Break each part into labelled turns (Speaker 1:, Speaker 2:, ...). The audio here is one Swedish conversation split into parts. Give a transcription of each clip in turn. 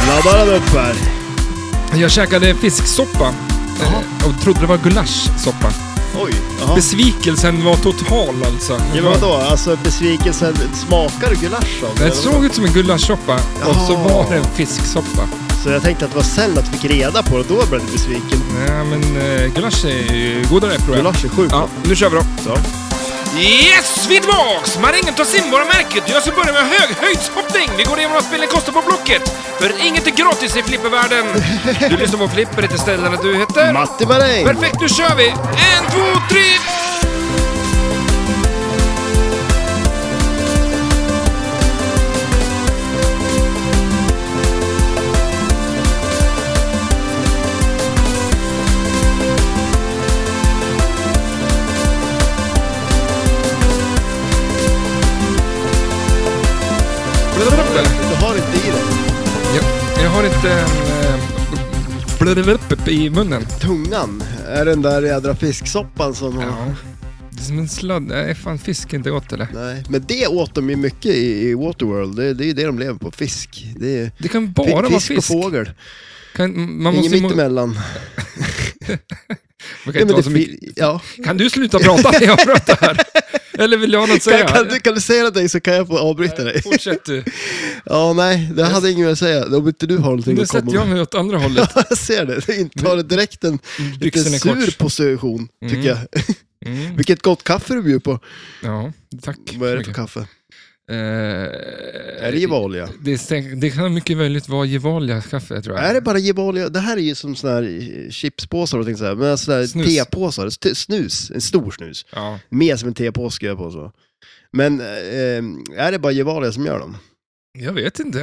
Speaker 1: Nu laddar han upp här.
Speaker 2: Jag käkade fisksoppa. eh, Och trodde det var gulaschsoppa.
Speaker 1: Oj, jaha.
Speaker 2: Besvikelsen var total alltså.
Speaker 1: Ja, men vadå? Alltså besvikelsen smakar gulasch av det,
Speaker 2: Den
Speaker 1: eller vadå?
Speaker 2: såg ut som en gulaschsoppa och så
Speaker 1: Jaha.
Speaker 2: var det en fisksoppa.
Speaker 1: Så jag tänkte att det var sen att vi fick reda på det, då blev jag besviken.
Speaker 2: Nej men eh, gulasch är ju godare tror jag.
Speaker 1: Gulasch är sjukt
Speaker 2: Ja, nu kör vi då.
Speaker 1: Så.
Speaker 2: Yes, vi är tillbaks! Marängen tar simborra märket. Jag ska börja med hög höjdshoppning. Vi går igenom vad spelen kostar på Blocket. För inget är gratis i flippervärlden. Du lyssnar på Flipper, heter stället du heter.
Speaker 1: Matti Maräng!
Speaker 2: Perfekt, nu kör vi! En, två, tre!
Speaker 1: Du har inte i dig.
Speaker 2: Jag, jag har inte en... eh, Blödlupp i munnen.
Speaker 1: Tungan är den där jädra fisksoppan som...
Speaker 2: Ja. Det är som en sladd. Nej, fan fisk inte gott eller?
Speaker 1: Nej, men det åt de ju mycket i, i Waterworld. Det, det är ju det de lever på, fisk. Det är...
Speaker 2: Det kan bara
Speaker 1: Fi-
Speaker 2: vara
Speaker 1: fisk,
Speaker 2: fisk.
Speaker 1: och fågel.
Speaker 2: Kan, man
Speaker 1: Inget
Speaker 2: måste ju må- man
Speaker 1: mittemellan.
Speaker 2: kan
Speaker 1: Nej,
Speaker 2: inte
Speaker 1: men
Speaker 2: ha
Speaker 1: det
Speaker 2: så
Speaker 1: fi-
Speaker 2: mycket.
Speaker 1: Ja.
Speaker 2: Kan du sluta prata när jag pratar här? Eller vill jag något
Speaker 1: Kan,
Speaker 2: säga?
Speaker 1: kan, du, kan du säga någonting så kan jag få avbryta dig.
Speaker 2: Fortsätt du.
Speaker 1: Ja, nej, det hade ingen att säga. Om inte du har någonting
Speaker 2: Nu
Speaker 1: att komma
Speaker 2: sätter jag
Speaker 1: med.
Speaker 2: mig åt andra hållet.
Speaker 1: Jag ser det. Du intar direkt en lite
Speaker 2: Byxorna är
Speaker 1: sur
Speaker 2: kort.
Speaker 1: position, tycker
Speaker 2: Mm.
Speaker 1: jag.
Speaker 2: Mm.
Speaker 1: Vilket gott kaffe du bjuder på.
Speaker 2: Ja, tack.
Speaker 1: Vad är det
Speaker 2: så
Speaker 1: för
Speaker 2: mycket.
Speaker 1: kaffe?
Speaker 2: Eh,
Speaker 1: Är det Gevalia?
Speaker 2: det, stäng- det kan mycket möjligt vara Gevalia-kaffe tror jag.
Speaker 1: Är det bara Gevalia? Det här är ju som sådana här chipspåsar och ting sådär. Men sådana här
Speaker 2: Snus.
Speaker 1: tepåsar. St- Snus. En stor snus.
Speaker 2: Ja.
Speaker 1: Mer som en tepåse skulle jag påstå. Men eh, är det bara Gevalia som gör dem?
Speaker 2: Jag vet inte.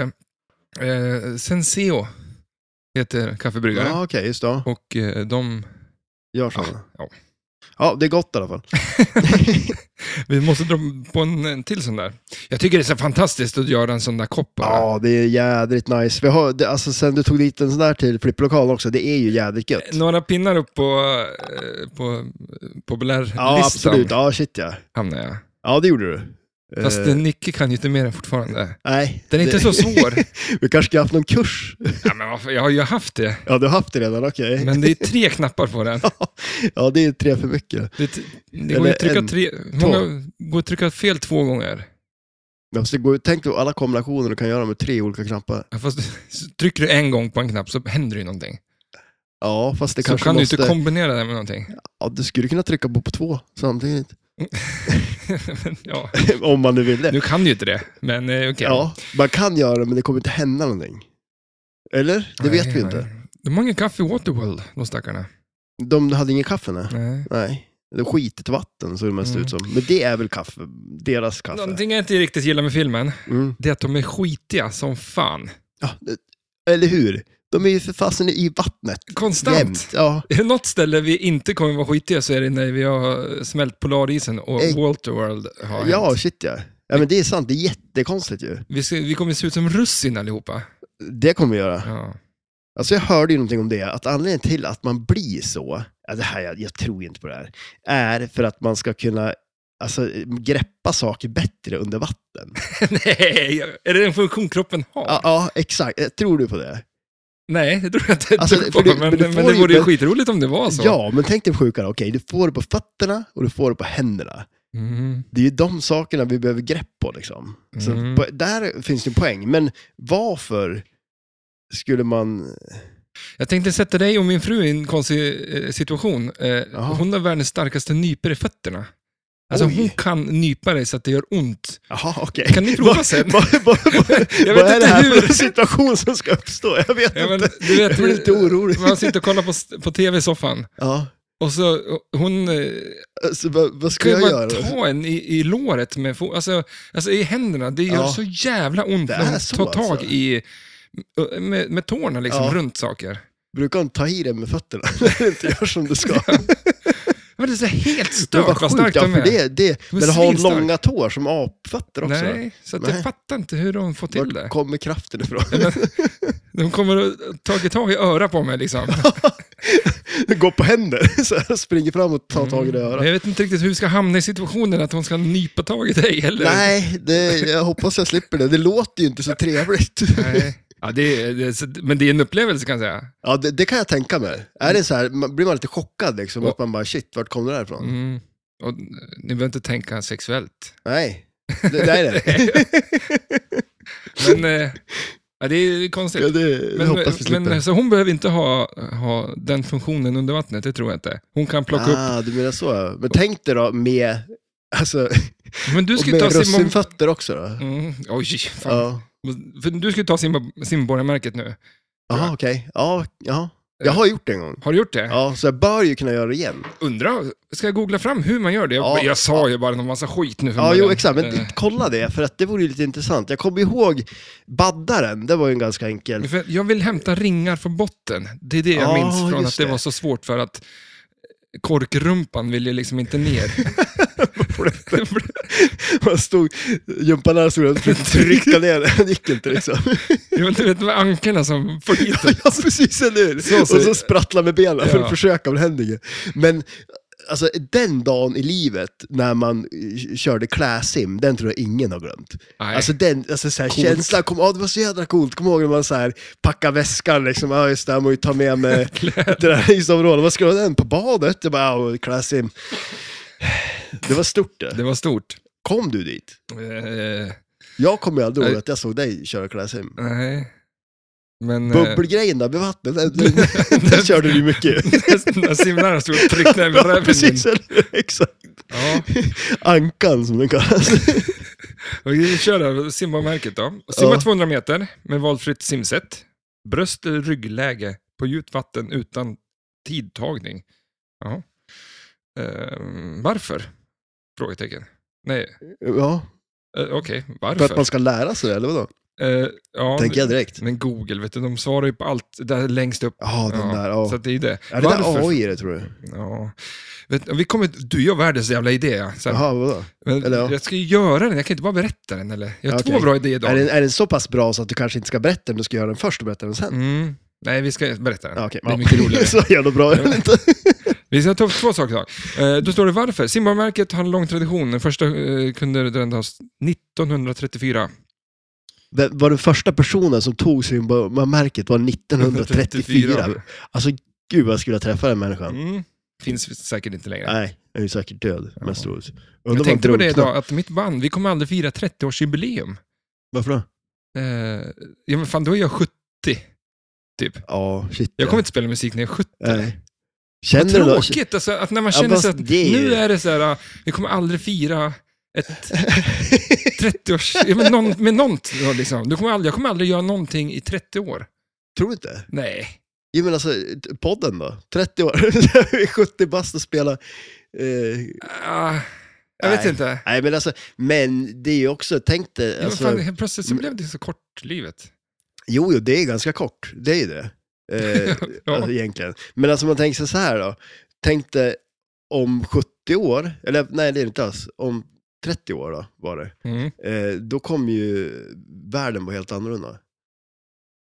Speaker 2: Eh, Senseo heter kaffebryggaren.
Speaker 1: Ja, okej, just det. Ja.
Speaker 2: Och eh, de...
Speaker 1: Gör samma.
Speaker 2: Ja.
Speaker 1: Ja, det är gott i alla fall.
Speaker 2: Vi måste dra på en, en till sån där. Jag tycker det är så fantastiskt att göra en sån där kopp bara.
Speaker 1: Ja, det är jädrigt nice. Vi har, det, alltså, sen du tog dit en sån där till flipplokalen också, det är ju jädrigt gött.
Speaker 2: Några pinnar upp på, eh, på eh, populärlistan
Speaker 1: Ja, absolut. Eh. Ja, shit ja.
Speaker 2: hamnar jag.
Speaker 1: Ja, det gjorde du.
Speaker 2: Fast
Speaker 1: Eh,
Speaker 2: eh, Nicke kan ju inte mer än fortfarande.
Speaker 1: nej.
Speaker 2: Den är inte
Speaker 1: Det-
Speaker 2: så svår.
Speaker 1: Vi kanske ska ha haft någon kurs.
Speaker 2: ja, men varför? jag har ju haft det.
Speaker 1: Ja, du har haft det redan, okej.
Speaker 2: Men det är tre knappar på den.
Speaker 1: Ja, det är tre för mycket.
Speaker 2: Det, t- det går ju att
Speaker 1: Eller
Speaker 2: trycka,
Speaker 1: en,
Speaker 2: tre, många, går att trycka fel två gånger.
Speaker 1: Men alltså, det går, ju- tänk dig alla kombinationer du kan göra med tre olika knappar.
Speaker 2: Ja, Fast så trycker du en gång på en knapp så händer ju någonting.
Speaker 1: Ja, fast det
Speaker 2: så
Speaker 1: kanske
Speaker 2: kan
Speaker 1: måste...
Speaker 2: du inte kombinera det med någonting.
Speaker 1: ja, du skulle kunna trycka på, på två samtidigt.
Speaker 2: Men, ja,
Speaker 1: Om man nu vill det.
Speaker 2: nu kan du ju inte det, men eh, okej.
Speaker 1: Ja, man kan göra det men det kommer inte hända någonting. Eller? Det vet
Speaker 2: Nej,
Speaker 1: vi
Speaker 2: nej.
Speaker 1: inte.
Speaker 2: De har ingen kaffe i Waterworld, de stackarna.
Speaker 1: De hade ingen kaffe nej.
Speaker 2: Nej.
Speaker 1: nej. Det var skitigt vatten såg det mest
Speaker 2: Mm.
Speaker 1: ut som. Men det är väl kaffe, deras kaffe.
Speaker 2: Någonting jag inte riktigt gillar med filmen,
Speaker 1: Mm.
Speaker 2: det är att de är skitiga som fan.
Speaker 1: Ja, det- eller hur? De är ju för fasen i vattnet.
Speaker 2: Konstant.
Speaker 1: Jämt. Ja,
Speaker 2: Är det något ställe vi inte kommer vara skitiga så är det när vi har smält polarisen och
Speaker 1: Eh,
Speaker 2: Waterworld har
Speaker 1: ja
Speaker 2: hänt.
Speaker 1: shit ja. Ja men det är sant, det är jättekonstigt ju.
Speaker 2: Vi, ska, vi kommer se ut som russin allihopa.
Speaker 1: Det kommer vi göra.
Speaker 2: Ja.
Speaker 1: Alltså jag hörde ju någonting om det, att anledningen till att man blir så, ja, det här, jag, jag tror inte på det här, är för att man ska kunna alltså, greppa saker bättre under vatten.
Speaker 2: Nej, är det en funktion kroppen har?
Speaker 1: Ja, ja, exakt. Tror du på det?
Speaker 2: Nej, det tror jag inte.
Speaker 1: Alltså,
Speaker 2: ett dugg på,
Speaker 1: för du-
Speaker 2: men,
Speaker 1: men du
Speaker 2: men,
Speaker 1: får
Speaker 2: det
Speaker 1: ju-
Speaker 2: vore ju
Speaker 1: men-
Speaker 2: skitroligt om det var så.
Speaker 1: Ja, men tänk dig sjukare. Okej, du får det på fötterna och du får det på händerna.
Speaker 2: Mm.
Speaker 1: Det är ju de sakerna vi behöver grepp på liksom. Så
Speaker 2: Mm.
Speaker 1: på, där finns det en poäng. Men varför skulle man...
Speaker 2: Jag tänkte sätta dig och min fru i en konstig eh, situation. Eh,
Speaker 1: Jaha.
Speaker 2: hon har världens starkaste nyper i fötterna. Alltså
Speaker 1: Oj.
Speaker 2: hon kan nypa dig så att det gör ont.
Speaker 1: Jaha, okej.
Speaker 2: Kan ni prova
Speaker 1: Vad-
Speaker 2: sen?
Speaker 1: Vad, vad, vad,
Speaker 2: Jag
Speaker 1: vad är
Speaker 2: vet
Speaker 1: det
Speaker 2: inte
Speaker 1: här
Speaker 2: hur.
Speaker 1: för situation som ska uppstå? Jag vet
Speaker 2: Ja, men,
Speaker 1: inte.
Speaker 2: du vet,
Speaker 1: Jag blir lite orolig.
Speaker 2: Man sitter och kollar på, s- på tv i soffan.
Speaker 1: Ja.
Speaker 2: Och så och hon eh,
Speaker 1: Alltså, vad, vad ska
Speaker 2: kan ju
Speaker 1: jag
Speaker 2: bara
Speaker 1: göra?
Speaker 2: ta en i, i låret med fo- alltså, alltså i händerna. Det gör
Speaker 1: Ja.
Speaker 2: så jävla ont
Speaker 1: Det
Speaker 2: när hon
Speaker 1: är så,
Speaker 2: tar tag
Speaker 1: alltså.
Speaker 2: i, eh, med, med tårna liksom
Speaker 1: Ja.
Speaker 2: runt saker.
Speaker 1: Brukar hon ta i det med fötterna? När du inte gör som du ska.
Speaker 2: Men det är så helt
Speaker 1: Det var
Speaker 2: stört vad
Speaker 1: sjukt,
Speaker 2: starkt
Speaker 1: ja,
Speaker 2: de
Speaker 1: för
Speaker 2: är.
Speaker 1: det, det.
Speaker 2: Men
Speaker 1: Men har
Speaker 2: svinstark.
Speaker 1: långa tår som apfötter också.
Speaker 2: Nej, så att jag
Speaker 1: Nej.
Speaker 2: fattar inte hur de får till det.
Speaker 1: Vart kommer kraften ifrån?
Speaker 2: De kommer att ta tag i öra på mig liksom.
Speaker 1: Går på händer, så här, springer fram och tar tag i det i örat.
Speaker 2: Jag vet inte riktigt hur vi ska hamna i situationen att hon ska nypa tag i dig. Eller?
Speaker 1: Nej, det, jag hoppas jag slipper det. Det låter ju inte så trevligt.
Speaker 2: Nej. Ja, det är, det är, så- men det är en upplevelse kan jag säga.
Speaker 1: Ja, det, det kan jag tänka mig. Är det så här, man- blir man lite chockad liksom?
Speaker 2: Ja.
Speaker 1: Att man bara, shit, vart kom det där ifrån?
Speaker 2: Mm. Och, ni behöver inte tänka sexuellt.
Speaker 1: Nej, det, det är det.
Speaker 2: Men eh, ja, det är
Speaker 1: ja,
Speaker 2: konstigt.
Speaker 1: det, det hoppas vi slipper.
Speaker 2: Men, men, så hon behöver inte ha, ha den funktionen under vattnet, det tror jag inte. Hon kan plocka upp...
Speaker 1: ah, du menar så. ja. Men tänk dig då med, alltså,
Speaker 2: Men du
Speaker 1: och
Speaker 2: ska ju ta
Speaker 1: med
Speaker 2: Simon...
Speaker 1: russinfötter också då.
Speaker 2: Mm, oj, fan.
Speaker 1: Ja.
Speaker 2: För du ska ju ta Simba- simborgarmärket nu.
Speaker 1: Jaha, okej. Ja, ja. Jag har gjort det en gång.
Speaker 2: Har du gjort det?
Speaker 1: Ja, så jag bör ju kunna göra det igen.
Speaker 2: Undra, ska jag googla fram hur man gör det? Jag,
Speaker 1: Ja.
Speaker 2: jag sa ju bara en massa skit nu. för
Speaker 1: Ja, jo
Speaker 2: morgonen.
Speaker 1: exakt. Men
Speaker 2: Eh,
Speaker 1: kolla det, för att det vore ju lite intressant. Jag kommer ihåg baddaren, det var ju en ganska enkel.
Speaker 2: för jag vill hämta ringar från botten. Det är det jag
Speaker 1: Ja,
Speaker 2: minns från
Speaker 1: just
Speaker 2: att det,
Speaker 1: det.
Speaker 2: var så svårt för att korkrumpan ville liksom inte ner.
Speaker 1: Man stod, gympanläraren stod och försökte trycka ner den, det gick inte liksom.
Speaker 2: Jo, du vet, det var ankarna som förlitade.
Speaker 1: Ja, precis, eller hur?
Speaker 2: Så ser
Speaker 1: och
Speaker 2: det.
Speaker 1: så sprattla med benen för
Speaker 2: Ja.
Speaker 1: att försöka, men det hände inget. Men alltså, den dagen i livet när man eh, körde kläsim, den tror jag ingen har glömt.
Speaker 2: Nej.
Speaker 1: Alltså den alltså, så här,
Speaker 2: Coolt.
Speaker 1: känslan, kom, oh, det var så jädra coolt. Kom ihåg när man så här, packade väskan, liksom, ja just det, jag måste ju ta med mig det där isområdet. Vad ska jag ha den på badet? Jag bara, oh, kläsim. Det var stort det.
Speaker 2: Det var stort.
Speaker 1: Kom du dit?
Speaker 2: Eh,
Speaker 1: Jag kommer ju aldrig ihåg
Speaker 2: Nej.
Speaker 1: att jag såg dig köra kläsim.
Speaker 2: nej. Men... eh,
Speaker 1: Bubbelgrejen där vid vattnet, den, den, den körde du ju mycket.
Speaker 2: När simläraren stod och tryckte ner med
Speaker 1: Ja,
Speaker 2: röven.
Speaker 1: precis. eller- Exakt.
Speaker 2: Ja,
Speaker 1: Ankan som den kallas.
Speaker 2: och vi kör då, simbamärket då. Simma
Speaker 1: Ja.
Speaker 2: 200 meter med valfritt simsätt. Bröst eller ryggläge på djupt vatten utan tidtagning. Ja. Ehm, varför? Frågetecken. Nej,
Speaker 1: Ja,
Speaker 2: eh, okej,
Speaker 1: för
Speaker 2: varför?
Speaker 1: att man ska lära sig det, eller vadå?
Speaker 2: Eh, ja,
Speaker 1: Tänker jag direkt.
Speaker 2: Men Google, vet du, de svarar ju på allt där längst upp.
Speaker 1: Ja, den där. ja.
Speaker 2: Så att det är det.
Speaker 1: Är det där AI i det, tror du?
Speaker 2: Ja. Vet, vi kommer, du, jag har världens jävla idé. ja. Så här,
Speaker 1: Jaha, vadå?
Speaker 2: men
Speaker 1: eller ja.
Speaker 2: Jag ska ju göra den, jag kan inte bara berätta den. Eller? Jag har två
Speaker 1: Okej.
Speaker 2: bra idéer idag.
Speaker 1: Är den, är den så pass bra så att du kanske inte ska berätta den, du ska göra den först och berätta den sen?
Speaker 2: Mm. Nej, vi ska berätta den.
Speaker 1: Ja, okej.
Speaker 2: det är
Speaker 1: ja.
Speaker 2: mycket roligare.
Speaker 1: så jävla bra är den inte.
Speaker 2: Vi ska ta upp två saker idag. Eh, då står det varför. Simborgarmärket har en lång tradition. Den första eh, kunde drändas 1934.
Speaker 1: Det var den första personen som tog Simba-märket var 1934. Alltså, gud vad jag skulle ha träffat den människan.
Speaker 2: Mm. Finns säkert inte längre.
Speaker 1: Nej, jag är ju säkert död,
Speaker 2: Ja.
Speaker 1: mest troligt.
Speaker 2: Jag
Speaker 1: Undrar
Speaker 2: tänkte på det
Speaker 1: drunknade.
Speaker 2: idag, att mitt band, vi kommer aldrig fira 30-årsjubileum.
Speaker 1: Varför då?
Speaker 2: Eh, ja, men fan, då är jag 70. Typ.
Speaker 1: Ja, shit.
Speaker 2: Jag kommer inte spela musik när jag är 70.
Speaker 1: Nej. Känner du då?
Speaker 2: Tråkigt, alltså, att när man
Speaker 1: Ja,
Speaker 2: känner sig
Speaker 1: fast
Speaker 2: att
Speaker 1: det är ju-
Speaker 2: nu är det så här, vi kommer aldrig fira ett 30-års... Ja, men någon, med något, då, liksom. du kommer aldrig, jag kommer aldrig göra någonting i 30 år.
Speaker 1: Tror du inte?
Speaker 2: Nej.
Speaker 1: Jo men alltså, t- podden då? 30 år, Vi är 70 bast och spelar... Eh,
Speaker 2: Ah, jag vet
Speaker 1: Nej.
Speaker 2: inte.
Speaker 1: nej men alltså, men det är ju också, tänk dig,
Speaker 2: Ja,
Speaker 1: alltså,
Speaker 2: fan, helt plötsligt så blev det så kort, livet.
Speaker 1: jo jo det är ganska kort, det är ju det. Eh,
Speaker 2: Ja.
Speaker 1: alltså, egentligen. Men alltså man tänker sig så här då, tänk dig om 70 år, eller nej det är det inte alls, om 30 år då var det,
Speaker 2: Mm.
Speaker 1: eh, då kommer ju världen vara helt annorlunda.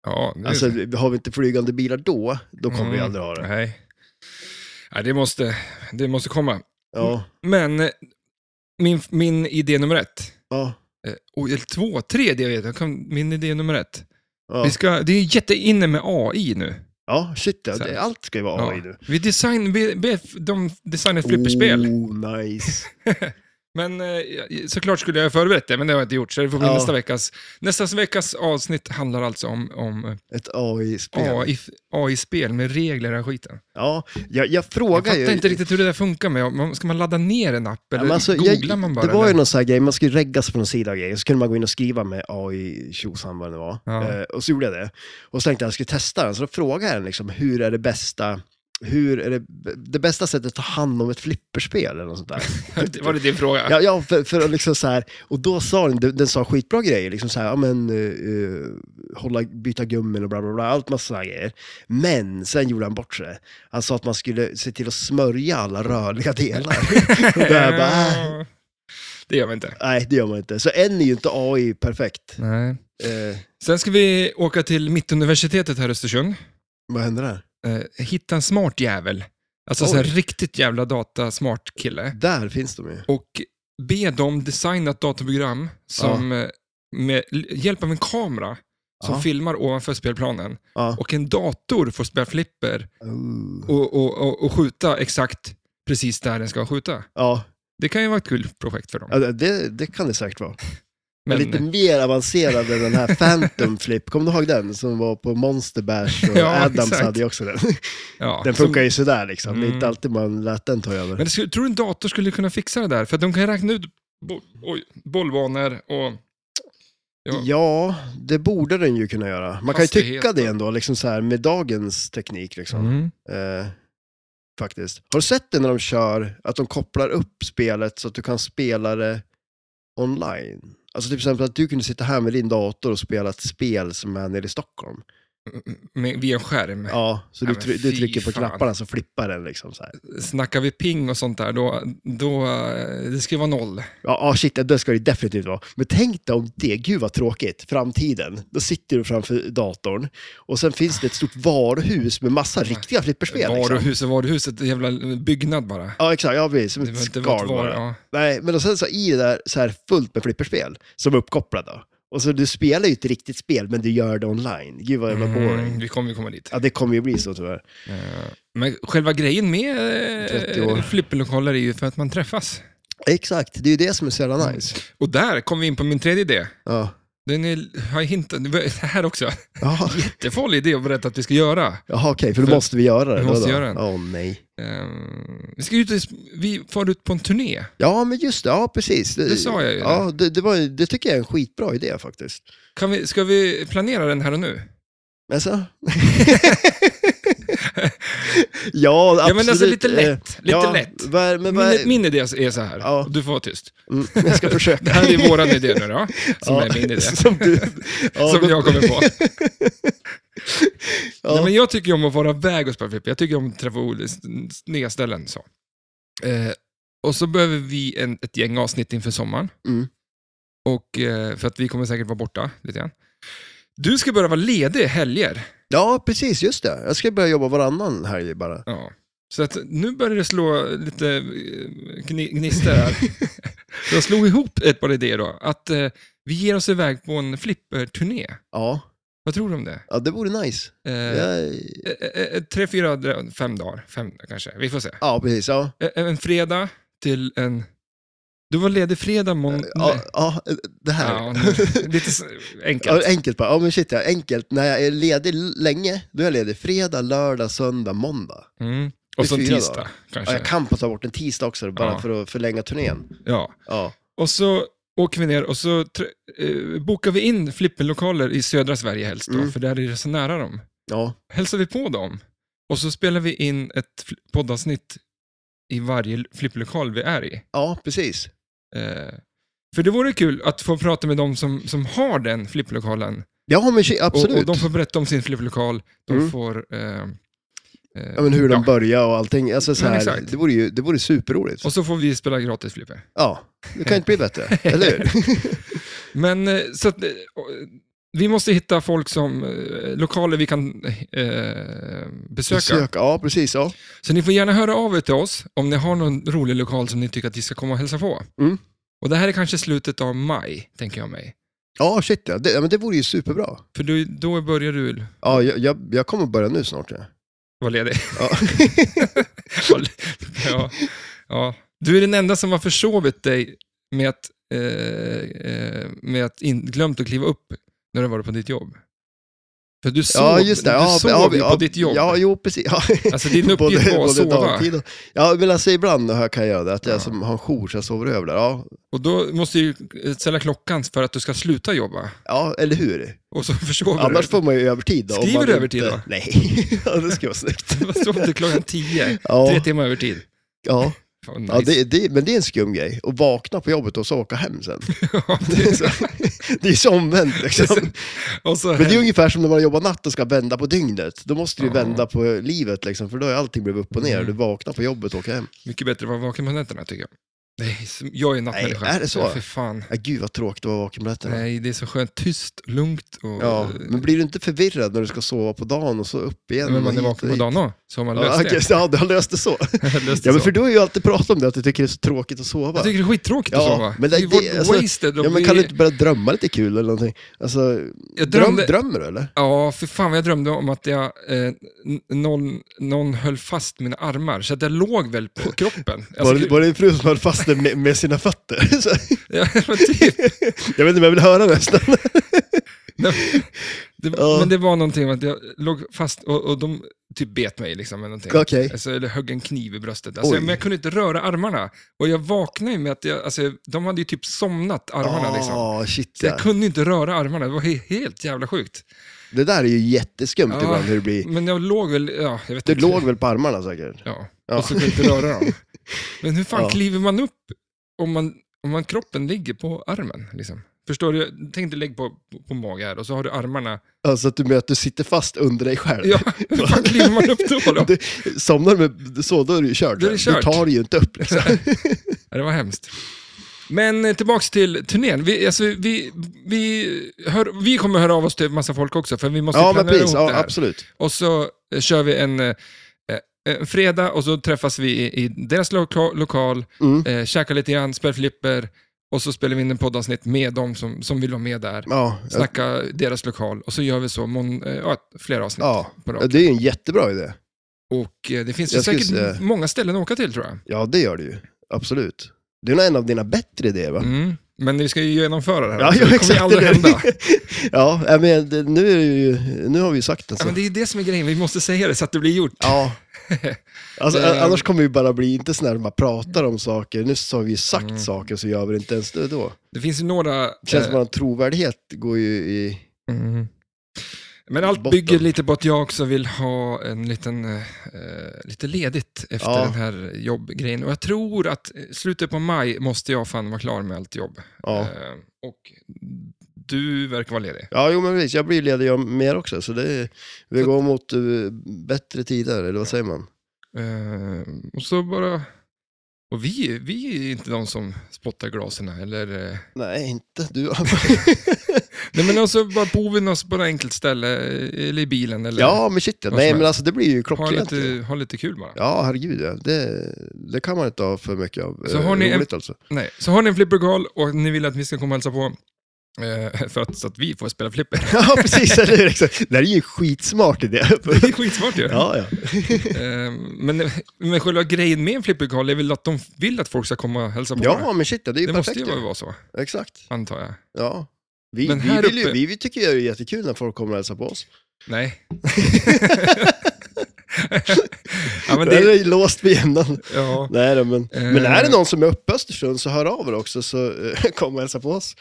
Speaker 2: Ja, det är
Speaker 1: Alltså
Speaker 2: så.
Speaker 1: har vi inte flygande bilar då, då kommer vi
Speaker 2: Mm.
Speaker 1: aldrig ha det.
Speaker 2: Nej. Nej, det måste, det måste komma.
Speaker 1: Ja,
Speaker 2: Men eh, min, min idé nummer ett,
Speaker 1: ja,
Speaker 2: eh, och eller två, tre idéer, jag kan, min idé nummer ett.
Speaker 1: ja.
Speaker 2: Vi ska, det är jätteinne med AI nu.
Speaker 1: Ja, shit ja.
Speaker 2: Så här.
Speaker 1: Det- Allt ska ju vara AI nu.
Speaker 2: Vi design, vi, vi, de designar ett flipperspel.
Speaker 1: Oh, nice.
Speaker 2: Men eh, såklart skulle jag ha förberett det, men det har jag inte gjort, så det får bli
Speaker 1: Ja.
Speaker 2: nästa veckas. Nästa veckas avsnitt handlar alltså om, om
Speaker 1: Ett AI-spel.
Speaker 2: AI AI-spel med regler och skiten.
Speaker 1: Ja, jag, jag
Speaker 2: Jag
Speaker 1: frågar
Speaker 2: fattar
Speaker 1: ju.
Speaker 2: inte riktigt hur det där funkar med, om- ska man ladda ner en app
Speaker 1: Ja,
Speaker 2: eller
Speaker 1: men alltså, jag-
Speaker 2: googlar man bara?
Speaker 1: det var ju
Speaker 2: eller?
Speaker 1: någon sån här grej, man skulle regga sig på någon sida och grejer, så kunde man gå in och skriva med AI, tjosan vad det var.
Speaker 2: Ja.
Speaker 1: Eh, och så gjorde jag det. Och så tänkte jag att jag skulle testa den, så då frågade jag den liksom, hur är det bästa, hur är det, det bästa sättet att ta hand om ett flipperspel eller något sånt där.
Speaker 2: var det din fråga?
Speaker 1: Ja, ja för, för att liksom så här, och då sa den, den sa skitbra grejer, liksom så här, ja men eh, eh, hålla, byta gummin och bla bla bla, allt massa sådana grejer. Men sen gjorde han bort sig. Han sa att man skulle se till att smörja alla rörliga delar. och då jag bara, "Äh,
Speaker 2: Det gör vi inte.
Speaker 1: nej det gör man inte. Så än är ju inte AI perfekt.
Speaker 2: Nej.
Speaker 1: Eh,
Speaker 2: Sen ska vi åka till Mittuniversitetet här i Östersund.
Speaker 1: vad hände där?
Speaker 2: Eh, hitta en smart jävel. Alltså
Speaker 1: Oj.
Speaker 2: så här riktigt jävla datasmart kille.
Speaker 1: Där finns de ju.
Speaker 2: Och be dem designa ett datorprogram som eh, med l- hjälp av en kamera som
Speaker 1: Ja.
Speaker 2: filmar ovanför spelplanen.
Speaker 1: Ja.
Speaker 2: Och en dator får spela flipper
Speaker 1: Oh.
Speaker 2: och, och, och, och skjuta exakt precis där den ska skjuta.
Speaker 1: Ja,
Speaker 2: Det kan ju vara ett kul projekt för dem.
Speaker 1: ja, det, det kan det säkert vara. Men,
Speaker 2: Men,
Speaker 1: Alltså, lite mer avancerad än den här Phantom Flip, kommer du ihåg den? Som var på Monster Bash och
Speaker 2: Ja,
Speaker 1: Adams
Speaker 2: exakt.
Speaker 1: hade ju också den.
Speaker 2: ja,
Speaker 1: Den
Speaker 2: som-
Speaker 1: funkar ju sådär liksom, det är
Speaker 2: Mm.
Speaker 1: inte alltid man lät den ta över.
Speaker 2: Men det skulle, tror du en dator skulle kunna fixa det där? För att de kan räkna ut bo, oj, bollvanor och... ja.
Speaker 1: Ja, det borde den ju kunna göra. Man kan ju tycka
Speaker 2: Hastighet.
Speaker 1: det ändå, liksom så här, med dagens teknik. Liksom.
Speaker 2: Mm.
Speaker 1: Eh, faktiskt. Har du sett det när de kör, att de kopplar upp spelet så att du kan spela det online? Alltså till exempel att du kunde sitta här med din dator och spela ett spel som är nere i Stockholm.
Speaker 2: Med, via en skärm.
Speaker 1: Ja, så du,
Speaker 2: Nej, men
Speaker 1: try- du
Speaker 2: fy
Speaker 1: trycker på
Speaker 2: fan.
Speaker 1: knapparna så flippar den liksom så här.
Speaker 2: Snackar vi ping och sånt där, då, då eh, det ska ju vara noll.
Speaker 1: Ja, ja, shit, det ska det definitivt vara. Men tänk dig om det, gud vad tråkigt, framtiden. Då sitter du framför datorn och sen finns det ett stort varuhus med massa riktiga flipperspel. Liksom.
Speaker 2: Varuhus och varuhus, ett jävla byggnad bara.
Speaker 1: Ja, exakt, ja precis, som
Speaker 2: Det
Speaker 1: ett
Speaker 2: var inte vart
Speaker 1: skal
Speaker 2: var,
Speaker 1: bara.
Speaker 2: ja.
Speaker 1: Nej, men och sen så i det där så här fullt med flipperspel som är uppkopplade. Och så du spelar ju ett riktigt spel, men du gör det online. Gud vad jävla
Speaker 2: Mm,
Speaker 1: boring.
Speaker 2: vi kommer ju komma dit.
Speaker 1: Ja, det kommer ju bli så tyvärr.
Speaker 2: Eh, Men själva grejen med
Speaker 1: 30
Speaker 2: eh,
Speaker 1: år.
Speaker 2: flipperlokaler är ju för att man träffas.
Speaker 1: Exakt, det är ju det som är så
Speaker 2: Mm.
Speaker 1: jävla nice.
Speaker 2: Och där kom vi in på min tredje idé.
Speaker 1: Ja.
Speaker 2: Den är, har jag hintat, det här också.
Speaker 1: Ja.
Speaker 2: Jättefarlig idé att berätta att vi ska göra.
Speaker 1: Jaha, okej, för då
Speaker 2: För-
Speaker 1: måste vi göra det.
Speaker 2: vi måste
Speaker 1: då, då.
Speaker 2: göra den.
Speaker 1: Åh nej.
Speaker 2: Ehm, vi, ska ut, vi far ut på en turné.
Speaker 1: Ja, men just det. Ja, precis.
Speaker 2: Det sa jag ju.
Speaker 1: Ja, det, det, var, ju- det tycker jag är en skitbra idé faktiskt.
Speaker 2: Kan vi, ska vi planera den här och nu?
Speaker 1: Men så? ja, absolut.
Speaker 2: Ja, men alltså lite
Speaker 1: Eh,
Speaker 2: lätt. Lite
Speaker 1: ja,
Speaker 2: lätt.
Speaker 1: Vad, men vad,
Speaker 2: Min, min idé är så här.
Speaker 1: Ja.
Speaker 2: Du får vara tyst.
Speaker 1: Mm, jag ska försöka.
Speaker 2: Det här är våran idé nu då, som
Speaker 1: Ja,
Speaker 2: är min idé.
Speaker 1: Som, du, ja,
Speaker 2: som
Speaker 1: men-
Speaker 2: jag kommer på.
Speaker 1: Ja.
Speaker 2: Nej, men jag tycker ju om att vara väg och spela flipper. Jag tycker om att träffa olika s- nya ställen. Så. Eh, och så behöver vi en, ett gäng avsnitt inför sommaren.
Speaker 1: Mm.
Speaker 2: Och, eh, för att vi kommer säkert vara borta lite grann. Du ska börja vara ledig helger.
Speaker 1: ja, precis. Just det. Jag ska börja jobba varannan helg bara.
Speaker 2: Ja. Så att nu börjar det slå lite eh, gni- gnistor här. Jag slog ihop ett par idéer då. Att eh, vi ger oss iväg på en flipperturné.
Speaker 1: Ja,
Speaker 2: Vad tror du om det?
Speaker 1: ja det vore nice.
Speaker 2: Eh,
Speaker 1: Jag,
Speaker 2: eh, eh, eh, Tre, fyra, dra- fem dagar. Fem kanske. Vi får se.
Speaker 1: ja, precis. Ja.
Speaker 2: Eh, En fredag till en... Du var ledig fredag, måndag...
Speaker 1: Eh, Ja, ja, det här.
Speaker 2: Ja, nu- lite s-
Speaker 1: Ja,
Speaker 2: enkelt.
Speaker 1: enkelt bara. Ja, men shit, ja, enkelt. När jag är ledig l- länge, då är jag ledig fredag, lördag, söndag, måndag.
Speaker 2: Mm. Och så en
Speaker 1: fyra
Speaker 2: tisdag
Speaker 1: dagar. Ja,
Speaker 2: kanske.
Speaker 1: jag kan passa bort en tisdag också, bara
Speaker 2: Ja.
Speaker 1: för att förlänga turnén.
Speaker 2: Ja.
Speaker 1: Ja.
Speaker 2: Och så åker vi ner och så tr- eh, bokar vi in flipperlokaler i södra Sverige helst, då,
Speaker 1: Mm.
Speaker 2: för där är det så nära dem.
Speaker 1: Ja.
Speaker 2: Hälsar vi på dem och så spelar vi in ett fl- poddavsnitt i varje l- flipperlokal vi är i.
Speaker 1: ja, precis.
Speaker 2: Eh, för det vore kul att få prata med dem som, som har den flipplokalen.
Speaker 1: Ja, men shit,
Speaker 2: Och,
Speaker 1: absolut.
Speaker 2: och de får berätta om sin flipplokal. De
Speaker 1: Mm.
Speaker 2: får... Eh, eh,
Speaker 1: ja, men hur de börjar och allting. Alltså, så
Speaker 2: Men
Speaker 1: här,
Speaker 2: exakt.
Speaker 1: det, vore ju, det vore superroligt.
Speaker 2: Och så får vi spela gratis flipper.
Speaker 1: Ja, det kan inte bli bättre, eller hur?
Speaker 2: Men eh, så att, eh, och, eh, vi måste hitta folk som, eh, lokaler vi kan eh, besöka.
Speaker 1: Besöka. Ja, precis. Ja.
Speaker 2: Så ni får gärna höra av er till oss om ni har någon rolig lokal som ni tycker att vi ska komma och hälsa på.
Speaker 1: Mm.
Speaker 2: Och det här är kanske slutet av maj, tänker jag mig.
Speaker 1: ja, shit ja. Det, ja, men det vore ju superbra.
Speaker 2: För då, då börjar du
Speaker 1: Ja, jag, jag, jag kommer börja nu snart. Ja.
Speaker 2: vara ledig.
Speaker 1: Ja.
Speaker 2: ja, ja. Du är den enda som har försovit dig med att, eh, eh, med att in, glömt att kliva upp när du var på ditt jobb. För du sov,
Speaker 1: ja, just det.
Speaker 2: Du
Speaker 1: Ja,
Speaker 2: sov
Speaker 1: ja,
Speaker 2: ju på
Speaker 1: ja,
Speaker 2: ditt jobb.
Speaker 1: Ja, jo, precis. Ja.
Speaker 2: Alltså din uppgift var att sova.
Speaker 1: dagtid och, ja, men alltså ibland har- kan jag göra det. Att jag
Speaker 2: Ja.
Speaker 1: som har en jour så jag sover över där. Ja,
Speaker 2: Och då måste du ju ställa klockan för att du ska sluta jobba.
Speaker 1: ja eller hur?
Speaker 2: Och så försover
Speaker 1: Annars
Speaker 2: du.
Speaker 1: får man ju övertid. Då, om
Speaker 2: Skriver
Speaker 1: man
Speaker 2: du övertid då?
Speaker 1: Nej, ja, det skulle vara snyggt.
Speaker 2: Vad Sov du klockan tio?
Speaker 1: Ja,
Speaker 2: Tre timmar övertid.
Speaker 1: ja,
Speaker 2: Fan, nice.
Speaker 1: ja det, det, men det är en skum grej. Att vakna på jobbet och så åka hem sen.
Speaker 2: Ja,
Speaker 1: Det är så- Det är ju så omvänt liksom.
Speaker 2: Och så
Speaker 1: Men det är
Speaker 2: händer-
Speaker 1: ungefär som när man jobbar natt och ska vända på dygnet. Då måste du ju
Speaker 2: Ja. Mm.
Speaker 1: vända på livet liksom, för då är allting blivit upp och ner. Du vaknar på jobbet och åker hem.
Speaker 2: mycket bättre att vara vaken på nätterna tycker jag. Nej, som- jag är nattmänniska.
Speaker 1: Nej, är det så?
Speaker 2: Ja, för fan.
Speaker 1: Äh, gud vad tråkigt att vara vaken på nätterna.
Speaker 2: Nej, det är så skönt. Tyst, lugnt och...
Speaker 1: Ja, men blir du inte förvirrad när du ska sova på dagen och så upp igen?
Speaker 2: men man
Speaker 1: hit
Speaker 2: är
Speaker 1: och
Speaker 2: vaken på
Speaker 1: dit?
Speaker 2: dagen också, så har man
Speaker 1: Ja,
Speaker 2: löst
Speaker 1: okej,
Speaker 2: det.
Speaker 1: så- ja, du har löst det så.
Speaker 2: löst det
Speaker 1: Ja, men
Speaker 2: så.
Speaker 1: för du har ju alltid pratat om det, att du tycker det är så tråkigt att sova.
Speaker 2: Jag tycker det är skittråkigt att
Speaker 1: Ja,
Speaker 2: sova.
Speaker 1: men det-
Speaker 2: det, är ju vårt
Speaker 1: det- alltså,
Speaker 2: wasted. och
Speaker 1: Ja, men
Speaker 2: vi-
Speaker 1: kan du inte börja drömma lite kul eller någonting? Alltså,
Speaker 2: jag
Speaker 1: dröm,
Speaker 2: drömde,
Speaker 1: drömmer du eller?
Speaker 2: Ja, för fan vad jag drömde om att jag, eh, n- någon, någon höll fast mina armar, så att jag låg väl på kroppen.
Speaker 1: Var,
Speaker 2: Alltså,
Speaker 1: det- var det din fru som höll fast dig med, med sina fötter? Så,
Speaker 2: ja, men typ.
Speaker 1: jag vet inte, men jag vill höra nästan.
Speaker 2: Nej, det,
Speaker 1: Ja.
Speaker 2: Men det var någonting med att jag låg fast och, och de typ bet mig. Liksom, eller någonting.
Speaker 1: Okej.
Speaker 2: Alltså, eller högg en kniv i bröstet. Alltså,
Speaker 1: Oj.
Speaker 2: men jag kunde inte röra armarna. Och jag vaknade ju med att jag, alltså, de hade ju typ somnat, armarna. Liksom.
Speaker 1: Ah, shit,
Speaker 2: Så
Speaker 1: ja.
Speaker 2: jag kunde inte röra armarna. Det var he- helt jävla sjukt.
Speaker 1: Det där är ju jätteskumt
Speaker 2: Ja.
Speaker 1: ibland hur det blir.
Speaker 2: Men jag låg väl... Ja, jag vet
Speaker 1: Du
Speaker 2: inte.
Speaker 1: låg väl på armarna säkert?
Speaker 2: Ja,
Speaker 1: Ja.
Speaker 2: och så kunde jag inte röra dem. Men hur fan
Speaker 1: Ja.
Speaker 2: kliver man upp om, man, om man, kroppen ligger på armen? Liksom? Förstår du? Tänk dig lägg på, på, på mage här och så har du armarna.
Speaker 1: Alltså att du, med att du sitter fast under dig själv.
Speaker 2: Ja, hur fan kliver man upp då? då?
Speaker 1: Du, somnar du med så, då är du ju kört.
Speaker 2: Då är det
Speaker 1: Du
Speaker 2: kört.
Speaker 1: tar det ju inte upp. Liksom.
Speaker 2: Ja, det var hemskt. Men eh, tillbaks till turnén. Vi, alltså, vi, vi, hör, vi kommer höra av oss till massa folk också, för vi måste
Speaker 1: ja, men
Speaker 2: planera
Speaker 1: precis.
Speaker 2: ihop det
Speaker 1: Ja,
Speaker 2: här.
Speaker 1: absolut.
Speaker 2: Och så eh, kör vi en, eh, eh, en fredag och så träffas vi i, i deras loka, lokal,
Speaker 1: Mm.
Speaker 2: eh, käkar lite grann, spelar flipper och så spelar vi in en poddavsnitt med dem som, som vill vara med där.
Speaker 1: Ja, ja,
Speaker 2: Snacka deras lokal och så gör vi så mon, eh, ja, flera avsnitt
Speaker 1: ja.
Speaker 2: på
Speaker 1: Ja,
Speaker 2: rad.
Speaker 1: det är ju en jättebra idé.
Speaker 2: Och eh, det finns ju
Speaker 1: Jag skulle
Speaker 2: säkert
Speaker 1: säga-
Speaker 2: många ställen att åka till tror jag.
Speaker 1: Ja, det gör det ju. Absolut. Det är nog en av dina bättre idéer, va?
Speaker 2: Mm. Men vi ska ju genomföra det här.
Speaker 1: Ja,
Speaker 2: också.
Speaker 1: ja,
Speaker 2: det kommer
Speaker 1: exakt,
Speaker 2: ju aldrig
Speaker 1: det är det.
Speaker 2: hända.
Speaker 1: Ja, äh, men det, nu, är det ju, nu har vi ju sagt det.
Speaker 2: Ja,
Speaker 1: Så.
Speaker 2: men det är det som är grejen, vi måste säga det så att det blir gjort.
Speaker 1: Ja. Alltså,
Speaker 2: Eh.
Speaker 1: annars kommer vi bara bli, inte sådär man pratar om saker, nu så har vi ju sagt saker så gör vi det inte ens det då.
Speaker 2: Det finns ju några...
Speaker 1: Det känns som
Speaker 2: Mm. eh,
Speaker 1: att trovärdighet går ju i...
Speaker 2: mm. Men allt
Speaker 1: botten.
Speaker 2: bygger lite på att jag också vill ha en liten, eh, lite ledigt efter
Speaker 1: Ja.
Speaker 2: den här jobbgrejen. Och jag tror att eh, slutet på maj måste jag fan vara klar med allt jobb.
Speaker 1: Ja.
Speaker 2: Eh, och du verkar vara ledig.
Speaker 1: Ja, jo men precis. Jag blir ledig jag mer också, så det, vi går mot eh, bättre tider, eller vad säger man?
Speaker 2: Eh, och så bara... Och vi, vi är inte de som spottar glasen eller... eh,
Speaker 1: Nej, inte du.
Speaker 2: Nej men alltså bara bor vi någonstans på ett enkelt ställe, eh, eller i bilen eller...
Speaker 1: ja, men shit ja.
Speaker 2: Vad
Speaker 1: Nej,
Speaker 2: som
Speaker 1: men alltså det blir ju
Speaker 2: ha
Speaker 1: klockrent. ju.
Speaker 2: lite, ha lite kul bara.
Speaker 1: Ja, herregud ja. Det, det kan man inte ha för mycket av.
Speaker 2: Så
Speaker 1: Eh,
Speaker 2: har ni en-
Speaker 1: Roligt alltså.
Speaker 2: Nej. Så har ni en flippergal och ni vill att vi ska komma och hälsa på, eh, för att, så att vi får spela flipper.
Speaker 1: ja, precis. Eller hur? Exakt. Det här är ju en skitsmart idé.
Speaker 2: Det är skitsmart ju.
Speaker 1: ja, ja.
Speaker 2: Eh, men, men själva grejen med en flippergal är väl att de vill att folk ska komma och hälsa på.
Speaker 1: ja, men shit ja. Det är ju
Speaker 2: det
Speaker 1: perfekt.
Speaker 2: måste ju
Speaker 1: ju.
Speaker 2: vara så,
Speaker 1: Exakt.
Speaker 2: antar jag.
Speaker 1: Ja. Vi,
Speaker 2: Men
Speaker 1: vi,
Speaker 2: här
Speaker 1: vill ju,
Speaker 2: uppe-
Speaker 1: vi, vi tycker ju det är jättekul när folk kommer och hälsar på oss.
Speaker 2: Nej. ja, men
Speaker 1: det...
Speaker 2: det,
Speaker 1: är låst vid jämnan.
Speaker 2: ja.
Speaker 1: Nej då, men,
Speaker 2: Eh.
Speaker 1: men är det någon som är uppe i Östersund så hör av er också så eh, kom och hälsa på oss.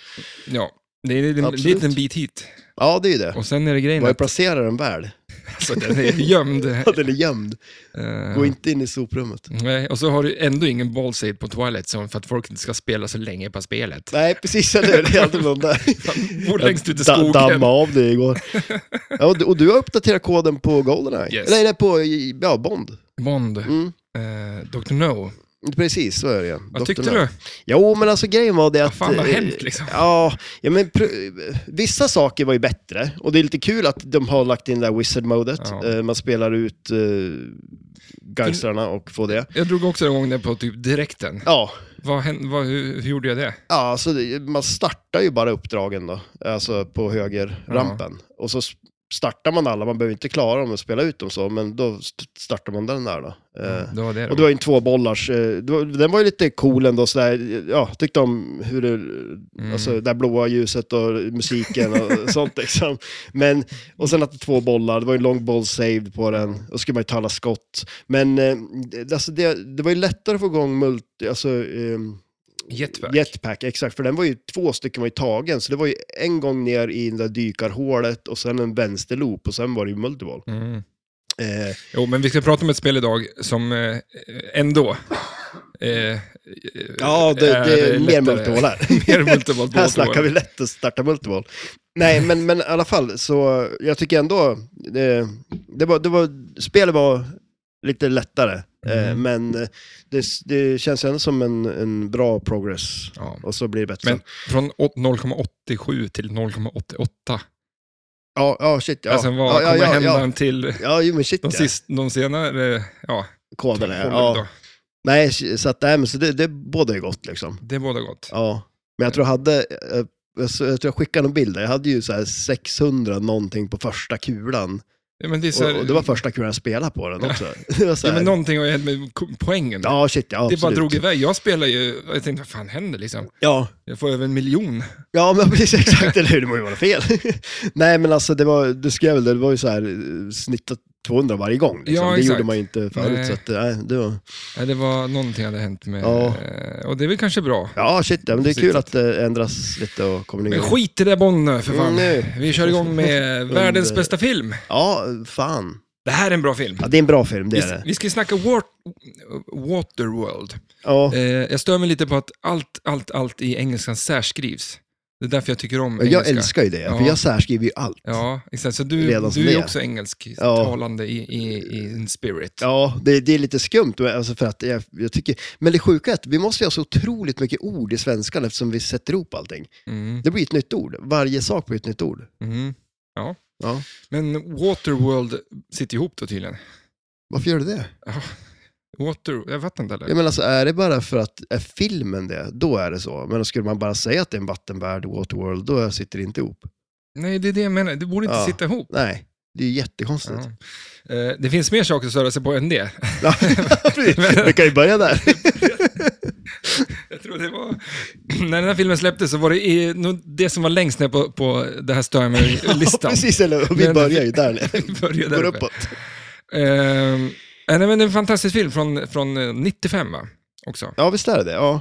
Speaker 2: ja. Det är en
Speaker 1: Absolut.
Speaker 2: liten bit hit.
Speaker 1: Ja, det är ju det.
Speaker 2: Och sen är det grejen
Speaker 1: Man
Speaker 2: att
Speaker 1: placerar den väl.
Speaker 2: alltså, den är gömd.
Speaker 1: Ja, Den är gömd.
Speaker 2: Eh,
Speaker 1: Gå inte in i soprummet.
Speaker 2: Nej, och så har du ändå ingen ballsave på Twilight Zone för att folk inte ska spela så länge på spelet.
Speaker 1: Nej, precis. Eller hur? Det är alltid någon där.
Speaker 2: Bor längst ut i
Speaker 1: Da-
Speaker 2: skogen.
Speaker 1: Damma av det igår. Ja, och, du, och du har uppdaterat koden på Goldeneye?
Speaker 2: Yes.
Speaker 1: Nej, nej, på i- ja, Bond.
Speaker 2: Bond,
Speaker 1: Mm.
Speaker 2: eh, Dr. No.
Speaker 1: Precis, så är det ju.
Speaker 2: Vad
Speaker 1: Dr.
Speaker 2: tyckte
Speaker 1: No.
Speaker 2: du?
Speaker 1: Jo, men alltså grejen var det att...
Speaker 2: fan har
Speaker 1: eh,
Speaker 2: hänt, liksom?
Speaker 1: Ja, ja men pr- vissa saker var ju bättre. Och det är lite kul att de har lagt in det där wizard-modet.
Speaker 2: Ja.
Speaker 1: Eh, man spelar ut eh, gangstrarna och får det.
Speaker 2: Jag drog också igång den på typ direkten.
Speaker 1: Ja,
Speaker 2: Vad hände, vad, hur, hur gjorde jag det?
Speaker 1: ja alltså, det- man startar ju bara uppdragen då, alltså på högerrampen. Och så s- startar man alla, man behöver inte klara dem och spela ut dem så, men då st- startar man den där då. Eh,
Speaker 2: Det var det.
Speaker 1: Och det var ju en tvåbollars, eh, det var- den var ju lite cool ändå sådär, ja, tyckte om hur det, alltså det där blåa ljuset och musiken och sånt liksom. Men, och sen att det är två bollar, det var ju en lång boll saved på den, och så skulle man ju ta alla skott. Men eh, det- alltså det, det var ju lättare att få igång multi, alltså, ehm,
Speaker 2: Jetpack.
Speaker 1: Jetpack, exakt. För den var ju två stycken var ju tagen, så det var ju en gång ner i det där dykarhålet och sen en vänsterloop och sen var det ju multiball.
Speaker 2: Mm.
Speaker 1: Eh,
Speaker 2: Jo, men vi ska prata om ett spel idag som eh, ändå Eh, eh,
Speaker 1: Ja, det, det är, eh, mer
Speaker 2: lättare-
Speaker 1: multiball här.
Speaker 2: Mer multiball på
Speaker 1: här snackar
Speaker 2: återvård.
Speaker 1: vi lätt att starta multiball. Nej, men, men i alla fall, så jag tycker ändå, det, det var, det var, spelet var lite lättare, eh,
Speaker 2: Mm.
Speaker 1: men det, det känns ändå som en, en bra progress.
Speaker 2: Ja.
Speaker 1: Och så blir det bättre.
Speaker 2: Men från åt- 0,87 till 0,88.
Speaker 1: ja, ja, shit. Ja,
Speaker 2: alltså
Speaker 1: ja,
Speaker 2: vad
Speaker 1: ja,
Speaker 2: kommer
Speaker 1: ja,
Speaker 2: hända
Speaker 1: ja,
Speaker 2: till
Speaker 1: ja, jo, men shit
Speaker 2: de,
Speaker 1: ja.
Speaker 2: sist, de senare eh, ja,
Speaker 1: Koderna, ja.
Speaker 2: hålen
Speaker 1: ja.
Speaker 2: då?
Speaker 1: Nej, så, att, nej, men så det, det båda är gott liksom.
Speaker 2: Det båda gott.
Speaker 1: Ja. Men jag tror jag hade, eh, jag, så- jag tror jag skickade någon bild där. Jag hade ju så här 600 någonting på första kulan.
Speaker 2: Ja, men det är så här,
Speaker 1: Och, och det var första kulan jag spelade på den också. Det var så
Speaker 2: ja,
Speaker 1: här,
Speaker 2: men någonting har ju hänt med ko- poängen.
Speaker 1: ja, shit, ja,
Speaker 2: det bara
Speaker 1: absolut.
Speaker 2: drog iväg. Jag spelar ju, jag tänkte vad fan händer liksom?
Speaker 1: Ja,
Speaker 2: Jag får över en miljon.
Speaker 1: ja men precis, exakt, eller hur? Det må ju vara fel. Nej, men alltså det var, du skrev väl det, det var ju så här eh, snittat 200 varje gång. Liksom.
Speaker 2: Ja,
Speaker 1: det
Speaker 2: exakt.
Speaker 1: gjorde man ju inte förut.
Speaker 2: Nej.
Speaker 1: Så att, nej, det var...
Speaker 2: Ja, det var någonting hade hänt med,
Speaker 1: Ja.
Speaker 2: eh, och det är väl kanske bra.
Speaker 1: Ja, shit, ja, men det är
Speaker 2: Precis.
Speaker 1: kul att det ändras lite och kommer
Speaker 2: Men
Speaker 1: igång.
Speaker 2: skit i det Bonne, för fan.
Speaker 1: Mm,
Speaker 2: Vi kör igång med världens bästa film.
Speaker 1: Ja, fan.
Speaker 2: Det här är en bra film.
Speaker 1: Ja, det är en bra film, det är
Speaker 2: Vi,
Speaker 1: det.
Speaker 2: vi ska snacka War- Waterworld.
Speaker 1: Ja.
Speaker 2: Eh, jag stör mig lite på att allt, allt, allt i engelskan särskrivs. Det är därför jag tycker om engelska.
Speaker 1: Jag älskar ju det,
Speaker 2: Ja.
Speaker 1: för jag särskriver ju allt.
Speaker 2: Ja, exakt. Så du,
Speaker 1: Redan som
Speaker 2: du är
Speaker 1: det.
Speaker 2: också engelsktalande i, i, i in spirit.
Speaker 1: Ja, det, det är lite skumt, men alltså för att jag, jag tycker, men det sjuka är att vi måste ju ha så otroligt mycket ord i svenskan eftersom vi sätter ihop allting.
Speaker 2: Mm,
Speaker 1: Det blir ett nytt ord, varje sak blir ett nytt ord.
Speaker 2: mm. ja.
Speaker 1: Ja.
Speaker 2: Men Waterworld sitter ihop då tydligen.
Speaker 1: Varför gör du det?
Speaker 2: Ja. Water, jag fattar inte heller.
Speaker 1: Jag menar, alltså, är det bara för att är filmen det, då är det så. Men skulle man bara säga att det är en vattenvärld, Waterworld, då sitter det inte ihop.
Speaker 2: Nej, det är det jag menar. Det borde inte
Speaker 1: Ja.
Speaker 2: sitta ihop.
Speaker 1: Nej, det är ju jättekonstigt.
Speaker 2: Ja. Eh, det finns mer saker att störa sig på än det.
Speaker 1: Ja. vi kan ju börja där.
Speaker 2: Jag tror det var... När den här filmen släpptes så var det i, nog det som var längst ner på, på det här stör
Speaker 1: Ja,
Speaker 2: mig-listan.
Speaker 1: precis, eller och
Speaker 2: Men-
Speaker 1: vi börjar ju där nere.
Speaker 2: Vi börjar där
Speaker 1: Går
Speaker 2: uppe.
Speaker 1: uppåt.
Speaker 2: Ehm, nej, men det är en fantastisk film från, från eh, 95 va? Också.
Speaker 1: Ja, visst är det det. Ja.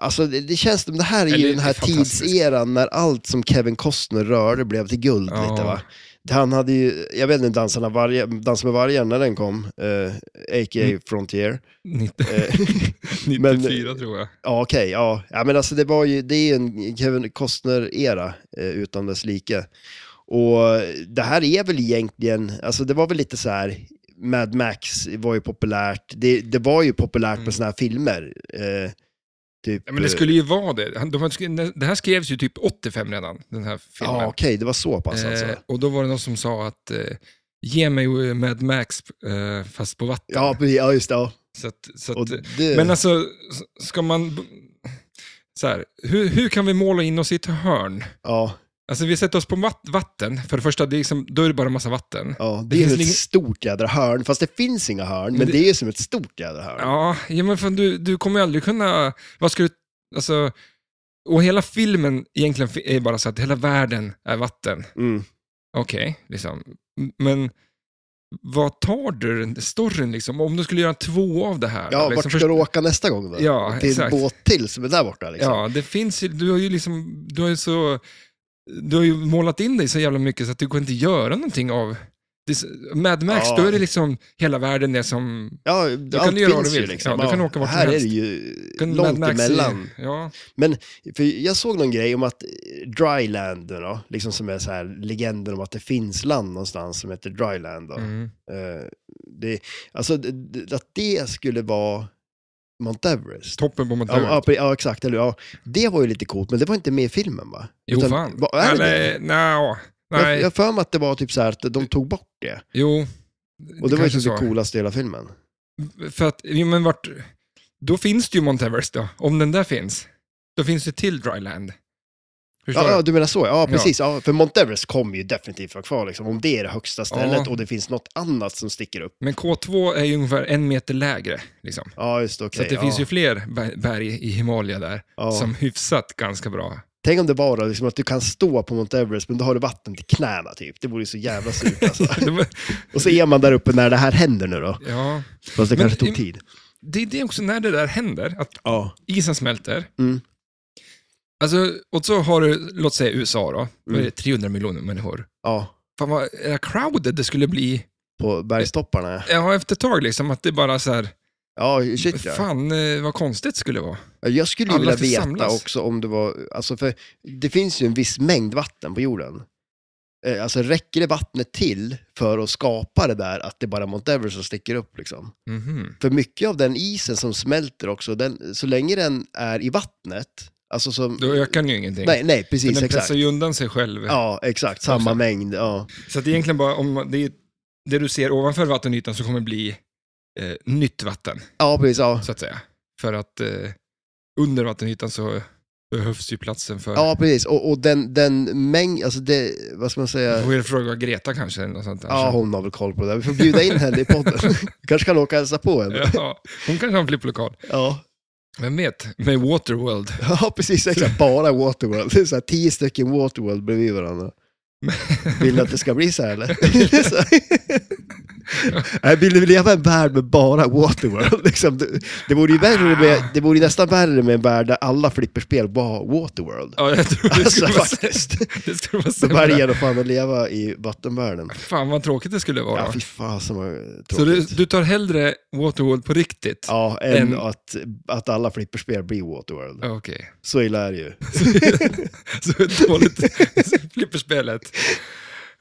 Speaker 1: Alltså, det, det känns som, det här är
Speaker 2: Eller,
Speaker 1: ju
Speaker 2: det
Speaker 1: den
Speaker 2: är
Speaker 1: här
Speaker 2: fantastiskt.
Speaker 1: tidseran när allt som Kevin Costner rörde blev till guld
Speaker 2: Ja.
Speaker 1: lite va. Han hade ju, jag vet inte, Dansarna varje, Dans med vargen när den kom, eh, a.k.a.
Speaker 2: Mm.
Speaker 1: Frontier.
Speaker 2: 90,
Speaker 1: Eh,
Speaker 2: 94 tror jag.
Speaker 1: ja, okej, ja. ja. men alltså det var ju, det är ju en Kevin Costner-era eh, utan dess like. Och det här är väl egentligen, alltså det var väl lite så här, Mad Max var ju populärt, det, det var ju populärt
Speaker 2: Mm.
Speaker 1: med såna här filmer. Eh, typ,
Speaker 2: Ja, men det
Speaker 1: eh,
Speaker 2: skulle ju vara det. Han- De hade, skri- det här skrevs ju typ 85 redan, den här filmen.
Speaker 1: Ja, okej, det var så pass alltså.
Speaker 2: Eh, och då var det någon som sa att eh, ge mig eh, Mad Max eh, fast på vatten.
Speaker 1: Ja, precis, ja, just det. Ja.
Speaker 2: Så att, så att,
Speaker 1: Och det,
Speaker 2: Men alltså, s- ska man... Så här, hur, hur kan vi måla in oss i ett hörn?
Speaker 1: ja,
Speaker 2: Alltså vi sätter oss på vat- vatten, för det första, det är liksom, då är det bara en massa vatten.
Speaker 1: ja, det,
Speaker 2: det
Speaker 1: är ju
Speaker 2: finns
Speaker 1: ett
Speaker 2: ingen-
Speaker 1: stort jädra hörn, fast det finns inga hörn, men,
Speaker 2: Men det-
Speaker 1: det... är ju som ett stort jädra hörn.
Speaker 2: Ja, ja men fan, du, du kommer ju aldrig kunna... Vad ska du... Alltså, och hela filmen egentligen fi- är bara så att hela världen är vatten.
Speaker 1: Mm.
Speaker 2: Okej, liksom. M- Men vad tar du den- storyn liksom? Om du skulle göra två av det här?
Speaker 1: ja
Speaker 2: liksom,
Speaker 1: vart ska
Speaker 2: först-
Speaker 1: du åka nästa gång då?
Speaker 2: Ja,
Speaker 1: Till
Speaker 2: exakt.
Speaker 1: en båt till som är där borta liksom.
Speaker 2: Ja, det finns ju... Du har ju liksom... Du har ju så... Du har ju målat in dig så jävla mycket så att du kan inte göra någonting av... Det, är så- Mad Max,
Speaker 1: Ja.
Speaker 2: då är det liksom hela världen är som...
Speaker 1: Ja,
Speaker 2: kan
Speaker 1: allt
Speaker 2: du göra vad
Speaker 1: finns
Speaker 2: du
Speaker 1: ju
Speaker 2: vill.
Speaker 1: liksom.
Speaker 2: Ja, du kan åka vart som
Speaker 1: här är det
Speaker 2: helst.
Speaker 1: ju
Speaker 2: kan
Speaker 1: långt
Speaker 2: Mad Max är-
Speaker 1: emellan.
Speaker 2: Ja,
Speaker 1: För jag såg någon grej om att eh, Dryland, då, liksom som är så här legenden om att det finns land någonstans som heter Dryland. Då.
Speaker 2: mm.
Speaker 1: Eh, det, alltså, det- det, att det skulle vara Mount Everest.
Speaker 2: toppen på
Speaker 1: Ja,
Speaker 2: motorn.
Speaker 1: ja, pre- ja, exakt. Eller, ja. Det var ju lite coolt, men det var inte med i filmen va?
Speaker 2: Jo,
Speaker 1: Utan-
Speaker 2: fan.
Speaker 1: va- är det det?
Speaker 2: Eller, nja, nej,
Speaker 1: Jag- Jag har för mig att det var typ så här att de tog bort det.
Speaker 2: jo.
Speaker 1: Och det, var ju
Speaker 2: kanske
Speaker 1: typ det
Speaker 2: så.
Speaker 1: coolaste i hela filmen.
Speaker 2: För att, jo, men vart, då finns det ju Mount Everest då, om den där finns. Då finns det till Dryland. Förstår
Speaker 1: Ja, ja,
Speaker 2: du?
Speaker 1: du menar så. Ja,
Speaker 2: Ja. precis.
Speaker 1: precis. Ja. för Mount Everest kommer ju definitivt vara kvar. Liksom. Om det är det högsta stället
Speaker 2: Ja.
Speaker 1: och det finns något annat som sticker upp.
Speaker 2: Men K2 är ju ungefär en meter lägre. Liksom.
Speaker 1: Ja, just okej.
Speaker 2: Så att det
Speaker 1: ja.
Speaker 2: finns ju fler ber- berg i Himalaya där,
Speaker 1: ja.
Speaker 2: som hyfsat ganska bra.
Speaker 1: Tänk om det var då, liksom, att du kan stå på Mount Everest, men då har du vatten till knäna typ. Det vore ju så jävla surt alltså.
Speaker 2: Det var-
Speaker 1: och så är man där uppe när det här händer nu då.
Speaker 2: ja,
Speaker 1: Fast det
Speaker 2: Men
Speaker 1: kanske
Speaker 2: i-
Speaker 1: tog tid.
Speaker 2: det är det också när det där händer, att
Speaker 1: Ja.
Speaker 2: isen smälter.
Speaker 1: Mm.
Speaker 2: Alltså, och så har du, låt säga USA då, då är det
Speaker 1: Mm.
Speaker 2: 300 miljoner människor.
Speaker 1: Ja,
Speaker 2: Fan vad eh, crowded det skulle bli
Speaker 1: på bergstopparna.
Speaker 2: Ja, efter ett tag liksom, att det bara så här,
Speaker 1: Ja, shit ja.
Speaker 2: Fan eh, vad konstigt skulle det vara.
Speaker 1: Ja, Jag skulle ju
Speaker 2: Alla
Speaker 1: vilja veta
Speaker 2: tillsammans.
Speaker 1: också om det var, alltså för det finns ju en viss mängd vatten på jorden. Eh, Alltså räcker det vattnet till för att skapa det där att det bara är Mount Everest som sticker upp liksom?
Speaker 2: Mhm.
Speaker 1: För mycket av den isen som smälter också, den, så länge den är i vattnet, alltså som...
Speaker 2: Då ökar den ju ingenting.
Speaker 1: nej, nej,
Speaker 2: Men
Speaker 1: precis,
Speaker 2: den
Speaker 1: exakt.
Speaker 2: pressar ju undan sig själv.
Speaker 1: Ja, exakt, samma
Speaker 2: Exakt.
Speaker 1: mängd. Ja.
Speaker 2: Så att egentligen bara, om man- det, är, det du ser ovanför vattenytan så kommer det bli eh, nytt vatten,
Speaker 1: ja, precis. Ja.
Speaker 2: så att säga. För att eh, under vattenytan så behövs ju platsen för...
Speaker 1: Ja, precis. Och, och den, den mängd, alltså det, vad ska man
Speaker 2: Jag
Speaker 1: säga?
Speaker 2: får ju fråga Greta kanske, eller något sånt där.
Speaker 1: eh. Ja, hon har väl koll på det där. Vi får bjuda in henne i podden. kanske kan åka och hälsa på henne.
Speaker 2: Ja, hon kanske har en flipplokal.
Speaker 1: Ja.
Speaker 2: Vem vet? Med Waterworld.
Speaker 1: Ja, precis. Exakt. Bara Waterworld. Det är så här tio stycken Waterworld bredvid varandra. Vill du att det ska bli så här eller? Så här. Nej, vill du leva i en värld med bara Waterworld? Liksom, det, det, vore ju värre med, det vore ju nästan värre med en värld där alla flipperspel var Waterworld.
Speaker 2: Ja, jag tror det
Speaker 1: Alltså
Speaker 2: skulle vara,
Speaker 1: faktiskt.
Speaker 2: det skulle vara
Speaker 1: Då
Speaker 2: sämre.
Speaker 1: väljer de fan att leva i vattenvärlden.
Speaker 2: Fan vad tråkigt det skulle vara.
Speaker 1: Ja, fy fan som var tråkigt.
Speaker 2: så du, du tar hellre Waterworld på riktigt?
Speaker 1: Ja, än
Speaker 2: en-
Speaker 1: att, att alla flipperspel blir Waterworld.
Speaker 2: Ja, Okej.
Speaker 1: Så illa är det ju.
Speaker 2: Så ett dåligt flipperspelet.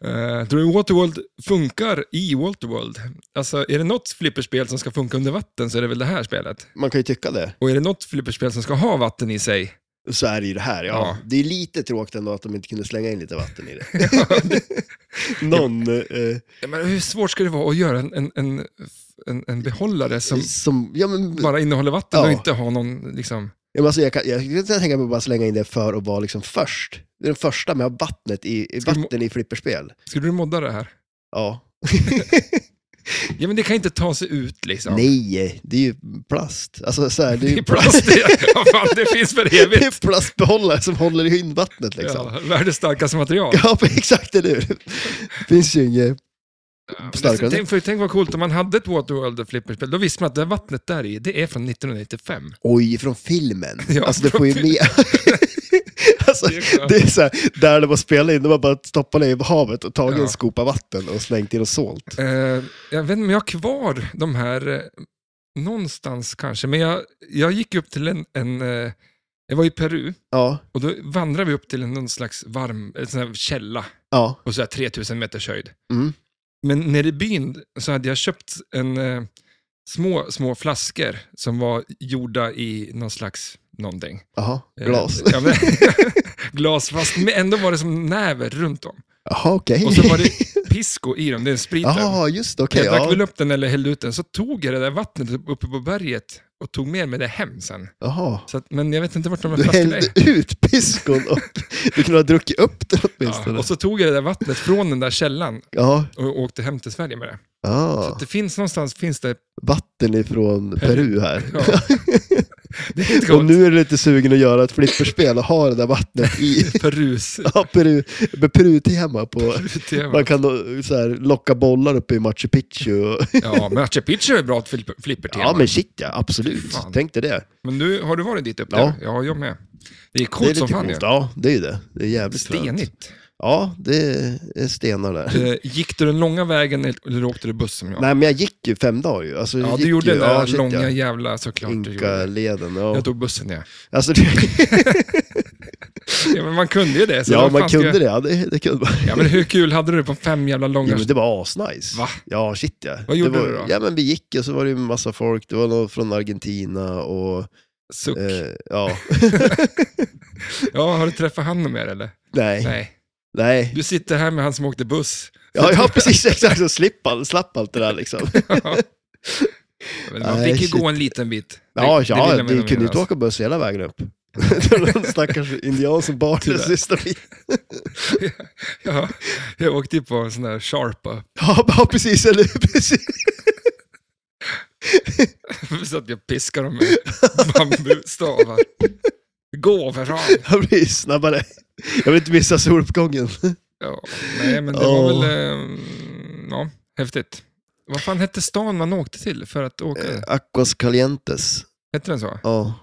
Speaker 2: Uh, tror du Waterworld funkar i Waterworld? Alltså, är det något flipperspel som ska funka under vatten så är det väl det här spelet.
Speaker 1: Man kan ju tycka det.
Speaker 2: Och är det något flipperspel som ska ha vatten i sig,
Speaker 1: så är det ju det här. Ja.
Speaker 2: Ja.
Speaker 1: Det är lite tråkigt ändå att de inte kunde slänga in lite vatten i det. Någon eh,
Speaker 2: men hur svårt ska det vara att göra en, en, en, en, en behållare som
Speaker 1: som... Ja, men,
Speaker 2: bara innehåller vatten och
Speaker 1: Ja.
Speaker 2: inte har någon, liksom...
Speaker 1: ja, men alltså, jag, kan, jag kan tänka mig att bara slänga in det för att vara liksom först. Det är den första med att ha vattnet i, i
Speaker 2: Ska du må-
Speaker 1: vatten i flipperspel.
Speaker 2: Skulle du modda det här?
Speaker 1: Ja.
Speaker 2: Ja, men det kan inte ta sig ut liksom.
Speaker 1: Nej, det är ju plast. Alltså, så här, det är
Speaker 2: Det
Speaker 1: ju
Speaker 2: är plast, det- ja, fan, det finns för
Speaker 1: det är
Speaker 2: evigt.
Speaker 1: plastbehållare som håller in vattnet liksom.
Speaker 2: Ja, världens starkaste material.
Speaker 1: Ja, exakt, eller hur? Det finns ju inget...
Speaker 2: Ja, Eh, men
Speaker 1: Starkare.
Speaker 2: Tänk, för, tänk vad coolt om man hade ett Waterworld flipperspel. Då visste man att det vattnet där i, det är från 1995.
Speaker 1: Oj, från filmen.
Speaker 2: Ja,
Speaker 1: alltså det
Speaker 2: från
Speaker 1: får ju med. alltså,
Speaker 2: Det är klart.
Speaker 1: det är så här, där de har spelat in, de har bara stoppat ner i havet och tagit
Speaker 2: Ja.
Speaker 1: en skopa vatten och slängt in och sålt.
Speaker 2: Eh, jag vet inte om jag har kvar de här eh, någonstans kanske, men jag, jag gick upp till en, en eh, jag var i Peru
Speaker 1: Ja,
Speaker 2: och då vandrade vi upp till en, någon slags varm en sån här källa
Speaker 1: ja,
Speaker 2: på så här 3000 meters höjd.
Speaker 1: mm.
Speaker 2: Men nere i byn så hade jag köpt en, eh, små, små flaskor som var gjorda i någon slags någonting.
Speaker 1: Jaha,
Speaker 2: Eh,
Speaker 1: glas.
Speaker 2: Ja, men, glas, fast men ändå var det som näver runt om.
Speaker 1: Jaha, okej.
Speaker 2: Och så var det pisco i dem, det är spriten.
Speaker 1: Jaha, just det, okej.
Speaker 2: jag drack väl
Speaker 1: ja.
Speaker 2: upp den eller hällde ut den, så tog jag det där vattnet uppe på berget och tog med mig det hem sen.
Speaker 1: Jaha.
Speaker 2: Så att, men jag vet inte vart de här
Speaker 1: Du
Speaker 2: flaskorna
Speaker 1: hällde
Speaker 2: är.
Speaker 1: ut piskon och du kunde ha druckit upp den
Speaker 2: Ja,
Speaker 1: åtminstone.
Speaker 2: och så tog jag det där vattnet från den där källan
Speaker 1: Ja,
Speaker 2: och åkte hem till Sverige med det. Så
Speaker 1: ja.
Speaker 2: att det finns någonstans, finns det...
Speaker 1: vatten ifrån Peru här.
Speaker 2: Ja. Det är inte
Speaker 1: Och
Speaker 2: gott.
Speaker 1: nu är du lite sugen att göra ett flipperspel och ha det där vattnet i
Speaker 2: Perus.
Speaker 1: ja, Peru, med Peru-tema på.
Speaker 2: Perutema.
Speaker 1: Man kan då, så här, locka bollar uppe i Machu Picchu. Och...
Speaker 2: Ja, Machu Picchu är bra ett flipper- flippertema.
Speaker 1: Ja, men shit ja, absolut.
Speaker 2: Fan.
Speaker 1: Tänk dig det.
Speaker 2: Men du, har du varit dit uppe?
Speaker 1: Ja.
Speaker 2: ja jag med. Det är
Speaker 1: det är
Speaker 2: coolt som fan.
Speaker 1: coolt.
Speaker 2: ja.
Speaker 1: Ja, det är ju det. Det är jävligt fränt.
Speaker 2: Stenigt.
Speaker 1: Ja, det är stenar där.
Speaker 2: Eh, Gick du den långa vägen eller eller åkte du buss som jag?
Speaker 1: Nej, men jag gick ju fem dagar ju. Alltså, jag
Speaker 2: ja,
Speaker 1: gick
Speaker 2: du gjorde
Speaker 1: ju,
Speaker 2: den där
Speaker 1: ja, shit,
Speaker 2: långa
Speaker 1: ja.
Speaker 2: jävla såklart. du gjorde.
Speaker 1: Inka-leden, ja.
Speaker 2: Jag tog bussen ja.
Speaker 1: Alltså, det,
Speaker 2: ja men man kunde ju det. Så
Speaker 1: ja,
Speaker 2: vad
Speaker 1: man
Speaker 2: fan ska
Speaker 1: kunde
Speaker 2: jag...
Speaker 1: det. Ja, det, det kunde man.
Speaker 2: Ja, men hur kul hade du det på fem jävla långa...
Speaker 1: Ja, men det var asnice.
Speaker 2: Va?
Speaker 1: Ja, shit ja.
Speaker 2: Vad gjorde
Speaker 1: det var,
Speaker 2: du då?
Speaker 1: Ja, men vi gick och så var det ju en massa folk. Det var någon från Argentina och...
Speaker 2: Suck.
Speaker 1: Eh, ja,
Speaker 2: Ja, har du träffat han mer eller?
Speaker 1: nej.
Speaker 2: Nej.
Speaker 1: Nej,
Speaker 2: Du sitter här med han som åkte buss.
Speaker 1: Ja, ja precis. Exakt. Så slipp all, slapp allt det där liksom.
Speaker 2: Men man
Speaker 1: Nej,
Speaker 2: fick ju
Speaker 1: shit.
Speaker 2: gå en liten bit.
Speaker 1: Ja,
Speaker 2: vill jag
Speaker 1: ja
Speaker 2: med
Speaker 1: vi
Speaker 2: dem
Speaker 1: kunde ju
Speaker 2: minnas.
Speaker 1: inte åka buss hela vägen upp. Det var någon stackars indian som bar den
Speaker 2: Tyvärr.
Speaker 1: sista biten.
Speaker 2: Ja, jag åkte ju på en sån där sharpa.
Speaker 1: Ja, ja, precis. Eller, hur? precis.
Speaker 2: Så att jag piskar dem med bambustavar. Gå för fan!
Speaker 1: Jag blir snabbare. Jag vill inte missa soluppgången.
Speaker 2: Ja, nej, men det var
Speaker 1: Åh.
Speaker 2: väl... Eh, ja, häftigt. Vad fan hette stan man åkte till för att åka?
Speaker 1: Eh, Aquas Calientes.
Speaker 2: Hette den så?
Speaker 1: Ja.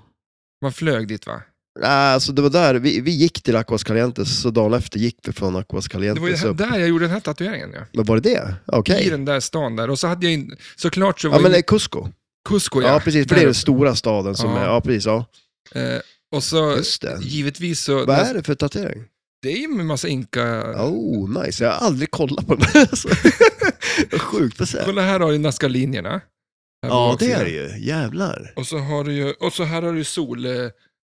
Speaker 2: Man flög dit va?
Speaker 1: Nej, Alltså det var där, vi, vi gick till Aquas Calientes, så dagen efter gick vi från Aquas
Speaker 2: Det var ju
Speaker 1: Calientes
Speaker 2: här,
Speaker 1: upp.
Speaker 2: där jag gjorde den här tatueringen. Ja.
Speaker 1: Men var det det? Okej.
Speaker 2: I den där stan där. Och så hade jag in, såklart så var
Speaker 1: Ja men
Speaker 2: ju-
Speaker 1: eh, Cusco.
Speaker 2: Cusco,
Speaker 1: Ja,
Speaker 2: ja.
Speaker 1: precis. För
Speaker 2: där
Speaker 1: det är den
Speaker 2: uppe.
Speaker 1: stora staden som
Speaker 2: Ja.
Speaker 1: är... Ja, precis. Ja.
Speaker 2: Eh, och så,
Speaker 1: Just det.
Speaker 2: givetvis så...
Speaker 1: Vad är det för tatuering?
Speaker 2: Det är ju med massa inka...
Speaker 1: Oh, nice. Jag har aldrig kollat på den. Alltså. Sjukt att säga.
Speaker 2: Kolla här har du Nazca-linjerna. Här på
Speaker 1: Ja, det
Speaker 2: baksidan.
Speaker 1: är det ju. Jävlar.
Speaker 2: Och så har du ju, och så här har du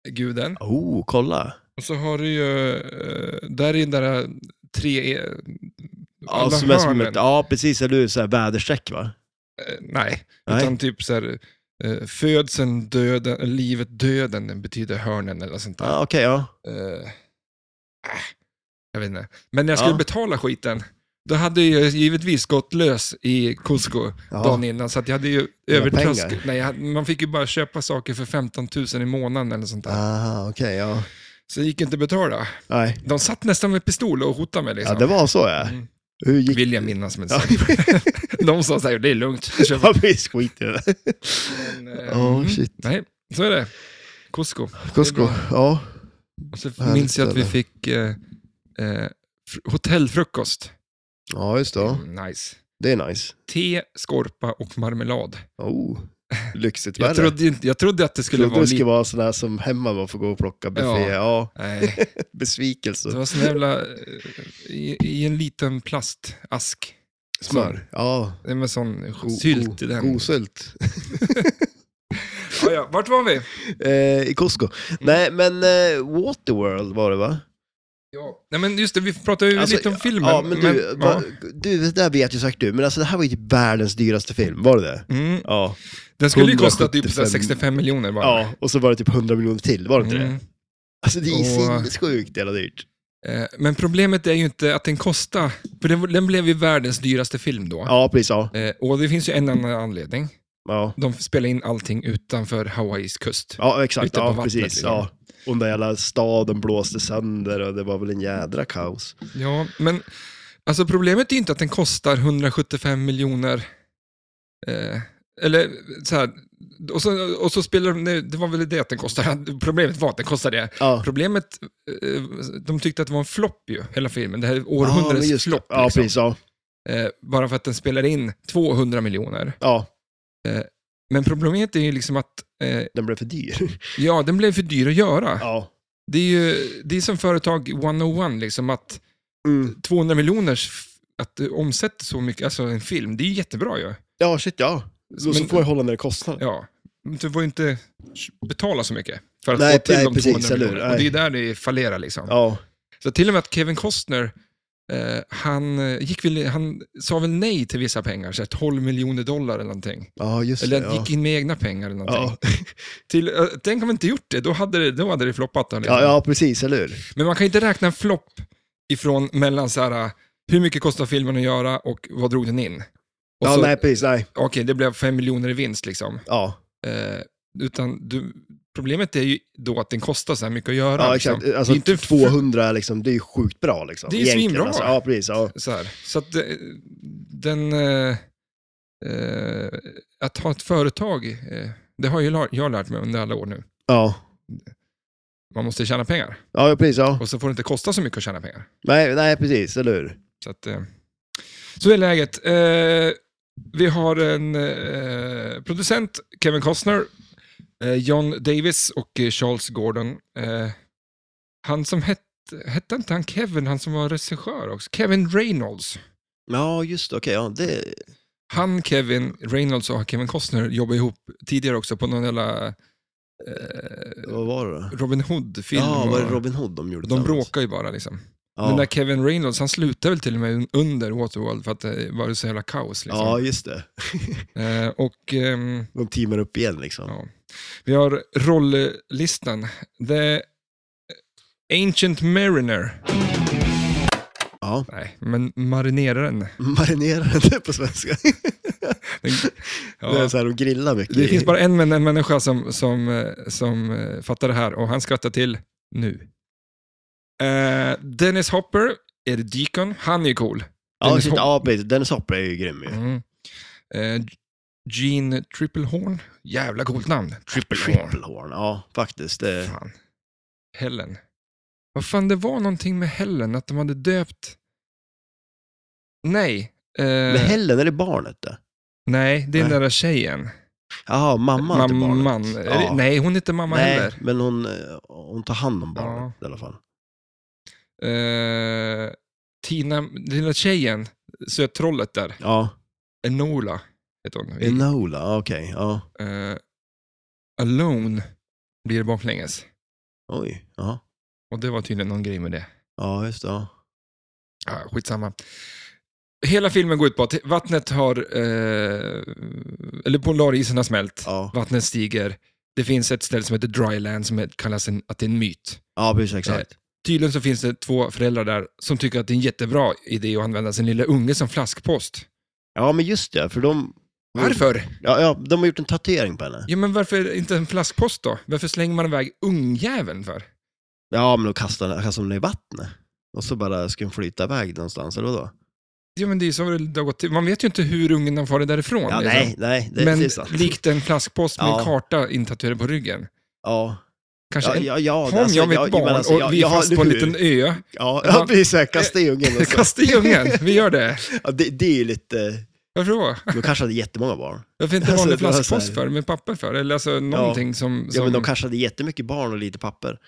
Speaker 2: solguden.
Speaker 1: Oh, kolla.
Speaker 2: Och så har du ju, eh, där är den där tre... eh,
Speaker 1: Ja,
Speaker 2: alla
Speaker 1: som är som
Speaker 2: hörnen.
Speaker 1: ett, ja precis. Eller hur? Så här väderstreck, va?
Speaker 2: Eh, Nej,
Speaker 1: Nej.
Speaker 2: utan typ så här, eh, födseln, döden, livet, döden den betyder hörnen eller sånt där.
Speaker 1: Ja, Okej, ja.
Speaker 2: Eh, äh, jag vet inte. Men när jag skulle
Speaker 1: Ja.
Speaker 2: betala skiten, då hade jag ju givetvis gått lös i Cusco
Speaker 1: ja.
Speaker 2: dagen innan, så att jag hade ju
Speaker 1: Dina
Speaker 2: övertröskat.
Speaker 1: pengar.
Speaker 2: Nej, jag, hade- man fick ju bara köpa saker för 15 000 i månaden eller sånt där.
Speaker 1: Aha, okej, ja.
Speaker 2: Så det gick inte att betala.
Speaker 1: Nej.
Speaker 2: De satt nästan med pistol och hotade mig. Liksom.
Speaker 1: Ja, det var så ja.
Speaker 2: Mm.
Speaker 1: Hur gick
Speaker 2: Vill jag minnas, men
Speaker 1: Ja.
Speaker 2: de sa såhär, det är lugnt. Kör på."
Speaker 1: Ja, precis. Skit i det.
Speaker 2: Men, eh,
Speaker 1: Ja,
Speaker 2: mm.
Speaker 1: shit.
Speaker 2: Nej, så är det. Cusco.
Speaker 1: Cusco,
Speaker 2: bra.
Speaker 1: ja.
Speaker 2: Och så
Speaker 1: Härligt
Speaker 2: minns jag att vi
Speaker 1: ställe.
Speaker 2: fick eh, eh, fr- hotellfrukost.
Speaker 1: Ja, just det. ja.
Speaker 2: Mm, Nice.
Speaker 1: Det är nice.
Speaker 2: Te, skorpa och marmelad.
Speaker 1: Oh, lyxigt
Speaker 2: Jag
Speaker 1: värre.
Speaker 2: trodde, inte- jag trodde att det skulle
Speaker 1: Trodde
Speaker 2: vara
Speaker 1: det skulle
Speaker 2: lite...
Speaker 1: vara sådana här som hemma man får gå och plocka buffé. Ja,
Speaker 2: Ja. Nej, det
Speaker 1: besvikelse.
Speaker 2: var sån jävla... eh, I, I en liten plastask.
Speaker 1: Smör. Ja,
Speaker 2: Det var sån
Speaker 1: go-
Speaker 2: sylt
Speaker 1: go-
Speaker 2: i den.
Speaker 1: God sylt.
Speaker 2: Ja, ja. Vart var vi?
Speaker 1: Eh, I Costco.
Speaker 2: Mm.
Speaker 1: Nej, men eh, Waterworld var det va?
Speaker 2: Ja. Nej, men just det, vi pratade ju
Speaker 1: Alltså,
Speaker 2: lite om filmen.
Speaker 1: Ja, men du, va,
Speaker 2: ja.
Speaker 1: du, det där vet ju säkert du, men alltså det här var ju typ världens dyraste film, var det det?
Speaker 2: Mm.
Speaker 1: Ja.
Speaker 2: Den skulle ju kosta typ
Speaker 1: 175
Speaker 2: såhär 65 miljoner bara.
Speaker 1: ja, och så var det typ 100 miljoner till, var det inte det?
Speaker 2: Mm.
Speaker 1: Alltså det är ju
Speaker 2: Och-
Speaker 1: sinnessjukt jävla dyrt.
Speaker 2: Eh, Men problemet är ju inte att den kostar, för den, den blev ju världens dyraste film då.
Speaker 1: Ja, precis. Ja.
Speaker 2: Eh, Och det finns ju en annan anledning.
Speaker 1: Ja,
Speaker 2: De spelar in allting utanför Hawaiis kust.
Speaker 1: ja
Speaker 2: Ute
Speaker 1: exakt.
Speaker 2: på
Speaker 1: Ja,
Speaker 2: vattnet,
Speaker 1: precis.
Speaker 2: liksom.
Speaker 1: Ja. Och den där jävla staden blåste sönder och det var väl en jädra kaos.
Speaker 2: Ja, men alltså problemet är ju inte att den kostar 175 miljoner. Eh, eller så här, och så, och så spelar de, nej, det var väl det att den kostade, problemet var att den kostade det.
Speaker 1: Ja.
Speaker 2: Problemet, eh, de tyckte att det var en flopp ju, hela filmen. Det här är
Speaker 1: Ja, men
Speaker 2: århundradets
Speaker 1: just-
Speaker 2: flopp.
Speaker 1: Ja,
Speaker 2: liksom.
Speaker 1: precis. Ja.
Speaker 2: eh, bara för att den spelar in 200 miljoner.
Speaker 1: ja,
Speaker 2: Men problemet är ju liksom att, eh,
Speaker 1: den blev för dyr.
Speaker 2: ja, den blev för dyr att göra.
Speaker 1: Ja.
Speaker 2: Det är ju det är som företag 101, liksom att
Speaker 1: Mm.
Speaker 2: 200 miljoners, f- att du omsätter så mycket, alltså en film, det är ju jättebra ju.
Speaker 1: Ja, shit ja. Så, så
Speaker 2: Men-
Speaker 1: får jag hålla ner kostnaden.
Speaker 2: Ja, men du får ju inte betala så mycket för att
Speaker 1: Nej,
Speaker 2: få till
Speaker 1: nej,
Speaker 2: de
Speaker 1: precis,
Speaker 2: 200
Speaker 1: eller hur?
Speaker 2: miljonerna. Och det är där det fallerar liksom.
Speaker 1: Ja.
Speaker 2: Så till och med att Kevin Costner, eh, han, eh, gick väl, han sa väl nej till vissa pengar, så här 12 miljoner dollar eller någonting.
Speaker 1: ja, just
Speaker 2: Eller
Speaker 1: det.
Speaker 2: att
Speaker 1: Ja.
Speaker 2: gick in med egna pengar eller någonting.
Speaker 1: Ja.
Speaker 2: Till, eh, tänk om vi inte gjort det, då hade det, då hade det floppat. Liksom.
Speaker 1: Ja, ja, precis, eller hur?
Speaker 2: Men man kan inte räkna en flopp ifrån mellan så här, hur mycket kostar filmen att göra och vad drog den in? Och
Speaker 1: Ja,
Speaker 2: så,
Speaker 1: nej, precis, nej.
Speaker 2: Okej, det blev fem miljoner i vinst liksom.
Speaker 1: Ja,
Speaker 2: Eh, utan du, problemet är ju då att den kostar så här mycket att göra.
Speaker 1: ja
Speaker 2: liksom.
Speaker 1: exakt. Alltså,
Speaker 2: Det är inte fr-
Speaker 1: 200 är liksom, det är ju sjukt bra liksom.
Speaker 2: Det är ju
Speaker 1: egentligen,
Speaker 2: svinbra.
Speaker 1: Alltså. Ja, precis. Ja.
Speaker 2: Så, här. så att eh, den... Eh, eh, att ha ett företag, eh, det har ju la- jag lärt mig under alla år nu.
Speaker 1: Ja.
Speaker 2: Man måste tjäna pengar.
Speaker 1: Ja, ja, precis. Ja.
Speaker 2: Och så får det inte kosta så mycket att tjäna pengar.
Speaker 1: Nej, nej, precis, eller hur?
Speaker 2: Så, att, eh, så är läget. Eh, vi har en eh, producent, Kevin Costner, eh, John Davis och eh, Charles Gordon. Eh, han som hette, hette inte han Kevin, han som var regissör också? Kevin Reynolds.
Speaker 1: Ja, just det, okej. ja, det...
Speaker 2: Han, Kevin Reynolds och Kevin Costner jobbade ihop tidigare också på någon jävla eh,
Speaker 1: Vad var det då?
Speaker 2: Robin Hood-film.
Speaker 1: Ja, var det
Speaker 2: och-
Speaker 1: Robin Hood de gjorde?
Speaker 2: de
Speaker 1: tillsammans?
Speaker 2: bråkar ju bara liksom.
Speaker 1: Ja,
Speaker 2: Den där Kevin Reynolds, han slutade väl till och med under Waterworld för att det var så jävla kaos. Liksom.
Speaker 1: ja just det.
Speaker 2: Eh, och ehm,
Speaker 1: De teamar upp igen liksom.
Speaker 2: Ja. vi har rolllistan. The Ancient Mariner.
Speaker 1: Ja.
Speaker 2: Nej, men marineraren.
Speaker 1: Marinerar det på svenska.
Speaker 2: Den,
Speaker 1: Det är
Speaker 2: ja.
Speaker 1: så här, de grillar mycket.
Speaker 2: Det finns bara en, män- en människa som, som, eh, som eh, fattar det här och han skrattar till nu. Eh, Dennis Hopper, är det Deacon? Han är ju cool.
Speaker 1: Ja,
Speaker 2: Dennis
Speaker 1: shit,
Speaker 2: Hop-
Speaker 1: ja, precis. Dennis Hopper är ju grym ju.
Speaker 2: Mm. Eh, Gene Triplehorn. Jävla coolt namn. Triplehorn.
Speaker 1: Triplehorn, ja faktiskt. Det...
Speaker 2: Fan. Eh, Helen. Vad fan, det var någonting med Helen, att de hade döpt... Nej. eh,
Speaker 1: Men Helen, är det barnet det?
Speaker 2: nej, det är den
Speaker 1: Nej.
Speaker 2: där tjejen.
Speaker 1: Jaha, mamman till
Speaker 2: Mamman.
Speaker 1: barnet.
Speaker 2: Är det-
Speaker 1: Ja.
Speaker 2: Nej, hon är inte mamma
Speaker 1: Nej,
Speaker 2: heller.
Speaker 1: men hon, eh, hon tar hand om barnet i alla fall.
Speaker 2: Eh, Tina, lilla tjejen, söttrollet där,
Speaker 1: Ja,
Speaker 2: Enola heter hon. I,
Speaker 1: Enola, okej. ja.
Speaker 2: eh, alone blir det baklänges.
Speaker 1: Oj, ja.
Speaker 2: Och det var tydligen någon grej med det.
Speaker 1: Ja, just det. Ja.
Speaker 2: Ja, skitsamma. Hela filmen går ut på att vattnet har, eh, eller polarisen har smält.
Speaker 1: Ja,
Speaker 2: Vattnet stiger. Det finns ett ställe som heter Dryland som kallas en, att det är en myt.
Speaker 1: ja
Speaker 2: Eh.
Speaker 1: precis, exakt.
Speaker 2: Tydligen så finns det två föräldrar där som tycker att det är en jättebra idé att använda sin lilla unge som flaskpost.
Speaker 1: Ja, men just det, för de...
Speaker 2: Varför?
Speaker 1: Ja, ja, de har gjort en tatuering på henne.
Speaker 2: Ja, men varför inte en flaskpost då? Varför slänger man iväg ungjäveln för?
Speaker 1: Ja, men då kastade de kastar de den i vattnet. Och så bara ska den flyta iväg någonstans, eller vadå?
Speaker 2: Ja, men det är ju så det har gått till. Man vet ju inte hur ungen har farit därifrån.
Speaker 1: Ja,
Speaker 2: liksom.
Speaker 1: nej, nej, det är
Speaker 2: men
Speaker 1: precis sant.
Speaker 2: likt en flaskpost med
Speaker 1: Ja.
Speaker 2: en karta intatuerad på ryggen.
Speaker 1: Ja,
Speaker 2: Kanske
Speaker 1: ja,
Speaker 2: en
Speaker 1: ja, ja,
Speaker 2: Kom
Speaker 1: alltså,
Speaker 2: jag med
Speaker 1: ja,
Speaker 2: ett barn
Speaker 1: men alltså,
Speaker 2: och vi är
Speaker 1: jag- ja,
Speaker 2: fast på en
Speaker 1: hur?
Speaker 2: liten ö.
Speaker 1: Ja, ja precis, så här, kasta i ungen. och så-
Speaker 2: Kasta i ungen, vi gör det.
Speaker 1: Ja, det, det är ju lite...
Speaker 2: Varför då?
Speaker 1: De kanske hade jättemånga barn.
Speaker 2: Varför inte
Speaker 1: Alltså,
Speaker 2: vanlig
Speaker 1: det var så här-
Speaker 2: flaskpost för, med papper för? Eller alltså någonting som... som...
Speaker 1: Ja, men de kanske hade jättemycket barn och lite papper.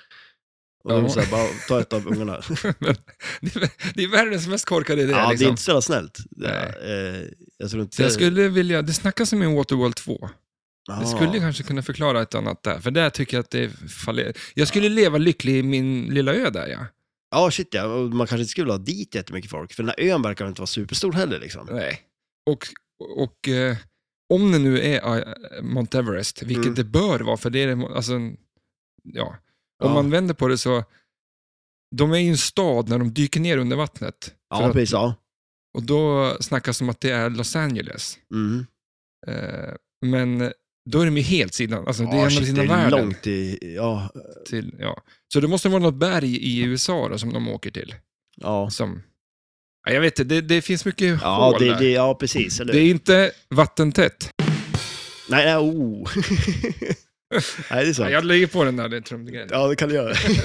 Speaker 1: Och
Speaker 2: Ja.
Speaker 1: de så här, bara ta ett av ungarna.
Speaker 2: det, är, det är världens mest korkade idé.
Speaker 1: ja, det är
Speaker 2: liksom.
Speaker 1: inte så jävla snällt. Det, eh, jag tror inte...
Speaker 2: Så jag skulle vilja, det snackas om en Waterworld 2.
Speaker 1: ja.
Speaker 2: Jag skulle kanske kunna förklara ett annat där, för där tycker jag att det faller. Jag skulle leva lycklig i min lilla ö där, ja.
Speaker 1: Ja, shit ja. Och Man kanske inte skulle ha dit jättemycket folk, för den här ön verkar inte vara superstor heller. Liksom.
Speaker 2: Nej. Och, och eh, om det nu är eh, Mount Everest, vilket
Speaker 1: Mm.
Speaker 2: det bör vara, för det är det- alltså, en- ja. Om
Speaker 1: Ja.
Speaker 2: man vänder på det så, de är ju en stad när de dyker ner under vattnet. För
Speaker 1: Ja,
Speaker 2: att-
Speaker 1: precis. Ja.
Speaker 2: och då snackas det om att det är Los Angeles.
Speaker 1: Mm.
Speaker 2: Eh, men då är de ju helt sidan, alltså det är
Speaker 1: Ja,
Speaker 2: en av
Speaker 1: shit,
Speaker 2: sina
Speaker 1: det är
Speaker 2: världen.
Speaker 1: långt i... Ja,
Speaker 2: Till, ja. Så det måste vara något berg i USA då, som de åker till.
Speaker 1: ja.
Speaker 2: Som, ja, jag vet inte, det, det finns mycket
Speaker 1: ja,
Speaker 2: hål
Speaker 1: det,
Speaker 2: där.
Speaker 1: det, ja precis. Eller?
Speaker 2: det är inte vattentätt.
Speaker 1: Nej, nej, oh. nej, det är
Speaker 2: Ja,
Speaker 1: sant.
Speaker 2: jag lägger på den där, det är trumgrejen.
Speaker 1: Ja, det kan du göra.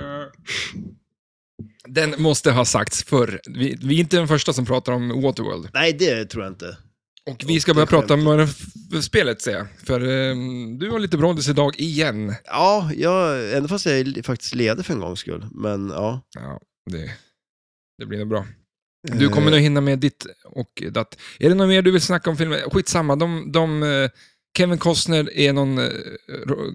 Speaker 2: Eh, Den måste ha sagts förr. Vi, vi är inte den första som pratar om Waterworld.
Speaker 1: nej, det tror jag inte.
Speaker 2: Och vi
Speaker 1: Det
Speaker 2: ska
Speaker 1: är
Speaker 2: börja prata om f- spelet, ser jag. För ehm, du har lite brådis idag igen.
Speaker 1: Ja, jag, ändå fast jag är faktiskt ledig för en gångs skull. Men ja.
Speaker 2: Ja, det, det blir nog bra. Du kommer nog hinna med ditt och datt. Är det något mer du vill snacka om filmen? Skitsamma, de, de, eh, Kevin Costner är någon eh, ro-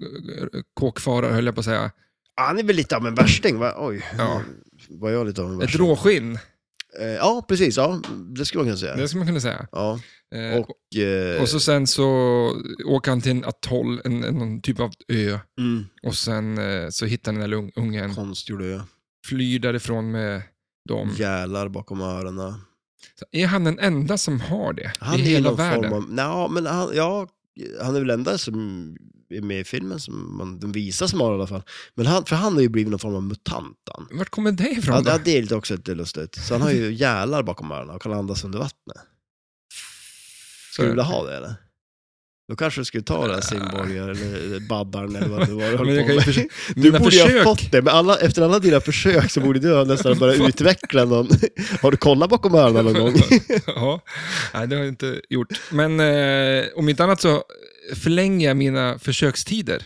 Speaker 2: kåkfarare, höll jag på att säga.
Speaker 1: Eh, Han är väl lite av en värsting, va? Oj.
Speaker 2: Ja.
Speaker 1: Var jag lite av en
Speaker 2: Ett
Speaker 1: värsting?
Speaker 2: råskinn,
Speaker 1: Eh, ja, precis. Ja, det skulle man kunna säga.
Speaker 2: det skulle man kunna säga.
Speaker 1: Ja.
Speaker 2: Eh,
Speaker 1: Och, eh,
Speaker 2: Och så sen så åker han till en atoll, en, en, någon typ av ö.
Speaker 1: mm,
Speaker 2: Och sen eh, så hittar den där lung- ungen,
Speaker 1: konstgjord ö.
Speaker 2: flyr därifrån med dem.
Speaker 1: Gälar bakom öronen.
Speaker 2: Så är han den enda som har det
Speaker 1: Han
Speaker 2: i
Speaker 1: är
Speaker 2: hela
Speaker 1: någon
Speaker 2: världen?
Speaker 1: Form av, nej, men han, ja, han är väl enda som är med i filmen, som man, den visar som har i alla fall. Men han, för han har ju blivit någon form av mutant. Han.
Speaker 2: Vart kommer det ifrån
Speaker 1: Ja,
Speaker 2: då?
Speaker 1: det- ja, det är lite också lite lustigt. Så han har ju gälar bakom öronen och kan andas under vattnet. Skulle du vilja ha det eller? Då kanske du skulle ta den här simborgaren eller babbaren eller vad det var du höll
Speaker 2: Men jag
Speaker 1: på
Speaker 2: kan ju
Speaker 1: med.
Speaker 2: försöka...
Speaker 1: Du
Speaker 2: Mina
Speaker 1: borde ju ha
Speaker 2: försök...
Speaker 1: fått det, men alla, efter alla dina försök så borde du ha nästan börjat utveckla någon. Har du kollat bakom öronen någon gång?
Speaker 2: ja, nej, det har jag inte gjort. Men eh, om inte annat så förlänger jag mina försökstider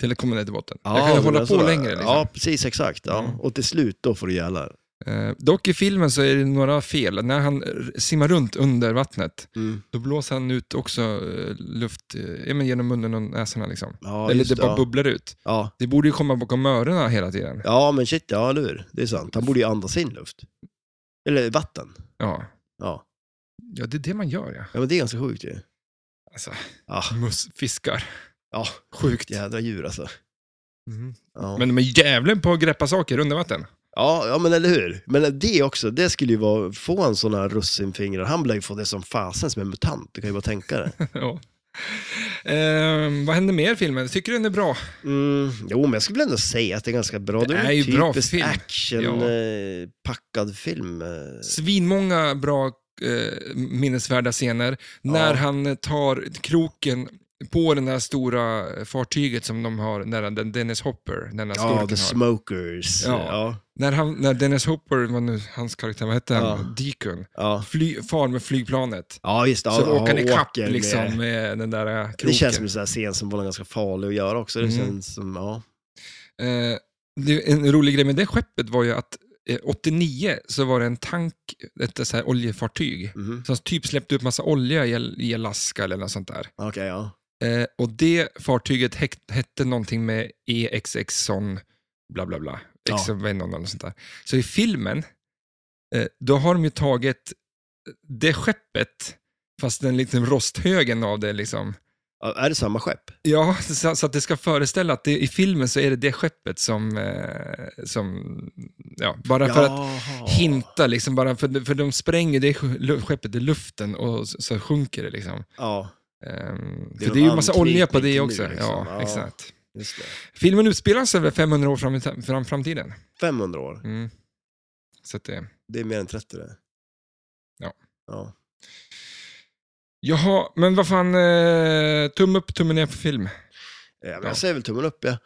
Speaker 2: till att komma ner till botten. jag kan
Speaker 1: det
Speaker 2: ju hålla
Speaker 1: menar
Speaker 2: på
Speaker 1: sådär.
Speaker 2: längre. Liksom.
Speaker 1: Ja, precis, exakt. Ja.
Speaker 2: Mm.
Speaker 1: Och till slut då får du gälar.
Speaker 2: Eh, dock i filmen så är det några fel. När han r- simmar runt under vattnet,
Speaker 1: Mm.
Speaker 2: då blåser han ut också eh, luft eh, ja, men genom munnen och näsorna. Liksom.
Speaker 1: Ja,
Speaker 2: Eller
Speaker 1: just
Speaker 2: det bara
Speaker 1: ja.
Speaker 2: bubblar ut.
Speaker 1: ja.
Speaker 2: Det borde ju komma bakom öronen hela tiden.
Speaker 1: ja, men shit, ja, eller hur? Det är sant. Han borde ju andas in luft. Eller vatten.
Speaker 2: Ja,
Speaker 1: Ja,
Speaker 2: ja det är det man gör. Ja.
Speaker 1: ja men det är ganska sjukt ju.
Speaker 2: Alltså,
Speaker 1: Ja,
Speaker 2: mus, fiskar.
Speaker 1: ja.
Speaker 2: Sjukt.
Speaker 1: jädra djur alltså.
Speaker 2: Mhm.
Speaker 1: Ja.
Speaker 2: Men de är jävlen på att greppa saker under vatten.
Speaker 1: Ja, ja, men eller hur? Men det också, det skulle ju vara, få en sån här russinfingrar, han lär ju få det som fasen som en mutant, du kan ju bara tänka det.
Speaker 2: ja. Ehm, vad händer mer i filmen? Tycker du den är bra?
Speaker 1: Mm, jo, men jag skulle väl ändå säga att det är ganska bra.
Speaker 2: Det är ju bra film. Ja.
Speaker 1: action-packad eh, film. eh.
Speaker 2: Svinmånga bra eh, minnesvärda scener. När han tar kroken på den här stora eh, fartyget som de har, när den Dennis Hopper, den här
Speaker 1: Ja,
Speaker 2: skurken
Speaker 1: The
Speaker 2: har.
Speaker 1: Smokers.
Speaker 2: Ja.
Speaker 1: Ja.
Speaker 2: När, han, när Dennis Hopper, vad nu hans karaktär, vad hette han?
Speaker 1: Ja.
Speaker 2: Deacon.
Speaker 1: Ja,
Speaker 2: Fly, far med flygplanet.
Speaker 1: ja just det.
Speaker 2: så
Speaker 1: ja,
Speaker 2: åker han
Speaker 1: ja,
Speaker 2: ikapp
Speaker 1: åker med-
Speaker 2: liksom med den där eh, kroken.
Speaker 1: Det känns som en sån här scen som var ganska farlig att göra också. Det
Speaker 2: Mm.
Speaker 1: känns som, ja.
Speaker 2: Eh, det- en rolig grej med det skeppet var ju att eh, 89 så var det en tank, ett så här oljefartyg,
Speaker 1: mhm.
Speaker 2: som typ släppte upp massa olja i- i Alaska eller något sånt där.
Speaker 1: Okej, ja.
Speaker 2: Eh, och det fartyget hek- hette någonting med E EXXon bla bla bla.
Speaker 1: Ja.
Speaker 2: Exxon och sånt där. Så i filmen, eh, då har de ju tagit eh, det skeppet, fast den liksom rosthögen av det liksom.
Speaker 1: Ja, Är det samma skepp?
Speaker 2: Ja, så, så att det ska föreställa att det, i filmen så är det det skeppet som, eh, som ja, bara för att
Speaker 1: Jaha.
Speaker 2: hinta liksom, bara för, för de spränger det sk- skeppet i luften och så, så sjunker det liksom.
Speaker 1: Ja,
Speaker 2: Ehm,
Speaker 1: Det är
Speaker 2: för
Speaker 1: någon
Speaker 2: det är ju massa olja på
Speaker 1: anknytning till
Speaker 2: det också.
Speaker 1: det, liksom.
Speaker 2: Ja,
Speaker 1: Ja.
Speaker 2: exakt.
Speaker 1: just det.
Speaker 2: Filmen utspelas över 500 år fram i ta- fram, framtiden.
Speaker 1: 500 år.
Speaker 2: Mm. Så att eh, det...
Speaker 1: Det är mer än 30 det.
Speaker 2: Ja.
Speaker 1: Ja.
Speaker 2: Jaha, men vad fan, eh, tumme upp, tumme ner för film.
Speaker 1: Ja, men
Speaker 2: Ja.
Speaker 1: jag säger väl tummen upp, ja.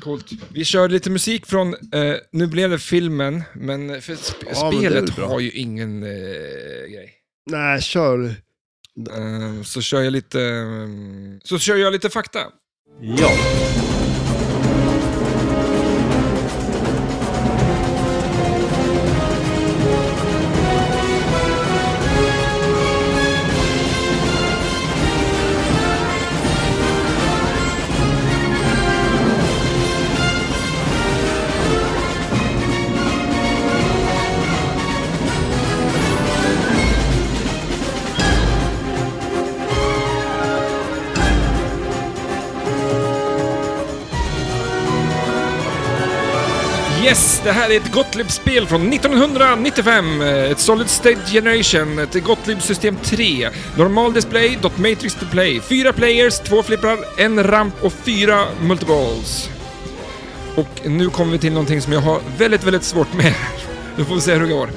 Speaker 2: Coolt. Vi körde lite musik från, eh, nu blev det filmen, men för sp-
Speaker 1: Ja, men det är väl
Speaker 2: spelet
Speaker 1: bra.
Speaker 2: har ju ingen eh, grej.
Speaker 1: Nej, kör.
Speaker 2: Ehm, så kör jag lite, ehm, så kör jag lite fakta.
Speaker 1: Ja.
Speaker 2: Yes, det här är ett Gottlieb-spel från 1995. eh, Ett Solid State Generation, ett Gottlieb System 3. Normal display, dot matrix display. Fyra players, två flipprar, en ramp och fyra multiballs. Och nu kommer vi till någonting som jag har väldigt, väldigt svårt med. Nu får vi se hur det går.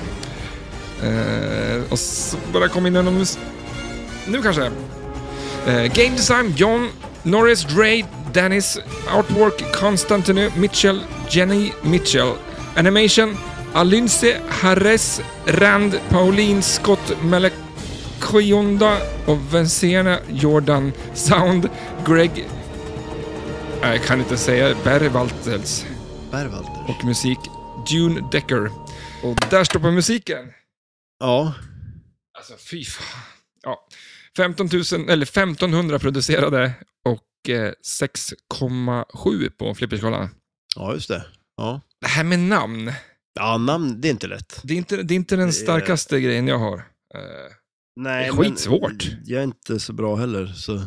Speaker 2: Eh, och så bara kom in genom... mus- Nu kanske. Eh, game design, John Norris, Dre, Dennis, Artwork, Konstantinu, Mitchell, Jenny Mitchell. Animation, Alynse, Harres, Rand, Pauline, Scott, Melekionda och Vensena, Jordan, Sound, Greg... Nej, Jag kan inte säga Barry Waltels
Speaker 1: Berwalter.
Speaker 2: och musik Dune Decker. Och där stoppar musiken.
Speaker 1: Ja.
Speaker 2: Alltså fy fan. Ja. 15 000, eller 1500 producerade och eh, 6,7 på flipperskalan.
Speaker 1: ja, just det. Ja.
Speaker 2: Det här med namn,
Speaker 1: Ja, namn, det är inte lätt.
Speaker 2: det är inte, det är inte den
Speaker 1: Det är-
Speaker 2: starkaste grejen jag har. Eh,
Speaker 1: Nej,
Speaker 2: Det är
Speaker 1: men
Speaker 2: skitsvårt.
Speaker 1: Jag är inte så bra heller, så...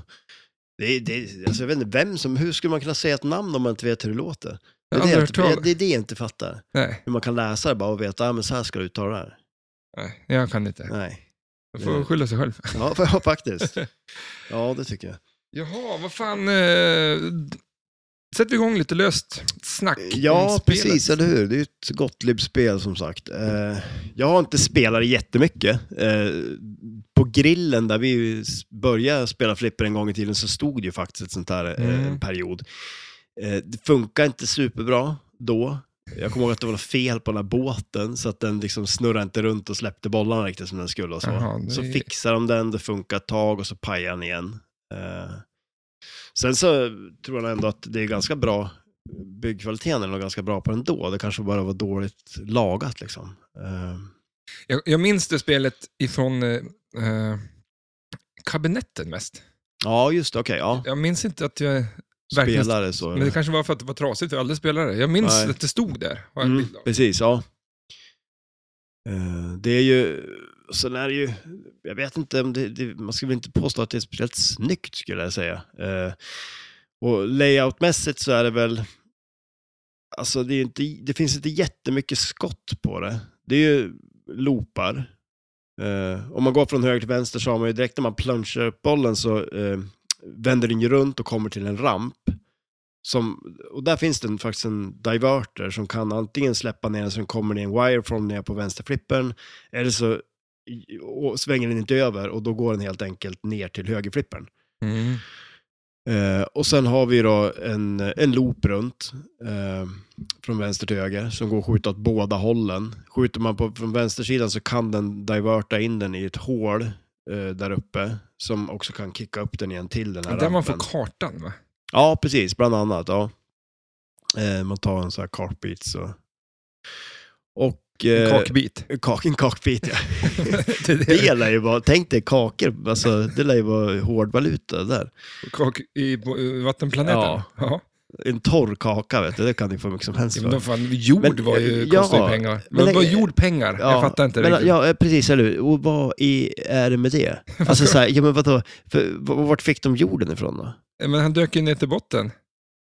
Speaker 1: Det, är- det, är- alltså jag vet inte, vem som, hur skulle man kunna säga ett namn om man inte vet hur det låter? Det
Speaker 2: jag
Speaker 1: är det,
Speaker 2: har aldrig
Speaker 1: jag
Speaker 2: hört
Speaker 1: inte,
Speaker 2: talas
Speaker 1: det, är det jag inte fattar.
Speaker 2: Nej,
Speaker 1: Hur man kan läsa det bara och veta, ah, men så här ska du uttala det här.
Speaker 2: nej, jag kan inte.
Speaker 1: Nej.
Speaker 2: Jag får skylla sig själv.
Speaker 1: Ja, för, ja, faktiskt. Ja, det tycker jag.
Speaker 2: Jaha, vad fan. Eh, sätter vi igång lite löst snack
Speaker 1: Ja,
Speaker 2: om spelet.
Speaker 1: precis, eller hur? Det är ju ett Gottlieb-spel som sagt. Eh, jag har inte spelat det jättemycket. Eh, på grillen där vi s- började spela flipper en gång i tiden så stod det ju faktiskt ett sånt här eh,
Speaker 2: Mm.
Speaker 1: en period. Eh, det funkar inte superbra då. Jag kommer ihåg att det var något fel på den här båten så att den liksom snurrade inte runt och släppte bollarna riktigt som den skulle och så.
Speaker 2: Jaha, det-
Speaker 1: Så fixar de den, det funkar ett tag och så pajar den igen. Eh, sen så tror jag ändå att det är ganska bra byggkvaliteten är nog ganska bra på den då. Det kanske bara var dåligt lagat liksom. Eh,
Speaker 2: Jag, jag minns det spelet ifrån eh, eh, kabinetten mest.
Speaker 1: ja, just det. Okej, ja.
Speaker 2: Jag minns inte att jag... verkligen-
Speaker 1: Spelare så.
Speaker 2: Men det kanske var för att det var trasigt för alla spelare. Jag minns
Speaker 1: Nej.
Speaker 2: att det stod där. har jag en
Speaker 1: Mm,
Speaker 2: bild av.
Speaker 1: precis, ja. Eh, Det är ju, sen är det ju, jag vet inte om det, det man skulle väl inte påstå att det är speciellt snyggt skulle jag säga. Eh, Och layoutmässigt så är det väl, alltså det, är ju inte, det finns inte jättemycket skott på det. Det är ju loopar. Eh, om man går från höger till vänster så har man ju direkt när man plunchar upp bollen så eh, vänder den ju runt och kommer till en ramp. Som, och där finns det en- faktiskt en diverter som kan antingen släppa ner den så den kommer ner en wireform ner på vänsterflippen eller så och svänger den inte över och då går den helt enkelt ner till högerflippen.
Speaker 2: Mm.
Speaker 1: Eh, och sen har vi då en, en loop runt eh, från vänster till höger som går att skjuta åt båda hållen. Skjuter man på, från vänstersidan så kan den diverta in den i ett hål eh, där uppe som också kan kicka upp den igen till den här
Speaker 2: Där man får
Speaker 1: rampen.
Speaker 2: kartan va?
Speaker 1: Ja, precis. Bland annat. Ja. Eh, man tar en sån här cockpit. Så. Och...
Speaker 2: En
Speaker 1: Eh,
Speaker 2: kakbit.
Speaker 1: kak- en cockpit, ja.
Speaker 2: Det är det.
Speaker 1: Det lär ju vara, tänk dig kakor, alltså, det lär ju vara hårdvaluta där.
Speaker 2: Kak i på, eh, vattenplaneten.
Speaker 1: Ja.
Speaker 2: Ja.
Speaker 1: En torr kaka, vet du, det kan ni få mycket som helst
Speaker 2: Ja,
Speaker 1: för.
Speaker 2: Men vad fan, jord
Speaker 1: Men, eh,
Speaker 2: var ju,
Speaker 1: ja,
Speaker 2: kostar ju pengar.
Speaker 1: men-
Speaker 2: Men, var jordpengar?
Speaker 1: Ja,
Speaker 2: jag fattar inte
Speaker 1: men,
Speaker 2: riktigt.
Speaker 1: Ja, eh, precis, eller hur? Och vad i, är det med det? Alltså så här, ja men vadå, för, v- vart fick de jorden ifrån då?
Speaker 2: Men han dök ju ner till botten.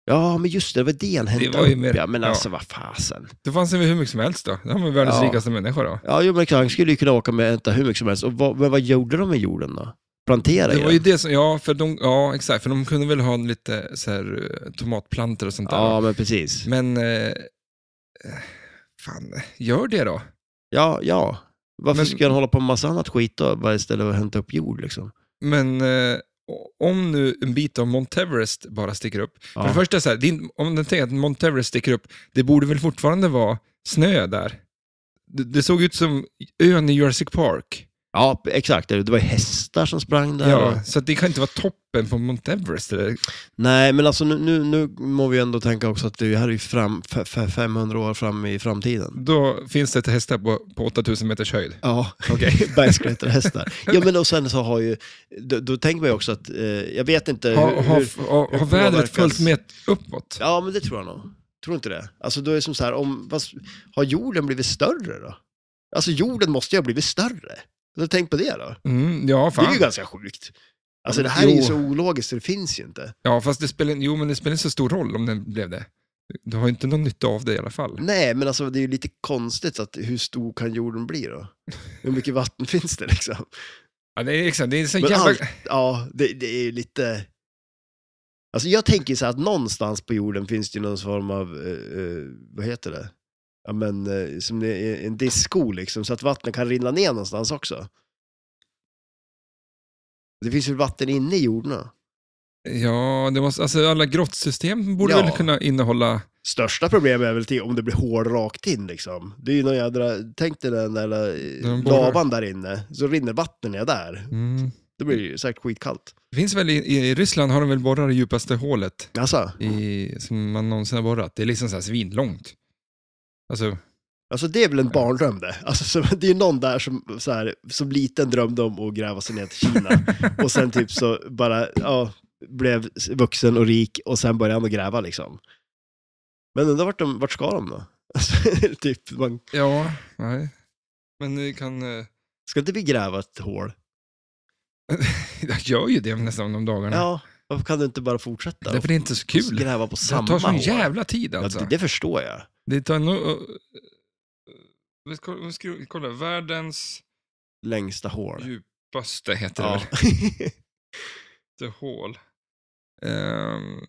Speaker 1: Ja, men just det, det var det han hämtade
Speaker 2: var ju
Speaker 1: upp,
Speaker 2: mer-
Speaker 1: ja. Men
Speaker 2: ja.
Speaker 1: alltså vad fasen.
Speaker 2: Det fanns ju hur mycket som helst då. Han var världens
Speaker 1: Ja.
Speaker 2: rikaste människa då.
Speaker 1: Ja, jo, men exakt, han skulle ju kunna åka med och hämta hur mycket som helst. Och vad, men vad gjorde de med jorden då? Plantera
Speaker 2: Det
Speaker 1: igen?
Speaker 2: var ju det som, ja, för de, ja, exakt, för de kunde väl ha en lite så här, eh, tomatplantor och sånt där.
Speaker 1: Ja, men precis.
Speaker 2: Men, eh, eh, fan, gör det då.
Speaker 1: Ja, ja. Varför
Speaker 2: Men-
Speaker 1: skulle han hålla på med massa annat skit då, bara istället för att hämta upp jord liksom?
Speaker 2: Men eh, o- om nu en bit av Monteverest bara sticker upp.
Speaker 1: Ja.
Speaker 2: För det första, så här, din, om den tänker att Monteverest sticker upp, det borde väl fortfarande vara snö där? Det, det såg ut som ön i Jurassic Park.
Speaker 1: Ja, exakt. Det var ju hästar som sprang där. och-
Speaker 2: Ja, så att det kan inte vara toppen på Monteverest. Eller?
Speaker 1: Nej, men alltså nu, nu, nu må vi ändå tänka också att det här är ju fram, f- f- 500 år fram i framtiden.
Speaker 2: Då finns det hästar på, på 8000 meters höjd.
Speaker 1: Ja,
Speaker 2: Okej.
Speaker 1: bergsklätterhästar. ja, men och sen så har ju, då, då tänker man ju också att, eh, jag vet inte
Speaker 2: Har, har,
Speaker 1: hur...
Speaker 2: har, har vädret
Speaker 1: påverkas-
Speaker 2: följt med uppåt?
Speaker 1: Ja, men det tror jag nog. Tror du inte det? Alltså då är det som så här, om, vad, har jorden blivit större då? Alltså jorden måste ju ha blivit större. Då tänk på det då.
Speaker 2: Mm, ja,
Speaker 1: Det är
Speaker 2: fan.
Speaker 1: ju ganska sjukt. Alltså det
Speaker 2: Ja, men
Speaker 1: här är ju
Speaker 2: jo.
Speaker 1: så ologiskt, så det finns ju inte.
Speaker 2: Ja, fast det spelar, jo, men det spelar inte så stor roll om den blev det. Du har ju inte någon nytta av det i alla fall.
Speaker 1: Nej, men alltså det är ju lite konstigt att hur stor kan jorden bli då? Hur mycket vatten finns det liksom?
Speaker 2: Ja, det är exakt, det är en sån
Speaker 1: Men
Speaker 2: jävla...
Speaker 1: allt, ja, det, det är ju lite... Alltså jag tänker så här att någonstans på jorden finns det ju någon form av, eh, eh, vad heter det? Ja men, eh, som det är en disko liksom, så att vattnet kan rinna ner någonstans också. Det finns ju vatten inne i jorden.
Speaker 2: Ja, det måste, alltså alla grottsystem borde
Speaker 1: Ja.
Speaker 2: väl kunna innehålla...
Speaker 1: Största problemet är väl till om det blir hål rakt in liksom. Det är ju någon jädra, tänk dig den där eh,
Speaker 2: Den borrar.
Speaker 1: lavan där inne, så rinner vattnet ner där.
Speaker 2: Mm.
Speaker 1: Det blir ju säkert skitkallt.
Speaker 2: Det finns väl i, i Ryssland har de väl borrat det djupaste hålet
Speaker 1: Alltså,
Speaker 2: i, som man någonsin har borrat. Det är liksom så här svinlångt. Alltså,
Speaker 1: alltså det är väl en barndröm det. Alltså, så, det är ju någon där som, så här, som liten drömde om att gräva sig ner till Kina. och sen typ så bara, ja, blev vuxen och rik och sen började han att gräva liksom. Men undrar vart, de, vart ska de då? Alltså, typ, man,
Speaker 2: ja, nej. Men ni kan... eh,
Speaker 1: ska inte vi gräva ett hål?
Speaker 2: Jag gör ju det nästan de dagarna.
Speaker 1: Ja, varför kan du inte bara fortsätta?
Speaker 2: Därför det är inte så kul.
Speaker 1: Gräva på samma
Speaker 2: Det tar sån
Speaker 1: hål?
Speaker 2: jävla tid alltså.
Speaker 1: Ja, det, det förstår jag.
Speaker 2: Det tar nog... eh, eh, Vi ska, vi ska kolla, världens
Speaker 1: Längsta hål.
Speaker 2: djupaste heter det
Speaker 1: Ja.
Speaker 2: väl? The Hall. Um,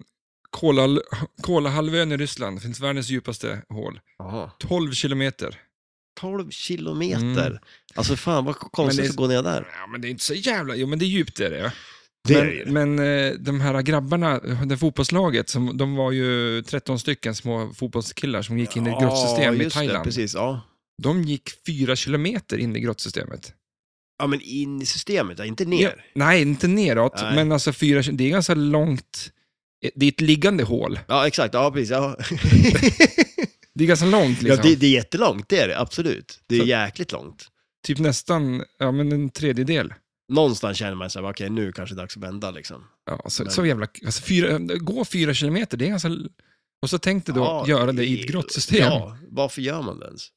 Speaker 2: Kola, Kolahalvön i Ryssland finns världens djupaste hål.
Speaker 1: Jaha.
Speaker 2: 12 kilometer.
Speaker 1: 12 kilometer. Alltså fan vad
Speaker 2: Mm. Men
Speaker 1: konstigt
Speaker 2: det är-
Speaker 1: att gå ner där.
Speaker 2: Ja, men det är inte så jävla... Jo, men det är djupt det är det. ja.
Speaker 1: Det är det ju.
Speaker 2: men men eh, de här grabbarna, det fotbollslaget, som, de var ju 13 stycken små fotbollskillar som gick in i ett grottsystem i
Speaker 1: just Det,
Speaker 2: Thailand.
Speaker 1: precis, ja.
Speaker 2: de gick 4 kilometer in i grottsystemet.
Speaker 1: ja, men in i systemet, ja, inte
Speaker 2: Ja,
Speaker 1: ner.
Speaker 2: nej, inte neråt,
Speaker 1: Nej.
Speaker 2: men alltså 4 Det är ganska långt. Eh, Det är ett liggande hål.
Speaker 1: Ja, exakt. Ja, precis. Ja.
Speaker 2: Det är ganska långt
Speaker 1: ja,
Speaker 2: liksom.
Speaker 1: det, det är jättelångt, det är det. Absolut. Det är
Speaker 2: Så-
Speaker 1: jäkligt långt.
Speaker 2: Typ nästan, ja men en tredjedel.
Speaker 1: Någonstans känner man sig, okej nu kanske det är dags att vända liksom.
Speaker 2: Ja, så,
Speaker 1: Men-
Speaker 2: så jävla... Alltså fyra, gå fyra kilometer, det är ganska... Och så tänkte då
Speaker 1: Ja,
Speaker 2: göra det i ett grottsystem.
Speaker 1: Ja, varför gör man det ens?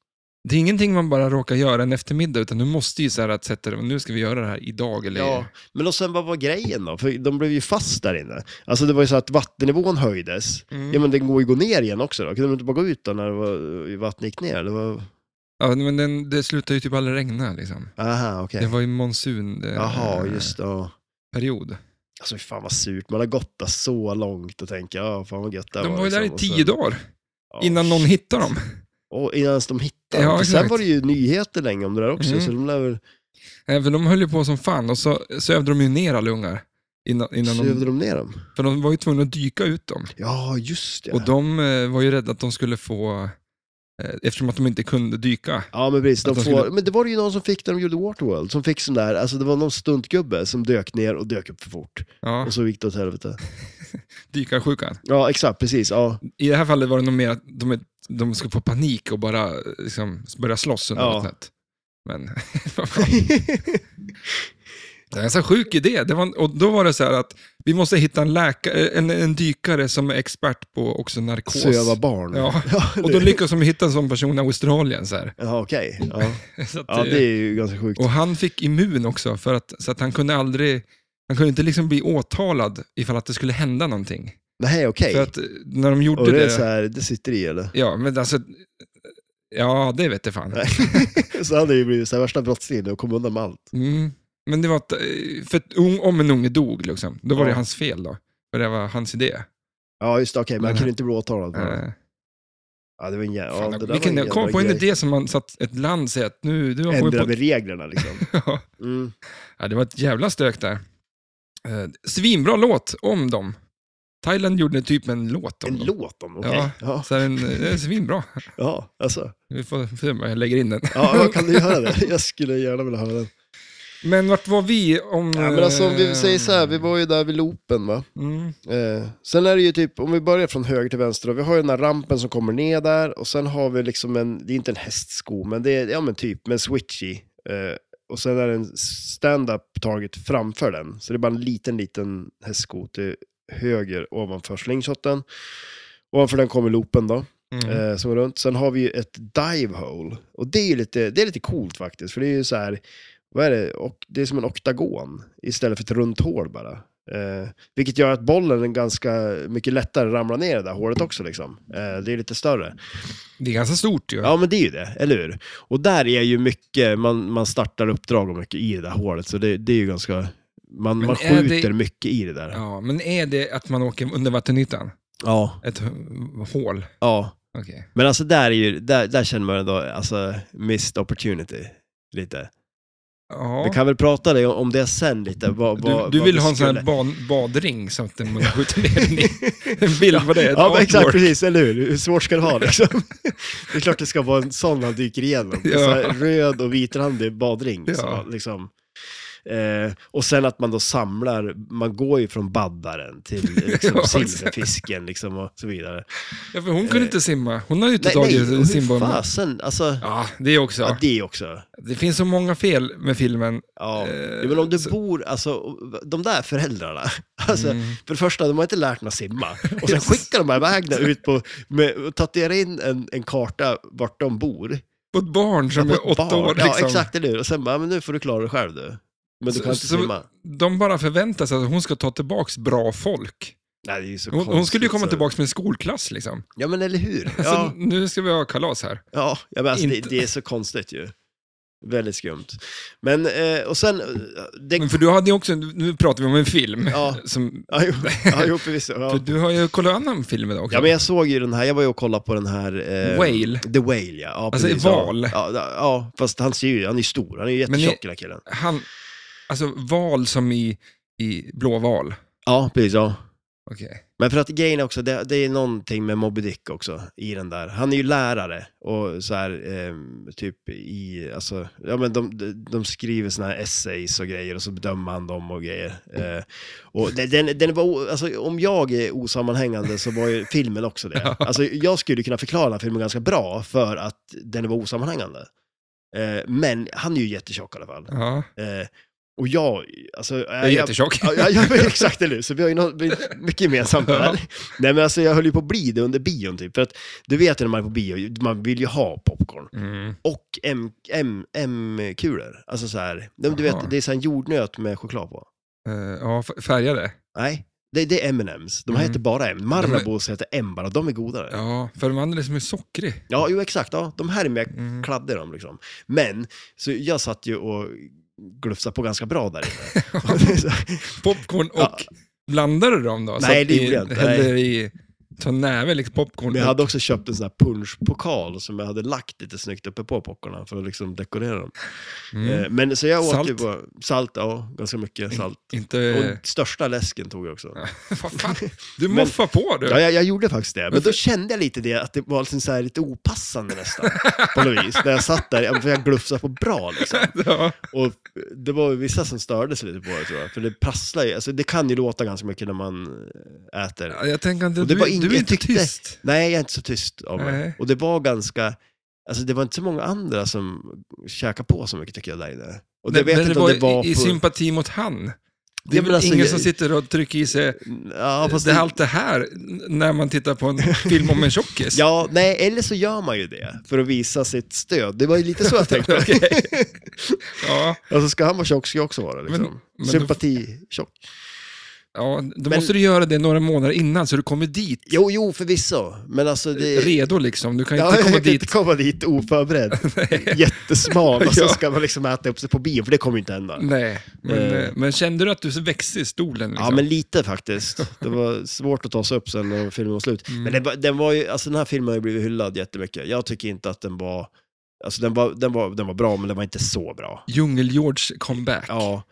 Speaker 2: Det är ingenting man bara råkar göra en eftermiddag, utan du måste ju så här att sätta det, nu ska vi göra det här idag eller...
Speaker 1: Ja, men och sen vad var grejen då? För de blev ju fast där inne. Alltså det var ju så att vattennivån höjdes.
Speaker 2: Mm.
Speaker 1: Ja men den går ju gå ner igen också då. Kunde de inte bara gå ut då när det var, vattnet gick ner? Det var...
Speaker 2: Ja, men den, det slutade ju typ aldrig regna liksom.
Speaker 1: Aha, okej.
Speaker 2: Det var ju monsun eh,
Speaker 1: Jaha, just det. ja.
Speaker 2: period.
Speaker 1: Alltså fan vad surt, man har gått där så långt och tänker, ja fan vad gött det
Speaker 2: De var ju där
Speaker 1: liksom.
Speaker 2: i
Speaker 1: Och
Speaker 2: tio
Speaker 1: sen-
Speaker 2: dagar
Speaker 1: ja,
Speaker 2: innan någon hittade dem.
Speaker 1: Och innan ens de hittade
Speaker 2: Ja,
Speaker 1: ja, Sen
Speaker 2: exakt.
Speaker 1: var det ju nyheter länge om det där också,
Speaker 2: Mm.
Speaker 1: så de lär väl...
Speaker 2: Även de höll ju på som fan och så sövde de ju ner alla ungar. Innan, innan
Speaker 1: Sövde
Speaker 2: de,
Speaker 1: de ner dem?
Speaker 2: för de var ju tvungna att dyka ut dem.
Speaker 1: Ja, just det.
Speaker 2: Och de eh, var ju rädda att de skulle få, eh, eftersom att de inte kunde dyka.
Speaker 1: Ja men precis, de
Speaker 2: Att de
Speaker 1: får,
Speaker 2: skulle-
Speaker 1: men det var ju någon som fick när de gjorde Waterworld, som fick sån där, alltså det var någon stuntgubbe som dök ner och dök upp för fort.
Speaker 2: Ja,
Speaker 1: Och så gick det åt helvete.
Speaker 2: dykarsjukan.
Speaker 1: Ja exakt, precis. Ja,
Speaker 2: I det här fallet var det nog mer att de, de skulle få panik och bara eh, liksom, börja slåss under
Speaker 1: Ja.
Speaker 2: vattnet. Men det är en ganska sjuk idé. Det var, och då var det så här att vi måste hitta en, läkare, eh, en, en dykare som är expert på också narkos.
Speaker 1: söva barn.
Speaker 2: Ja.
Speaker 1: ja
Speaker 2: Och då lyckades de hitta en sån person i Australien. Så här.
Speaker 1: Ja, okej. Ja.
Speaker 2: Så att,
Speaker 1: ja,
Speaker 2: eh,
Speaker 1: det är ju ganska sjukt.
Speaker 2: Och han fick immun också, för att, så att han kunde aldrig... Han kunde inte liksom bli åtalad ifall att det skulle hända någonting.
Speaker 1: Nej, okej.
Speaker 2: För att eh, när de gjorde
Speaker 1: Och det
Speaker 2: det...
Speaker 1: är så här, det sitter i eller?
Speaker 2: Ja, men alltså... Ja, det vet jag fan.
Speaker 1: så hade det ju blivit så här, värsta brottslingen och kom undan med allt.
Speaker 2: Mm. Men det var att, eh, för att ung- om en unge dog, liksom, då var
Speaker 1: Ja.
Speaker 2: det hans fel då. För det var hans idé.
Speaker 1: Ja, just det, okej, men han
Speaker 2: Men-
Speaker 1: kunde inte bli åtalad. för det.
Speaker 2: Eh,
Speaker 1: Ja, det var en jävla...
Speaker 2: fan,
Speaker 1: Ja, det där
Speaker 2: vilken,
Speaker 1: var
Speaker 2: jag kom på en
Speaker 1: jävla grej.
Speaker 2: idé som man satt ett land säger att nu... Du har kommit
Speaker 1: Ändra
Speaker 2: på,
Speaker 1: med reglerna liksom. Mm.
Speaker 2: ja, det var ett jävla stök där. Eh, Svinbra låt om dem. Thailand gjorde typ en låt om
Speaker 1: En
Speaker 2: dem.
Speaker 1: låt om, okej.
Speaker 2: Ja.
Speaker 1: Ja.
Speaker 2: Så den, den är svinbra.
Speaker 1: ja, alltså.
Speaker 2: Vi får se om jag lägger in den.
Speaker 1: Ja, jag kan du göra det? Jag skulle gärna vilja höra den.
Speaker 2: Men vart var vi om... eh,
Speaker 1: Ja, men alltså om vi säger så här, vi var ju där vid loopen va.
Speaker 2: Mm,
Speaker 1: Eh, sen är det ju typ, om vi börjar från höger till vänster, då, vi har ju den här rampen som kommer ner där och sen har vi liksom en, det är inte en hästsko, men det är, ja men typ, men switchy. Eh, och sen är det en stand-up target framför den, så det är bara en liten, liten hästsko till höger ovanför slingshoten. Ovanför den kommer loopen då.
Speaker 2: mm.
Speaker 1: eh, som går runt. Sen har vi ju ett dive hole. Och det är ju lite, det är lite coolt faktiskt, för det är ju så här, vad är det? Och, det är som en oktagon istället för ett runt hål bara. Eh, vilket gör att bollen är ganska mycket lättare ramlar ner i det där hålet också liksom. Eh, det är lite större.
Speaker 2: Det är ganska stort ju.
Speaker 1: Ja men det är ju det, eller hur? Och där är ju mycket, man, man startar uppdrag och mycket i det där hålet, så det, det är ju ganska, man,
Speaker 2: Men
Speaker 1: man
Speaker 2: är det-
Speaker 1: skjuter mycket i det där. Ja.
Speaker 2: Ja, men är det att man åker under vattenytan?
Speaker 1: ja.
Speaker 2: Ett h- hål? Okej.
Speaker 1: Men alltså där är ju, där, där känner man ändå, alltså missed opportunity. Lite.
Speaker 2: Ja.
Speaker 1: Vi kan väl prata det- om det sen lite. Vad,
Speaker 2: Du,
Speaker 1: vad,
Speaker 2: du
Speaker 1: vad
Speaker 2: vill
Speaker 1: vi
Speaker 2: ha en sån
Speaker 1: skulle-
Speaker 2: här ban- badring så att man skjuter ner den i. En bild på det. ett
Speaker 1: Ja, men exakt,
Speaker 2: artwork.
Speaker 1: precis, eller hur? Hur svårt ska det vara liksom? Det är klart det ska vara en sån han dyker igenom.
Speaker 2: Ja.
Speaker 1: Så här, röd och vitrandig badring.
Speaker 2: Ja.
Speaker 1: Så, liksom. eh, och sen att man då samlar, man går ju från baddaren till liksom,
Speaker 2: Ja, exakt.
Speaker 1: silverfisken liksom, och så vidare.
Speaker 2: Ja, för hon kunde inte simma. Hon har ju inte tagit
Speaker 1: och
Speaker 2: sin
Speaker 1: hur
Speaker 2: simborg.
Speaker 1: fasen, alltså, ja.
Speaker 2: Ja, det också.
Speaker 1: det också.
Speaker 2: Det finns så många fel med filmen.
Speaker 1: Ja.
Speaker 2: Eh,
Speaker 1: ja, men om du
Speaker 2: så-
Speaker 1: bor, alltså, de där föräldrarna, alltså,
Speaker 2: Mm.
Speaker 1: För det första, de har inte lärt dem att simma. Och sen skickar de här iväg dem ut på, med, och tatuerar in en, en karta vart de bor.
Speaker 2: På ett barn som
Speaker 1: På ett
Speaker 2: är åtta
Speaker 1: barn.
Speaker 2: år. Liksom.
Speaker 1: Ja, exakt, eller hur? Och sen bara, men nu får du klara dig själv du. Men du
Speaker 2: Så-
Speaker 1: kan inte
Speaker 2: så-
Speaker 1: simma.
Speaker 2: De bara förväntar sig att hon ska ta tillbaka bra folk.
Speaker 1: Nej, det är ju så
Speaker 2: Hon,
Speaker 1: konstigt.
Speaker 2: hon skulle ju komma
Speaker 1: så-
Speaker 2: tillbaka med en skolklass liksom.
Speaker 1: Ja, men eller hur?
Speaker 2: Alltså,
Speaker 1: Ja,
Speaker 2: Nu ska vi ha kalas här.
Speaker 1: ja, ja men alltså, det,
Speaker 2: Inte.
Speaker 1: det är så konstigt ju. Väldigt skumt. Men, eh, och sen... eh, Det,
Speaker 2: Men för du hade ju också, nu pratar vi om en film.
Speaker 1: Ja.
Speaker 2: Som,
Speaker 1: ja, jo, ja, jo, förvisso.
Speaker 2: för
Speaker 1: Ja.
Speaker 2: du har ju kollat annan film idag också.
Speaker 1: Ja, men jag såg ju den här, jag var ju och kollade på den här... eh,
Speaker 2: Whale.
Speaker 1: The Whale, ja. ja
Speaker 2: Alltså,
Speaker 1: precis,
Speaker 2: val.
Speaker 1: Ja, ja, ja, fast han ser ju, han är ju stor, han är ju
Speaker 2: Men ni-
Speaker 1: jättetjock den här killen.
Speaker 2: Han, alltså val som i, i blåval.
Speaker 1: Ja, precis. Ja.
Speaker 2: Okej.
Speaker 1: Men för att grejen är också, det, det är någonting med Moby Dick också i den där. Han är ju lärare och så här, ehm, typ i, alltså, ja men de, de, de skriver såna här essays och grejer och så bedömer han dem och grejer. Eh, och den, den, den var, o- alltså om jag är osammanhängande så var ju filmen också det. Alltså jag skulle kunna förklara den här filmen ganska bra för att den var osammanhängande. Eh, men han är ju jättetjock i alla fall.
Speaker 2: Ja,
Speaker 1: Eh, och jag, alltså...
Speaker 2: jag är jättetjock.
Speaker 1: Ja, ja, ja, men exakt, eller hur? Så vi har ju något, vi- mycket gemensamt där.
Speaker 2: Ja.
Speaker 1: Nej, men alltså jag höll ju på att bli det under bion typ. För att du vet ju när man är på bio, man vill ju ha popcorn.
Speaker 2: Mm.
Speaker 1: Och M- M- M-kulor. Alltså så här, du
Speaker 2: Jaha.
Speaker 1: vet, det är så här en jordnöt med choklad på.
Speaker 2: Eh, ja f- färgade.
Speaker 1: Nej, det, det är M&M's. De här
Speaker 2: Mm.
Speaker 1: heter bara M. Marabous heter M bara, de är godare. Ja,
Speaker 2: Ja, för de andra är som är sockrig.
Speaker 1: ja jo exakt. Ja, de här är mer
Speaker 2: Mm.
Speaker 1: kladdiga de liksom. Men, så jag satt ju och glufsade på ganska bra där inne.
Speaker 2: Popcorn och
Speaker 1: Ja.
Speaker 2: blandade du dem då? Så
Speaker 1: Nej,
Speaker 2: att
Speaker 1: det
Speaker 2: i-
Speaker 1: gjorde jag inte.
Speaker 2: Hällde i Ta näven liksom popcorn.
Speaker 1: Men jag hade också köpt en sån här punschpokal som jag hade lagt lite snyggt uppe på popcornen för att liksom dekorera dem.
Speaker 2: Mm.
Speaker 1: Eh, Men så jag åt
Speaker 2: Salt. Mm. Eh.
Speaker 1: ju på salt, ja, ganska mycket salt.
Speaker 2: Inte...
Speaker 1: Och största läsken tog jag också.
Speaker 2: Vad fan? Du moffar på du.
Speaker 1: Ja, jag, jag gjorde faktiskt det. Men
Speaker 2: Varför?
Speaker 1: då kände jag lite det, att det var liksom så här lite opassande nästan. på något vis. När jag satt där, ja, för jag glufsade på bra liksom.
Speaker 2: Ja.
Speaker 1: Och det var ju vissa som störde sig lite på det tror jag. För det prasslar ju, alltså det kan ju låta ganska mycket när man eh, äter.
Speaker 2: Ja, Jag tänker inte,
Speaker 1: Och det
Speaker 2: du,
Speaker 1: var ing-
Speaker 2: du är
Speaker 1: jag
Speaker 2: inte
Speaker 1: tyckte-
Speaker 2: tyst.
Speaker 1: Nej, jag är inte så tyst av mig.
Speaker 2: Nej.
Speaker 1: Och det var ganska, alltså det var inte så många andra som käkade på så mycket tycker jag där inne. Och det
Speaker 2: Nej,
Speaker 1: vet
Speaker 2: men
Speaker 1: inte om det var
Speaker 2: i, i
Speaker 1: på...
Speaker 2: sympati mot han. Det är
Speaker 1: Ja,
Speaker 2: väl
Speaker 1: men alltså,
Speaker 2: ingen
Speaker 1: jag-
Speaker 2: som sitter och trycker i sig
Speaker 1: ja, fast
Speaker 2: det, allt det här n- när man tittar på en film om en tjockis.
Speaker 1: Ja, nej, eller så gör man ju det för att visa sitt stöd. Det var ju lite så jag tänkte.
Speaker 2: Okej. ja,
Speaker 1: Alltså ska han vara tjock ska jag också vara det, liksom.
Speaker 2: Men- men-
Speaker 1: Sympatitjock.
Speaker 2: ja, då
Speaker 1: Men-
Speaker 2: måste du göra det några månader innan så du kommer dit
Speaker 1: Jo, jo, förvisso. Men alltså det...
Speaker 2: redo liksom. Du kan
Speaker 1: Ja,
Speaker 2: inte
Speaker 1: jag
Speaker 2: komma
Speaker 1: kan
Speaker 2: dit.
Speaker 1: inte komma dit oförberedd. Jättesmal och så
Speaker 2: Ja.
Speaker 1: ska man liksom äta upp sig på bio, för det kommer ju inte hända.
Speaker 2: Nej, men,
Speaker 1: Eh.
Speaker 2: eh, men kände du att du växte i stolen? Liksom?
Speaker 1: Ja, men lite faktiskt. Det var svårt att ta sig upp sen när filmen var slut.
Speaker 2: Mm.
Speaker 1: Men den var, den var ju, alltså den här filmen har ju blivit hyllad jättemycket. Jag tycker inte att den var, alltså den var, den var, den var bra, men den var inte så bra.
Speaker 2: Djungel-George comeback.
Speaker 1: Ja.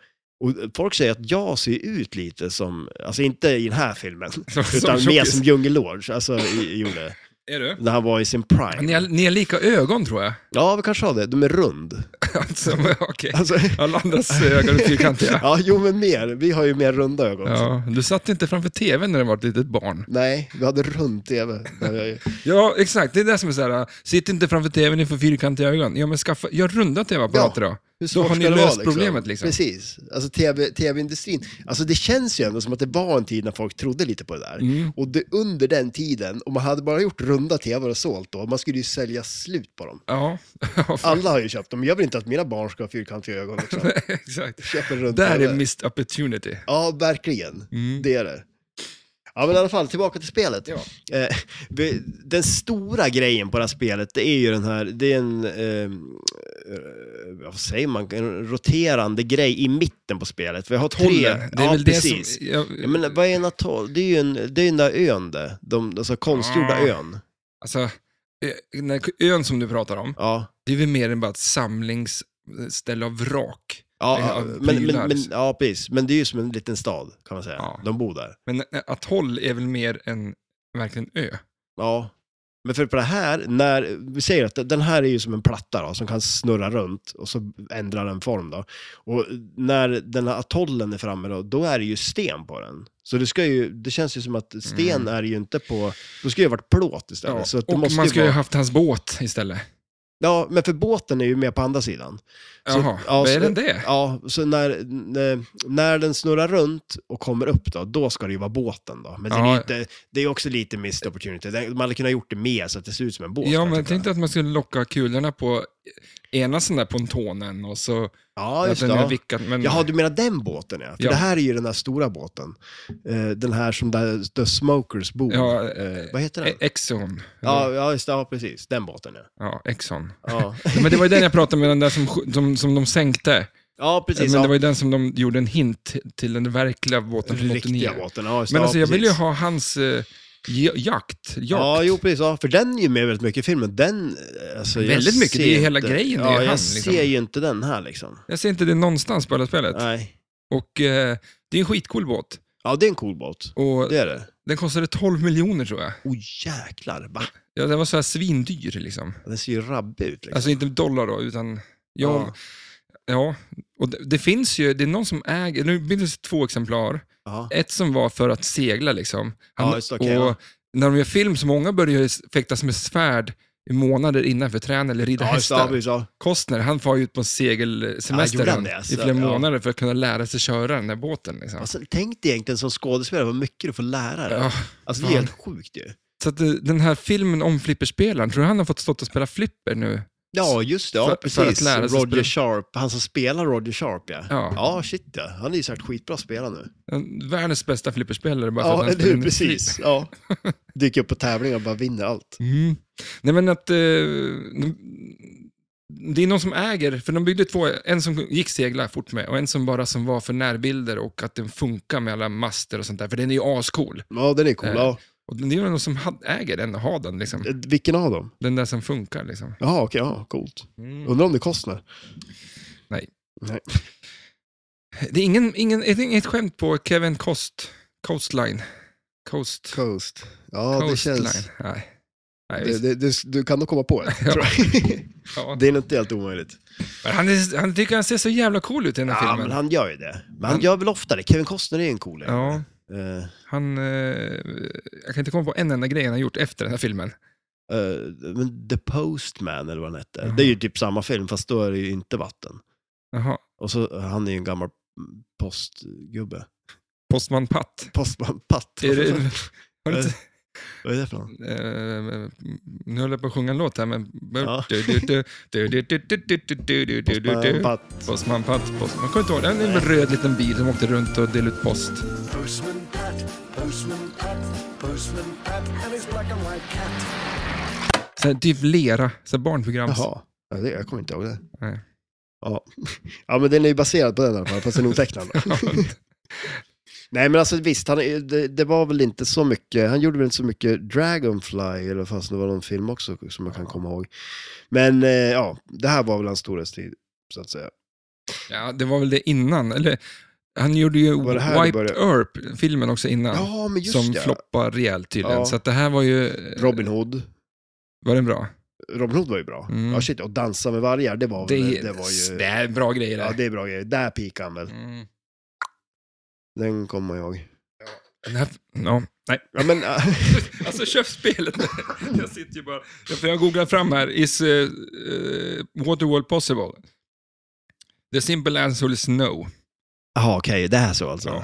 Speaker 1: Och folk säger att jag ser ut lite som, alltså inte i den här filmen,
Speaker 2: Som- som
Speaker 1: utan mer
Speaker 2: tjockis.
Speaker 1: som Djungelgeorge, alltså i, gjorde,
Speaker 2: Är du?
Speaker 1: när han var i sin
Speaker 2: Ni
Speaker 1: prime.
Speaker 2: har, ni har lika ögon tror jag.
Speaker 1: Ja, vi kanske har det. De är rund.
Speaker 2: Alltså, Okej.
Speaker 1: Alltså,
Speaker 2: Alla andras ögon är fyrkantiga.
Speaker 1: ja, jo men mer. Vi har ju mer runda ögon.
Speaker 2: Ja, du satt inte framför tvn när du var ett litet barn.
Speaker 1: Nej, vi hade rund tv. när jag-
Speaker 2: Ja, exakt. Det är det som är så här, äh, sitt inte framför tvn, ni får fyrkantiga ögon. Ja, men skaffa, gör runda tv-apparater då.
Speaker 1: Hur
Speaker 2: Då
Speaker 1: svårt
Speaker 2: har ni
Speaker 1: ska det
Speaker 2: löst
Speaker 1: vara, liksom?
Speaker 2: problemet liksom.
Speaker 1: Precis. Alltså TV tv-industrin. alltså det känns ju ändå som att det var en tid när folk trodde lite på det där.
Speaker 2: Mm.
Speaker 1: Och det, under den tiden, om man hade bara gjort runda tv och sålt då, man skulle ju sälja slut på dem.
Speaker 2: Ja,
Speaker 1: Alla har ju köpt dem, jag vill inte att mina barn ska ha fyrkantiga ögon. Liksom.
Speaker 2: exakt.
Speaker 1: Köp en rund
Speaker 2: Där
Speaker 1: TV.
Speaker 2: är missed opportunity.
Speaker 1: Ja, verkligen.
Speaker 2: Mm.
Speaker 1: Det är det. Ja, men i alla fall, tillbaka till spelet.
Speaker 2: Ja.
Speaker 1: Eh, vi- den stora grejen på det här spelet, det är ju den här, det är en, ehm, eh, vad säger man, en roterande grej i mitten på spelet. Vi har tre...
Speaker 2: Tollen, det är
Speaker 1: ja,
Speaker 2: väl det
Speaker 1: precis.
Speaker 2: som... Jag,
Speaker 1: Ja, men vad är en atoll? Det är ju en, det är den där ön där, de, alltså konstgjorda
Speaker 2: Ah.
Speaker 1: ön.
Speaker 2: Alltså, ö- den här ön som du pratar om,
Speaker 1: Ja.
Speaker 2: det är väl mer än bara ett samlingsställe av vrak.
Speaker 1: Ja,
Speaker 2: Ja,
Speaker 1: ja, men,
Speaker 2: prylar,
Speaker 1: men, men,
Speaker 2: liksom.
Speaker 1: ja, precis. Men det är ju som en liten stad, kan man säga.
Speaker 2: Ja.
Speaker 1: De bor där.
Speaker 2: Men eh, atoll är väl mer än verkligen ö?
Speaker 1: Ja. Men för på det här, när, vi säger att den här är ju som en platta då, som kan snurra runt och så ändrar den form då. Och när den här atollen är framme då, då är det ju sten på den. Så det ska ju, det känns ju som att sten
Speaker 2: Mm.
Speaker 1: är ju inte på, då ska det ju ha varit plåt istället.
Speaker 2: Ja.
Speaker 1: Så att det
Speaker 2: Och
Speaker 1: måste
Speaker 2: man
Speaker 1: ju
Speaker 2: skulle ju
Speaker 1: vara,
Speaker 2: haft hans båt istället.
Speaker 1: Ja, men för båten är ju med på andra sidan. Så-
Speaker 2: Jaha,
Speaker 1: ja,
Speaker 2: vad
Speaker 1: så-
Speaker 2: är den det?
Speaker 1: Ja, så när, när- när den snurrar runt och kommer upp då, då ska det ju vara båten då. Men den är
Speaker 2: Ja.
Speaker 1: ju inte, det är ju också lite missed opportunity. Den- Man hade kunnat gjort det mer så att det ser ut som en båt.
Speaker 2: Ja,
Speaker 1: kan
Speaker 2: men
Speaker 1: jag
Speaker 2: jag
Speaker 1: tycka.
Speaker 2: tänkte att man skulle locka kulorna på ena sån där pontonen och så
Speaker 1: Ja,
Speaker 2: att
Speaker 1: just
Speaker 2: den
Speaker 1: det.
Speaker 2: är
Speaker 1: Ja.
Speaker 2: vickad. Men,
Speaker 1: Jaha, du menar den båten ja. För
Speaker 2: Ja.
Speaker 1: det här är ju den här stora båten. Eh, den här som där The Smokers bor.
Speaker 2: Ja, eh.
Speaker 1: eh, vad heter den?
Speaker 2: E- Exxon.
Speaker 1: Ja, ja, just det. Ja, precis. Den båten ja.
Speaker 2: ja, Exxon.
Speaker 1: Ja,
Speaker 2: Men det var ju den jag pratade med, den där som, sk- som, som de sänkte.
Speaker 1: ja precis.
Speaker 2: Men
Speaker 1: ja.
Speaker 2: det var ju den som de gjorde en hint till den verkliga båten från
Speaker 1: den
Speaker 2: 89.
Speaker 1: riktiga båten. Ja, just, det.
Speaker 2: Men alltså
Speaker 1: ja,
Speaker 2: jag vill ju
Speaker 1: precis.
Speaker 2: ha hans eh, ja- jakt. jakt.
Speaker 1: Ja, jo precis. Ja, för den är ju med väldigt mycket i filmen. Den, eh, alltså, jag
Speaker 2: Väldigt mycket,
Speaker 1: ser
Speaker 2: det är ju
Speaker 1: inte-
Speaker 2: hela grejen, det är
Speaker 1: Ja,
Speaker 2: ju
Speaker 1: jag
Speaker 2: han, liksom.
Speaker 1: ser ju inte den här liksom.
Speaker 2: Jag ser inte det någonstans på hela spelet.
Speaker 1: Nej.
Speaker 2: Och eh, det är en skitcool båt.
Speaker 1: Ja, det är en cool båt.
Speaker 2: Och
Speaker 1: Det är det.
Speaker 2: den kostade 12 miljoner tror jag.
Speaker 1: Oh jäklar, va?
Speaker 2: Ja, den var så här svindyr liksom.
Speaker 1: Den ser ju rabbig ut liksom.
Speaker 2: Alltså inte dollar då, utan...
Speaker 1: Ja.
Speaker 2: Ja, ja. och det, det finns ju, det är någon som äger, nu finns det två exemplar.
Speaker 1: ja.
Speaker 2: Ett som var för att segla liksom.
Speaker 1: Ja, just det, okej,
Speaker 2: och
Speaker 1: ja.
Speaker 2: när de gör film så många börjar ju fäktas med svärd i månader innan för att träna eller rida
Speaker 1: Ja, just det. Ja,
Speaker 2: hästar.
Speaker 1: precis. Ja.
Speaker 2: Kostner, han far ju ut på en segelsemester
Speaker 1: Ja, gjorde han det,
Speaker 2: i
Speaker 1: alltså?
Speaker 2: flera
Speaker 1: Ja.
Speaker 2: månader för att kunna lära sig köra den där båten. Liksom.
Speaker 1: Alltså, tänk dig egentligen som skådespelare vad mycket du får lära dig.
Speaker 2: Ja.
Speaker 1: Alltså det är
Speaker 2: fan.
Speaker 1: helt sjukt ju.
Speaker 2: Så att eh, den här filmen om flipperspelaren, tror du han har fått stått och spela flipper nu?
Speaker 1: Ja, just det. Ja,
Speaker 2: För-
Speaker 1: precis.
Speaker 2: för att lära sig
Speaker 1: Roger
Speaker 2: spela.
Speaker 1: Sharp, han som spelar Roger Sharp ja.
Speaker 2: Ja.
Speaker 1: Ja, shit ja. Han är ju säkert skitbra spelare nu.
Speaker 2: En- Eh, Världens bästa flipperspelare bara för att
Speaker 1: Ja,
Speaker 2: han
Speaker 1: eller
Speaker 2: spelar
Speaker 1: hur?
Speaker 2: en
Speaker 1: Precis. Ja. Dyker upp på tävlingar och bara vinner allt.
Speaker 2: Mm. Nej men att... Eh, de- det är någon som äger, för de byggde två, en som gick segla fort med och en som bara som var för närbilder och att den funkar med alla master och sånt där, för den är ju ascool.
Speaker 1: Ja, den är cool.
Speaker 2: Eh,
Speaker 1: Ja.
Speaker 2: Och det är väl någon som had- äger den och har den, liksom.
Speaker 1: Eh, Vilken av dem?
Speaker 2: den där som funkar. Liksom.
Speaker 1: Jaha, okej, ja, coolt.
Speaker 2: Mm.
Speaker 1: Undrar om det kostar.
Speaker 2: Det är ingen, ingen, det är inget skämt på Kevin Cost, Coastline. Coast,
Speaker 1: Coast. Ja, det
Speaker 2: Coastline.
Speaker 1: känns...
Speaker 2: Nej. Nej,
Speaker 1: Det,
Speaker 2: visst.
Speaker 1: det, det, du kan nog komma på ett,
Speaker 2: Ja.
Speaker 1: tror jag.
Speaker 2: Ja.
Speaker 1: Det är nog inte helt omöjligt.
Speaker 2: Men Han, är, han tycker han ser så jävla cool ut i den här
Speaker 1: Ja,
Speaker 2: filmen.
Speaker 1: men han gör ju det. Men han
Speaker 2: Han-
Speaker 1: gör väl ofta det. Kevin Costner är ju en cool
Speaker 2: Ja,
Speaker 1: Eh,
Speaker 2: han, eh, jag kan inte komma på en enda grej han har gjort efter den här filmen.
Speaker 1: eh, men The Postman, eller vad han hette.
Speaker 2: Jaha.
Speaker 1: Det är ju typ samma film, fast då är det ju inte vatten.
Speaker 2: Jaha.
Speaker 1: Och så, han är ju en gammal postgubbe.
Speaker 2: Postman Pat.
Speaker 1: Postman Patt.
Speaker 2: Är det, har du
Speaker 1: Eh,
Speaker 2: inte,
Speaker 1: Vad är det för någon?
Speaker 2: eh, nu höll jag på att sjunga en låt här, men...
Speaker 1: Ja.
Speaker 2: Du, du, du, du, du, du, du, du, du, du, du, du, du,
Speaker 1: Postman
Speaker 2: du.
Speaker 1: Patt.
Speaker 2: Postman Pat. Postman. Kommer inte ihåg, det var en röd liten bil som åkte runt och delade ut post.
Speaker 3: Postman Pat, Postman Pat, Postman Pat, and his black and white cat.
Speaker 2: Så här, typ lera, så här barnprograms...
Speaker 1: Jaha. Ja, det, jag kommer inte ihåg det.
Speaker 2: Nej.
Speaker 1: Ja. ja, men den är ju baserad på den i alla fall, fast den är otecknad. Nej, men alltså visst, han, är- det, det var väl inte så mycket, han gjorde väl inte så mycket Dragonfly, eller fast det var någon film också som jag kan komma ihåg. Men eh, ja, det här var väl hans storhetstid, så att säga.
Speaker 2: Ja, det var väl det innan. Eller, han gjorde ju
Speaker 1: Var det här det
Speaker 2: Wiped Earp, filmen också innan.
Speaker 1: Ja, men just
Speaker 2: som
Speaker 1: det.
Speaker 2: floppar rejält tydligen.
Speaker 1: Ja.
Speaker 2: Så att det här var ju...
Speaker 1: Robin Hood.
Speaker 2: Var den bra?
Speaker 1: Robin Hood var ju bra.
Speaker 2: Mm.
Speaker 1: Ja, shit, och Dansa med vargar, det var
Speaker 2: Det,
Speaker 1: väl, det, var ju...
Speaker 2: det är bra grejer
Speaker 1: Ja,
Speaker 2: där.
Speaker 1: det är bra grejer. Där peakade han väl.
Speaker 2: Mm.
Speaker 1: Den kommer jag ihåg.
Speaker 2: Den här, ja, nej.
Speaker 1: Ja, men...
Speaker 2: Alltså köpspelet. jag sitter ju bara... Ja, för jag googlar fram här. Is uh, uh, Waterworld possible? The simple answer is no.
Speaker 1: Jaha, okej, det här så alltså.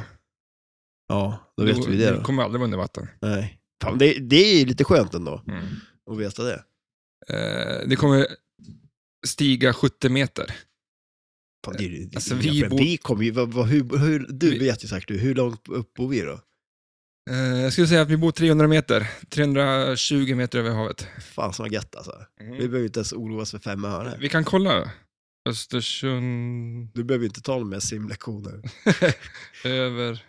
Speaker 1: Ja, då vet vi det
Speaker 2: Du
Speaker 1: då.
Speaker 2: kommer aldrig vara under vatten.
Speaker 1: Nej. Fan, det, det är ju lite skönt ändå,
Speaker 2: Mm.
Speaker 1: att veta det.
Speaker 2: Eh, det kommer stiga 70 meter.
Speaker 1: Fan, det är ju,
Speaker 2: Alltså, vi
Speaker 1: vi, men
Speaker 2: bor-
Speaker 1: vi kommer ju, vad, vad, hur, hur, du
Speaker 2: Vi-
Speaker 1: vet ju säkert hur långt upp bor vi då?
Speaker 2: Eh, jag skulle säga att vi bor 300 meter. 320 meter över havet.
Speaker 1: Fan så gött alltså.
Speaker 2: Mm.
Speaker 1: Vi behöver inte ens oroa oss för fem öre.
Speaker 2: Vi kan kolla. Östersund...
Speaker 1: Du behöver inte ta några mer simlektioner.
Speaker 2: Över...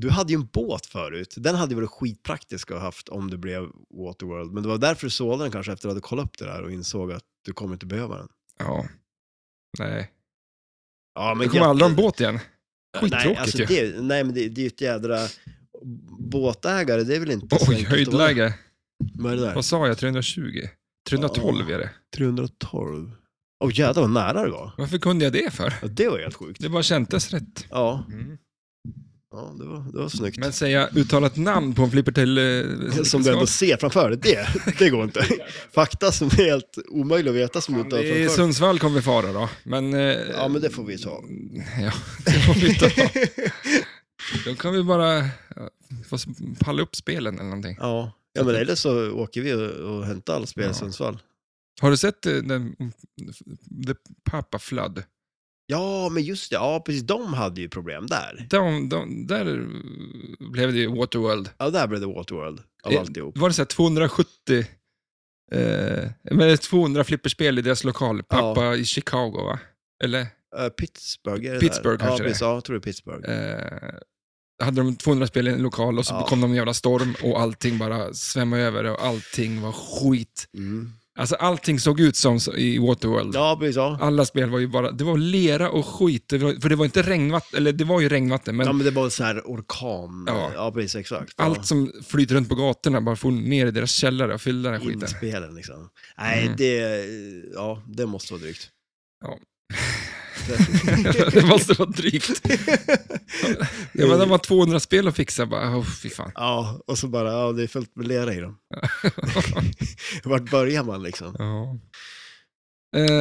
Speaker 1: Du hade ju en båt förut. Den hade ju varit skitpraktisk att ha haft om det blev Waterworld. Men det var därför du sålde den kanske efter att du hade kollat upp det där och insåg att du kommer inte behöva den.
Speaker 2: Ja. Nej.
Speaker 1: Ja, men
Speaker 2: Det kommer
Speaker 1: gött.
Speaker 2: aldrig en båt igen.
Speaker 1: Nej,
Speaker 2: Skittråkigt
Speaker 1: alltså
Speaker 2: ju.
Speaker 1: det, nej, men det, det är ju ett jädra... Båtägare, det är väl inte så
Speaker 2: Oj,
Speaker 1: enkelt att vara.
Speaker 2: höjdläge.
Speaker 1: Vad är det där?
Speaker 2: Vad sa jag? 320? 312 är det.
Speaker 1: 312. Åh jädrar vad nära det var.
Speaker 2: Varför kunde jag det för?
Speaker 1: Ja, det var helt sjukt.
Speaker 2: Det bara kändes rätt.
Speaker 1: Ja, ja det, var, det var snyggt.
Speaker 2: Men säga uttalat namn på en flippertell... eh,
Speaker 1: som du ändå ser framför dig, det, det går inte. Fakta som är helt omöjligt att veta som du inte har
Speaker 2: Det är
Speaker 1: framför dig.
Speaker 2: Sundsvall kommer vi fara då, men... eh,
Speaker 1: Ja, men det får vi ta.
Speaker 2: Ja, det får vi ta. Då kan vi bara ja, få palla upp spelen eller någonting.
Speaker 1: ja. ja, men eller så åker vi och, och hämtar all spel i
Speaker 2: Ja.
Speaker 1: Sundsvall.
Speaker 2: Har du sett eh, den, The Papa Flood?
Speaker 1: Ja, men just det. Ja, precis. De hade ju problem där.
Speaker 2: De, de, där eh, blev det ju Waterworld.
Speaker 1: Ja, där blev det Waterworld av
Speaker 2: Eh,
Speaker 1: alltihop.
Speaker 2: Var det så här 270... Eh, men 200 flipperspel i deras lokal, pappa i Chicago va? Eller?
Speaker 1: Eh, Pittsburgh, är det
Speaker 2: Pittsburgh
Speaker 1: där?
Speaker 2: kanske
Speaker 1: ja,
Speaker 2: det är.
Speaker 1: precis. Ja, jag tror det är Pittsburgh.
Speaker 2: Eh, hade de 200 spel i en lokal och så
Speaker 1: Ja.
Speaker 2: kom de en jävla storm och allting bara svämmade över och allting var skit.
Speaker 1: Mm.
Speaker 2: Alltså allting såg ut som så- i Waterworld.
Speaker 1: Ja, precis. Ja.
Speaker 2: Alla spel var ju bara, det var lera och skit, det var, för det var inte regnvatten, eller det var ju regnvatten, men
Speaker 1: ja, men det var så här orkan.
Speaker 2: Ja.
Speaker 1: Ja, precis. Exakt. Ja.
Speaker 2: allt som flyter runt på gatorna bara for ner i deras källare och fyllde den här skiten.
Speaker 1: inspelen liksom. Nej,
Speaker 2: Mm.
Speaker 1: det, ja, det måste vara drygt.
Speaker 2: Ja.
Speaker 1: Det-
Speaker 2: det måste vara drygt. Ja, men de var 200 spel att fixa, bara, oh, fy fan.
Speaker 1: ja, och så bara, ja, det är fullt med lera i dem. Vart börjar man liksom?
Speaker 2: Ja.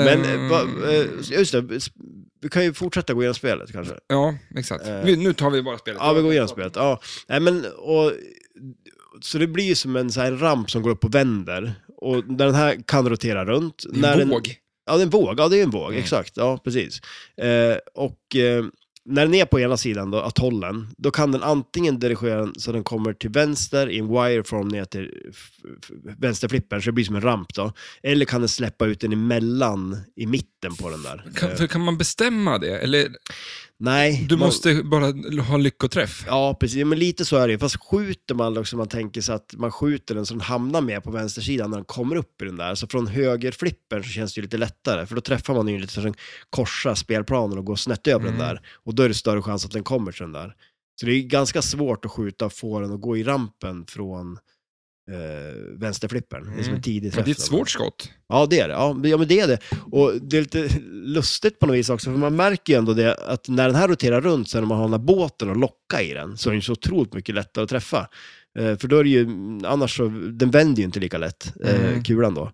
Speaker 1: Men,
Speaker 2: Ehm,
Speaker 1: eh, va, eh, just det, sp- vi kan ju fortsätta gå igenom spelet kanske.
Speaker 2: Ja, exakt.
Speaker 1: Eh.
Speaker 2: Vi, nu tar vi bara spelet.
Speaker 1: Ja, vi går igenom spelet. Ja, nej men, och, så det blir ju som en så här ramp som går upp och vänder. Och den här kan rotera runt.
Speaker 2: Det är en
Speaker 1: den,
Speaker 2: våg.
Speaker 1: Ja, det är en våg. Ja, det är en våg.
Speaker 2: Mm.
Speaker 1: Exakt. Ja, precis. Eh, och eh, när den är på ena sidan, då, atollen, då kan den antingen dirigera den så den kommer till vänster i en wireform ner till f- f- vänsterflippern, så det blir som en ramp då. Eller kan den släppa ut den emellan, i mitten på den där.
Speaker 2: Kan,
Speaker 1: Eh,
Speaker 2: för kan man bestämma det? Eller,
Speaker 1: Nej.
Speaker 2: Du
Speaker 1: man-
Speaker 2: måste bara ha lyckoträff.
Speaker 1: Ja, precis. Men lite så är det ju. Fast skjuter man också, man tänker sig att man skjuter den så den hamnar med på vänstersidan när den kommer upp i den där. Så från högerflippen så känns det ju lite lättare, för då träffar man ju lite så att den korsar spelplanen och går snett över
Speaker 2: Mm.
Speaker 1: den där. Och då är det större chans att den kommer till den där. Så det är ju ganska svårt att skjuta och få den att gå i rampen från eh, vänsterflippen. Det är som
Speaker 2: Mm.
Speaker 1: en tidig
Speaker 2: Men
Speaker 1: träff.
Speaker 2: det är ett
Speaker 1: där.
Speaker 2: svårt skott.
Speaker 1: Ja, det är det. Ja, men- ja, men det är det. Och det är lite lustigt på något vis också, för man märker ju ändå det att när den här roterar runt, sen när man har den här båten och locka i den, så är den så otroligt mycket lättare att träffa. Eh, för då är det ju, annars så, den vänder ju inte lika lätt, eh,
Speaker 2: Mm.
Speaker 1: kulan då.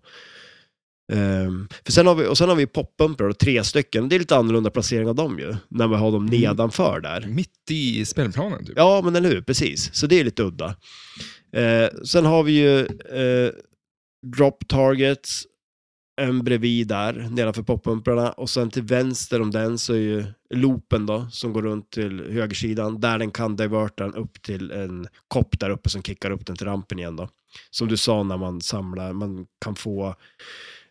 Speaker 1: Ehm, för sen har vi, och sen har vi poppumpar och tre stycken. Det är lite annorlunda placering av dem ju, när man har dem
Speaker 2: Mm.
Speaker 1: nedanför där.
Speaker 2: Mitt i spelplanen typ.
Speaker 1: Ja, men eller hur, precis. Så det är lite udda. Eh, sen har vi ju eh, drop targets, en bredvid där, nedanför poppumparna. Och sen till vänster om den så är ju loopen då, som går runt till högersidan, där den kan diverta den upp till en kopp där uppe som kickar upp den till rampen igen då. Som du sa när man samlar, man kan få,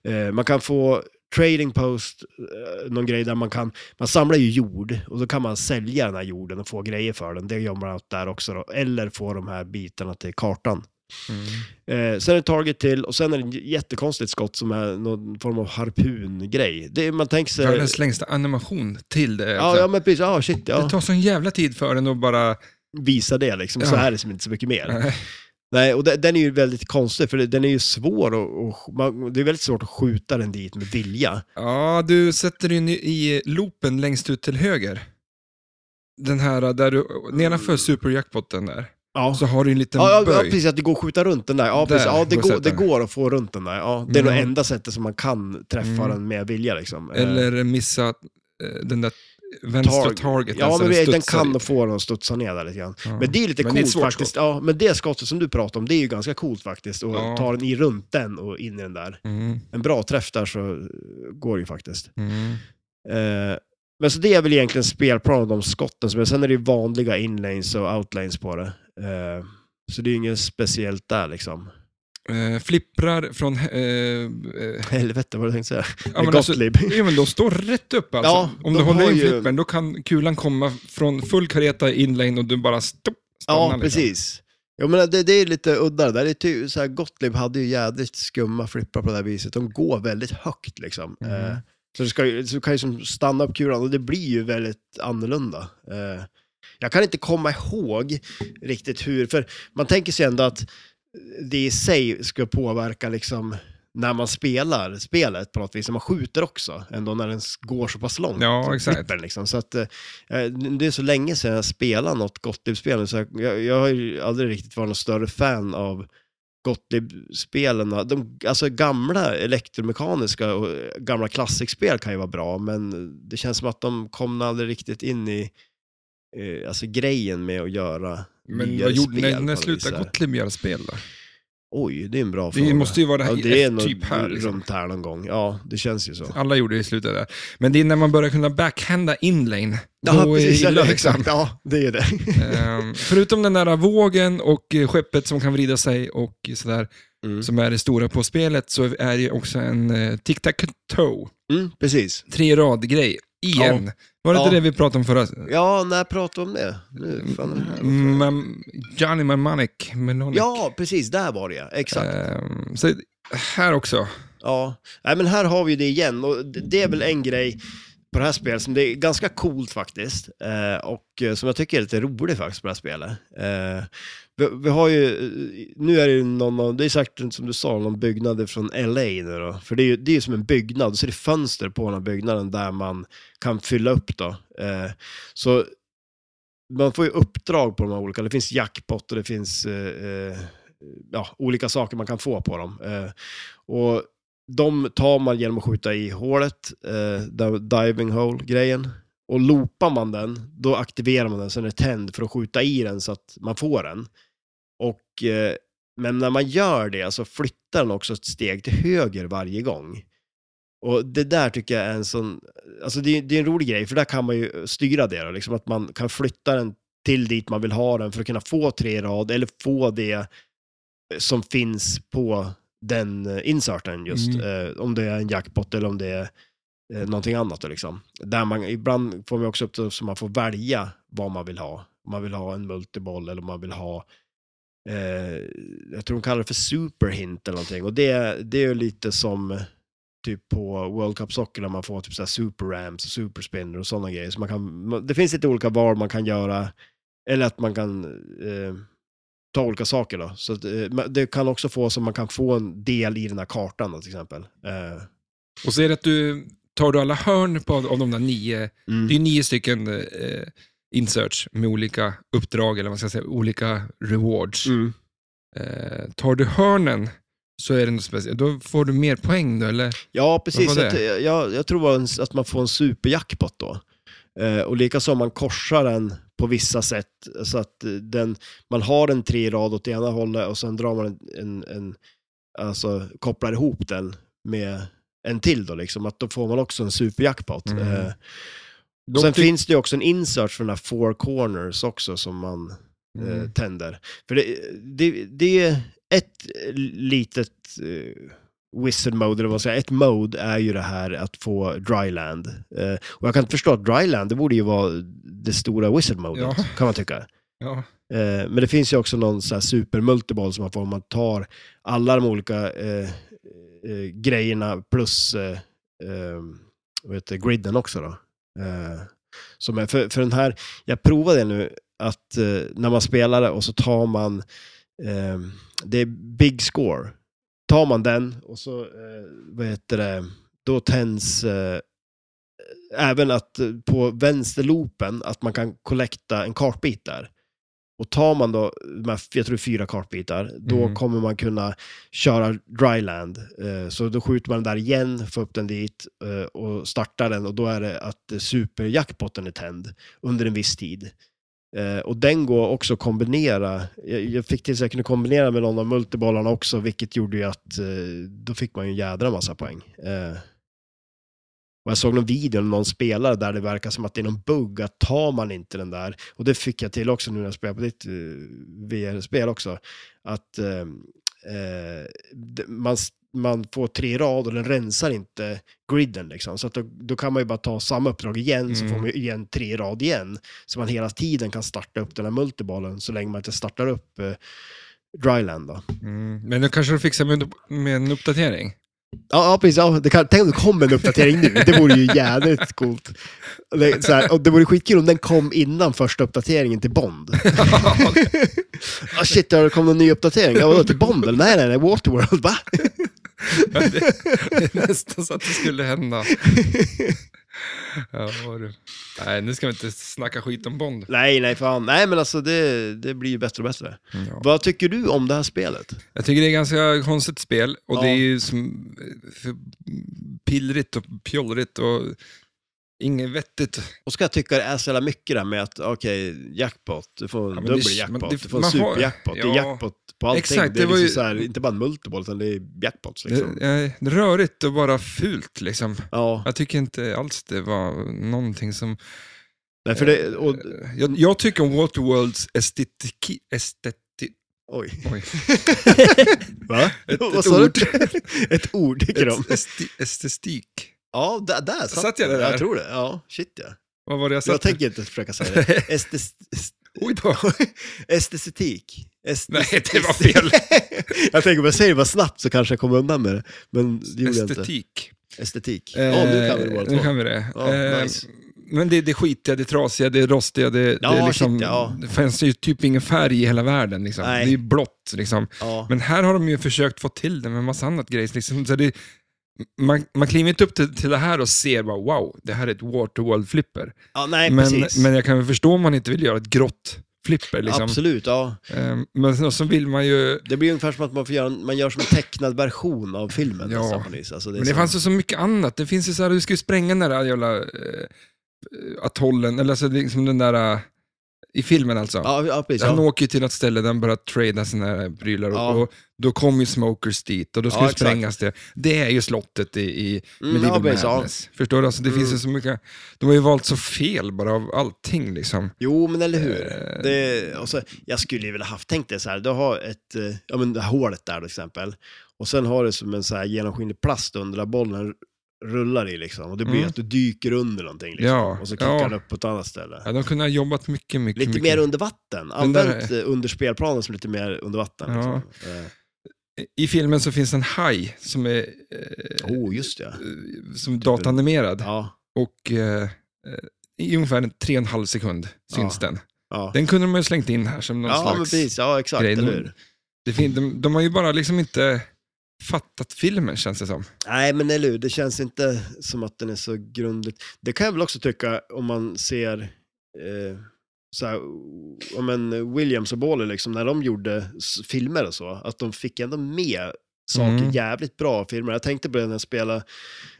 Speaker 1: eh, man kan få trading post, eh, någon grej där man kan man samlar ju jord och då kan man sälja den här jorden och få grejer för den. Det gör man där också då. Eller få de här bitarna till kartan.
Speaker 2: Mm.
Speaker 1: Eh, sen är det target till och sen är det ett jättekonstigt skott som är någon form av harpungrej. Det är, man tänker sig...
Speaker 2: Världens längsta animation till det.
Speaker 1: Mm.
Speaker 2: alltså.
Speaker 1: Ja, ja, men precis. Ja, shit.
Speaker 2: Det
Speaker 1: Ja.
Speaker 2: tar sån jävla tid för den att bara...
Speaker 1: Visa det liksom. Så
Speaker 2: Ja.
Speaker 1: här är det som inte så mycket mer. Nej, och de- den är ju väldigt konstig för den är ju svår och, och man, det är väldigt svårt att skjuta den dit med vilja.
Speaker 2: Ja, du sätter in i loopen längst ut till höger. Den här äh, där du, nedanför superjackpotten där,
Speaker 1: Ja.
Speaker 2: så har du en liten
Speaker 1: Mm. Ah. Ja, ja, ja,
Speaker 2: böj.
Speaker 1: precis, att det går att skjuta runt den där. Ja,
Speaker 2: Där
Speaker 1: precis. Ja, det,
Speaker 2: går
Speaker 1: går, det
Speaker 2: sätten.
Speaker 1: går att få runt den där. Ja, det är
Speaker 2: Mm.
Speaker 1: det enda sättet som man kan träffa
Speaker 2: Mm.
Speaker 1: den med vilja. Liksom. Eh,
Speaker 2: Eller missa eh, den där vänstra
Speaker 1: Targ-
Speaker 2: targeten.
Speaker 1: Ja,
Speaker 2: så
Speaker 1: men den
Speaker 2: studsar
Speaker 1: kan
Speaker 2: dit.
Speaker 1: att få den att studsa ner där lite grann.
Speaker 2: alltså, Ja.
Speaker 1: Men det är lite
Speaker 2: Men det är ett
Speaker 1: coolt
Speaker 2: svårt
Speaker 1: faktiskt. Ja, men det skottet som du pratar om, det är ju ganska coolt faktiskt. Och
Speaker 2: Ja.
Speaker 1: ta den i runt den och in i den där.
Speaker 2: Mm,
Speaker 1: En bra träff där så eh, går det ju faktiskt.
Speaker 2: mm.
Speaker 1: Eh, men så det är väl egentligen spelplan och de skotten. som är- Sen är det ju vanliga inlanes och outlanes på det. Eh, så det är ju inget speciellt där liksom.
Speaker 2: Eh, flipprar från... Eh, eh,
Speaker 1: Helvete vad du tänkte säga.
Speaker 2: ja, men alltså,
Speaker 1: Gottlieb.
Speaker 2: ja, men de står rätt upp alltså.
Speaker 1: Ja,
Speaker 2: Om
Speaker 1: de
Speaker 2: du håller
Speaker 1: har
Speaker 2: in
Speaker 1: ju-
Speaker 2: flippen, då kan kulan komma från full kareta inlane och du bara stopp, stannar.
Speaker 1: Ja,
Speaker 2: liksom.
Speaker 1: precis. Jag menar, det, det är lite udda det där. Det är ty, så här, Gottlieb hade ju jädrigt skumma flippar på det här viset. De går väldigt högt liksom.
Speaker 2: Mm.
Speaker 1: Eh, så du, ska, ju- så du kan ju som stanna upp kulan och det blir ju väldigt annorlunda. Eh, jag kan inte komma ihåg riktigt hur, för man tänker sig ändå att det i sig ska påverka liksom när man spelar spelet på något vis. Man skjuter också, ändå när den s- går så pass långt.
Speaker 2: Ja, exakt.
Speaker 1: Flippen, liksom. Så att, eh, det är så länge sedan jag spelade något Gottlieb-spel, så jag, jag, jag har ju aldrig riktigt varit någon större fan av Gottlieb-spelen. De, alltså gamla elektromekaniska och eh, gamla klassikspel kan ju vara bra, men det känns som att de kom aldrig riktigt in i eh, alltså grejen med att göra
Speaker 2: Men
Speaker 1: nyare
Speaker 2: vad gjorde,
Speaker 1: spel
Speaker 2: när,
Speaker 1: på
Speaker 2: när
Speaker 1: något vis
Speaker 2: slutade
Speaker 1: här.
Speaker 2: Gottlieb göra spel då?
Speaker 1: Oj, det är en bra fråga.
Speaker 2: Det måste ju vara det här,
Speaker 1: ja, det är nog
Speaker 2: typ här. Liksom.
Speaker 1: runt här någon gång. Ja, det känns ju så.
Speaker 2: Alla gjorde det i slutet där. Men det är när man börjar kunna backhanda inlane.
Speaker 1: Ja,
Speaker 2: då är det
Speaker 1: precis.
Speaker 2: illa,
Speaker 1: Ja,
Speaker 2: liksom.
Speaker 1: exakt. Ja, det är det.
Speaker 2: Ehm, förutom den där vågen och eh, skeppet som kan vrida sig och sådär,
Speaker 1: Mm.
Speaker 2: som är det stora på spelet, så är det ju också en eh, tic-tac-toe,
Speaker 1: Mm, precis.
Speaker 2: tre rad-grej, igen. Var det
Speaker 1: Ja.
Speaker 2: inte det vi pratade om förra?
Speaker 1: Ja, när pratade vi om det? Nu, fan är det här?
Speaker 2: Mm, Johnny Mnemonic. Mnemonic.
Speaker 1: Ja, precis. Där var det ja. Exakt.
Speaker 2: Ehm, så här också.
Speaker 1: Ja. Nej, men här har vi ju det igen. Och det det är väl en grej på det här spelet som det är ganska coolt faktiskt. Eh, och eh, som jag tycker är lite rolig faktiskt på det här spelet. Eh, vi, vi har ju, eh, nu är det ju någon av, det är säkert som du sa, någon byggnad från LA nu då. För det är ju, det är ju som en byggnad, så är det fönster på den här byggnaden där man kan fylla upp då. Eh, så man får ju uppdrag på de här olika, det finns jackpot och det finns eh, eh, ja, olika saker man kan få på dem. Eh, och de tar man genom att skjuta i hålet, eh, där- diving hole-grejen. Och loopar man den, då aktiverar man den så den är tänd för att skjuta i den så att man får den. Och, eh, men när man gör det så flyttar den också ett steg till höger varje gång. Och det där tycker jag är en sån, alltså det, är- det är en rolig grej, för där kan man ju styra det då, liksom att man kan flytta den till dit man vill ha den för att kunna få tre i rad eller få det eh, som finns på den eh, inserten just. Eh, om det är en jackpot eller om det är eh, någonting annat. Då, liksom. Där man, ibland får man också upp det så man får välja vad man vill ha. Om man vill ha en multiboll eller om man vill ha eh, jag tror de kallar det för superhint eller någonting. Och det, det är ju lite som typ på World Cup Soccer där man får typ så här super ramps och super spinner och sådana grejer. Så man kan, man- det finns lite olika val man kan göra. Eller att man kan eh, ta olika saker då. Så att, eh, men det kan också få så man kan få en del i den här kartan då, till exempel. Eh,
Speaker 2: Och så är det att du tar du alla hörn på, av de där nio,
Speaker 1: mm.
Speaker 2: det är nio stycken eh, inserts med olika uppdrag, eller vad man ska säga, olika rewards.
Speaker 1: Mm.
Speaker 2: Eh, tar du hörnen så är det något speciellt. Då får du mer poäng då, eller?
Speaker 1: Ja, precis.
Speaker 2: Vad var
Speaker 1: Jag, jag, jag tror en, att man får en superjackpot då. Eh, och likaså om man korsar den på vissa sätt, så att eh, den, man har den tre i rad åt ena hållet och sen drar man en, en, en alltså kopplar ihop den med en till då liksom, att då får man också en superjackpot.
Speaker 2: Mm.
Speaker 1: Eh,
Speaker 2: Dock
Speaker 1: och sen
Speaker 2: ty-
Speaker 1: finns det ju också en insert för den här four corners också som man
Speaker 2: Mm.
Speaker 1: eh, tänder. För det, det, det är ett litet eh, wizard mode, eller vad man säger, ett mode är ju det här att få dryland. Eh, och jag kan inte förstå att dryland, det borde ju vara det stora wizard modet,
Speaker 2: Ja.
Speaker 1: kan man tycka.
Speaker 2: Ja.
Speaker 1: Eh, men det finns ju också någon så här supermultiball som man får om man tar alla de olika eh, eh, grejerna plus eh, eh, vad heter, det, griden också då. Eh, som är, för, för den här, jag provade nu att eh, när man spelar det och så tar man, eh, det är big score. Tar man den och så, eh, vad heter det, då tänds eh, även att eh, på vänsterloopen att man kan kollekta en kartbit där. Och tar man då, de här, jag tror fyra kartbitar, då
Speaker 2: Mm.
Speaker 1: kommer man kunna köra dryland. Eh, så då skjuter man den där igen, får upp den dit eh, och startar den och då är det att eh, superjackpotten är tänd under en viss tid. Eh, och den går också att kombinera. Jag, jag fick till så jag kunde kombinera med någon av multibollarna också, vilket gjorde ju att eh, då fick man ju en jädra massa poäng. Eh, och jag såg någon video om någon spelare där det verkar som att det är någon bugg, att tar man inte den där, och det fick jag till också nu när jag spelar på ditt eh, VR-spel också, att eh, eh, d- man, s- man får tre rad och den rensar inte griden liksom. Så att då, då kan man ju bara ta samma uppdrag igen, så
Speaker 2: Mm.
Speaker 1: får man ju igen tre rad igen. Så man hela tiden kan starta upp den här multibollen så länge man inte startar upp eh, Dryland då.
Speaker 2: Mm. Men då kanske du fixar med, en upp- med en uppdatering?
Speaker 1: Ja, ja precis. Ja, det kan, tänk om det kom en uppdatering nu. Det vore ju jävligt coolt. Det, så här, och det vore skitkul om den kom innan första uppdateringen till Bond. Ah shit, har det kommit en ny uppdatering? Ja, vadå, till Bond? eller? Nej, nej, nej, Waterworld, va?
Speaker 2: det, det är nästan så att det skulle hända. Ja, vad du. Nej, nu ska vi inte snacka skit om Bond.
Speaker 1: Nej, nej, fan. Nej, men alltså det, det blir ju bättre och bättre.
Speaker 2: Ja.
Speaker 1: Vad tycker du om det här spelet?
Speaker 2: Jag tycker det är ganska konstigt spel och
Speaker 1: Ja.
Speaker 2: det är ju som för pillrigt och pjollrigt och inget vettigt.
Speaker 1: Och ska jag tycka det är så jävla mycket där med att, okej, jackpot, du får en
Speaker 2: men det-
Speaker 1: dubbel
Speaker 2: men
Speaker 1: jackpot,
Speaker 2: det-
Speaker 1: du får en
Speaker 2: man har-
Speaker 1: superjackpot, det
Speaker 2: ja.
Speaker 1: är jackpot på allting.
Speaker 2: Exakt,
Speaker 1: det är
Speaker 2: det var
Speaker 1: liksom
Speaker 2: ju-
Speaker 1: så här, inte bara en multiball, utan det är jackpots liksom.
Speaker 2: Det är eh, rörigt och bara fult liksom.
Speaker 1: Ja,
Speaker 2: Jag tycker inte alls det var någonting som...
Speaker 1: nej,
Speaker 2: Eh,
Speaker 1: för det, och,
Speaker 2: Jag, jag tycker om Waterworlds estetik... Esteti,
Speaker 1: oj.
Speaker 2: oj.
Speaker 1: Va?
Speaker 2: Ett-
Speaker 1: Vad
Speaker 2: ett
Speaker 1: sa du?
Speaker 2: ord.
Speaker 1: ett ord tycker de.
Speaker 2: Est, esti, estetik.
Speaker 1: Ja, där, där satt,
Speaker 2: Satt jag det där?
Speaker 1: Jag tror det. Ja, shit ja.
Speaker 2: Vad var det jag sa?
Speaker 1: Jag tänker inte försöka säga det. Estes, est,
Speaker 2: Oj då.
Speaker 1: estestetik. Estes,
Speaker 2: Nej, det var fel.
Speaker 1: jag tänker om jag säger det bara snabbt så kanske jag kommer undan med det. Men det gjorde jag inte.
Speaker 2: Estetik.
Speaker 1: Estetik. Ja, nu kan vi
Speaker 2: Eh,
Speaker 1: våra
Speaker 2: Nu
Speaker 1: två.
Speaker 2: kan vi det.
Speaker 1: Ja,
Speaker 2: Eh,
Speaker 1: nice.
Speaker 2: Men det, det är skitiga, det är trasiga, det är rostiga, det,
Speaker 1: Ja,
Speaker 2: det, är liksom,
Speaker 1: shit, ja.
Speaker 2: det finns ju typ ingen färg i hela världen. Liksom. Det
Speaker 1: Nej.
Speaker 2: är ju blått. Liksom.
Speaker 1: Ja.
Speaker 2: Men här har de ju försökt få till det med massa annat grejs. Liksom. Så det, man, man kliver inte upp till, till det här och ser bara wow, det här är ett Waterworld-flipper.
Speaker 1: ja, nej
Speaker 2: Men,
Speaker 1: precis.
Speaker 2: men jag kan väl förstå om man inte vill göra ett grått flipper. Liksom.
Speaker 1: Absolut, ja.
Speaker 2: Eh, Men så- så vill man ju...
Speaker 1: Det blir ungefär som att man, får göra, en- man gör som en tecknad version av filmen.
Speaker 2: Ja.
Speaker 1: nästan på nyss. Alltså, det är
Speaker 2: Men det
Speaker 1: så-
Speaker 2: fanns ju så mycket annat. Det finns ju så här, du ska ju spränga den där jävla eh, atollen, eller alltså det är liksom den där, eh, i filmen alltså.
Speaker 1: Ja, ja precis.
Speaker 2: Han
Speaker 1: Ja. Mm,
Speaker 2: åker ju till något ställe där han börjar trada sina här prylar och,
Speaker 1: Ja.
Speaker 2: och då kommer ju smokers dit och då ska
Speaker 1: Ja,
Speaker 2: det sprängas det. Det är ju slottet i, i
Speaker 1: Mm,
Speaker 2: Medieval
Speaker 1: ja, precis, ja. Mm.
Speaker 2: Madness. Förstår du? Alltså, det finns ju så mycket, de har ju valt så fel bara av allting liksom.
Speaker 1: Jo, men eller hur.
Speaker 2: Eh.
Speaker 1: Det, och så, jag skulle ju vilja haft tänkt det så här, du har ett, eh, ja men det här hålet där till exempel, och sen har du som en så här genomskinlig plast under där bollen rullar i liksom. Och det blir
Speaker 2: Mm.
Speaker 1: att du dyker under någonting liksom.
Speaker 2: Ja,
Speaker 1: Och så klickar
Speaker 2: ja.
Speaker 1: den upp på ett annat ställe.
Speaker 2: Ja, de kunde ha jobbat mycket, mycket,
Speaker 1: Lite
Speaker 2: mycket.
Speaker 1: mer under vatten.
Speaker 2: där-
Speaker 1: Använt eh, under spelplanen som lite mer under vatten.
Speaker 2: Ja.
Speaker 1: Liksom. Eh,
Speaker 2: I filmen så finns en haj som är eh,
Speaker 1: oh, just det.
Speaker 2: eh, som datanimerad.
Speaker 1: Ja,
Speaker 2: Och eh, eh, i ungefär tre och en halv sekund syns den.
Speaker 1: ja.
Speaker 2: Den kunde de ju ha slängt in här som någon
Speaker 1: ja men
Speaker 2: slags...
Speaker 1: precis. Ja, exakt.
Speaker 2: grej.
Speaker 1: Eller hur?
Speaker 2: Det fin- de, de har ju bara liksom inte fattat filmen känns det som.
Speaker 1: Nej, men eller hur? Det känns inte som att den är så grundligt. Det kan jag väl också tycka om man ser eh, så här, om en Williams och Baller, liksom, när de gjorde s- filmer och så, att de fick ändå med saker
Speaker 2: Mm.
Speaker 1: jävligt bra i filmer. Jag tänkte på det när jag spelade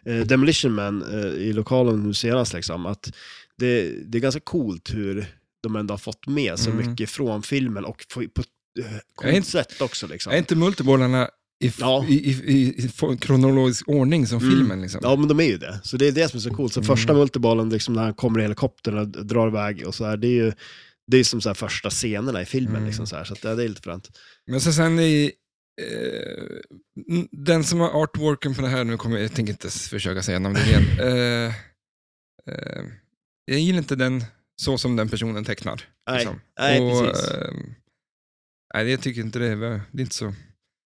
Speaker 1: eh, Demolition Man eh, i lokalen nu senast, liksom, att det, det är ganska coolt hur de ändå har fått med så
Speaker 2: Mm.
Speaker 1: mycket från filmen och på, på ett eh,
Speaker 2: Jag är
Speaker 1: coolt
Speaker 2: inte-
Speaker 1: sätt också. Liksom.
Speaker 2: Är inte multibollarna i, f-
Speaker 1: Ja.
Speaker 2: i, i, i, i f- kronologisk ordning som
Speaker 1: Mm.
Speaker 2: filmen? Liksom?
Speaker 1: Ja, men de är ju det. Så det är det som är så coolt. Så
Speaker 2: Mm.
Speaker 1: första multibollen, liksom, när han kommer i helikoptern och drar iväg och så här, det är ju det är som så här första scenerna i filmen.
Speaker 2: Mm.
Speaker 1: Liksom, så här, så att, ja, det är lite fränt.
Speaker 2: Men så sen i... Eh, n- den som har artworken på det här, nu kommer jag, jag tänker inte s- försöka säga namnet igen. Eh, eh, jag gillar inte den så som den personen tecknar.
Speaker 1: Nej,
Speaker 2: liksom.
Speaker 1: nej
Speaker 2: Och,
Speaker 1: precis.
Speaker 2: eh, nej, jag tycker inte det. är- Det är inte så.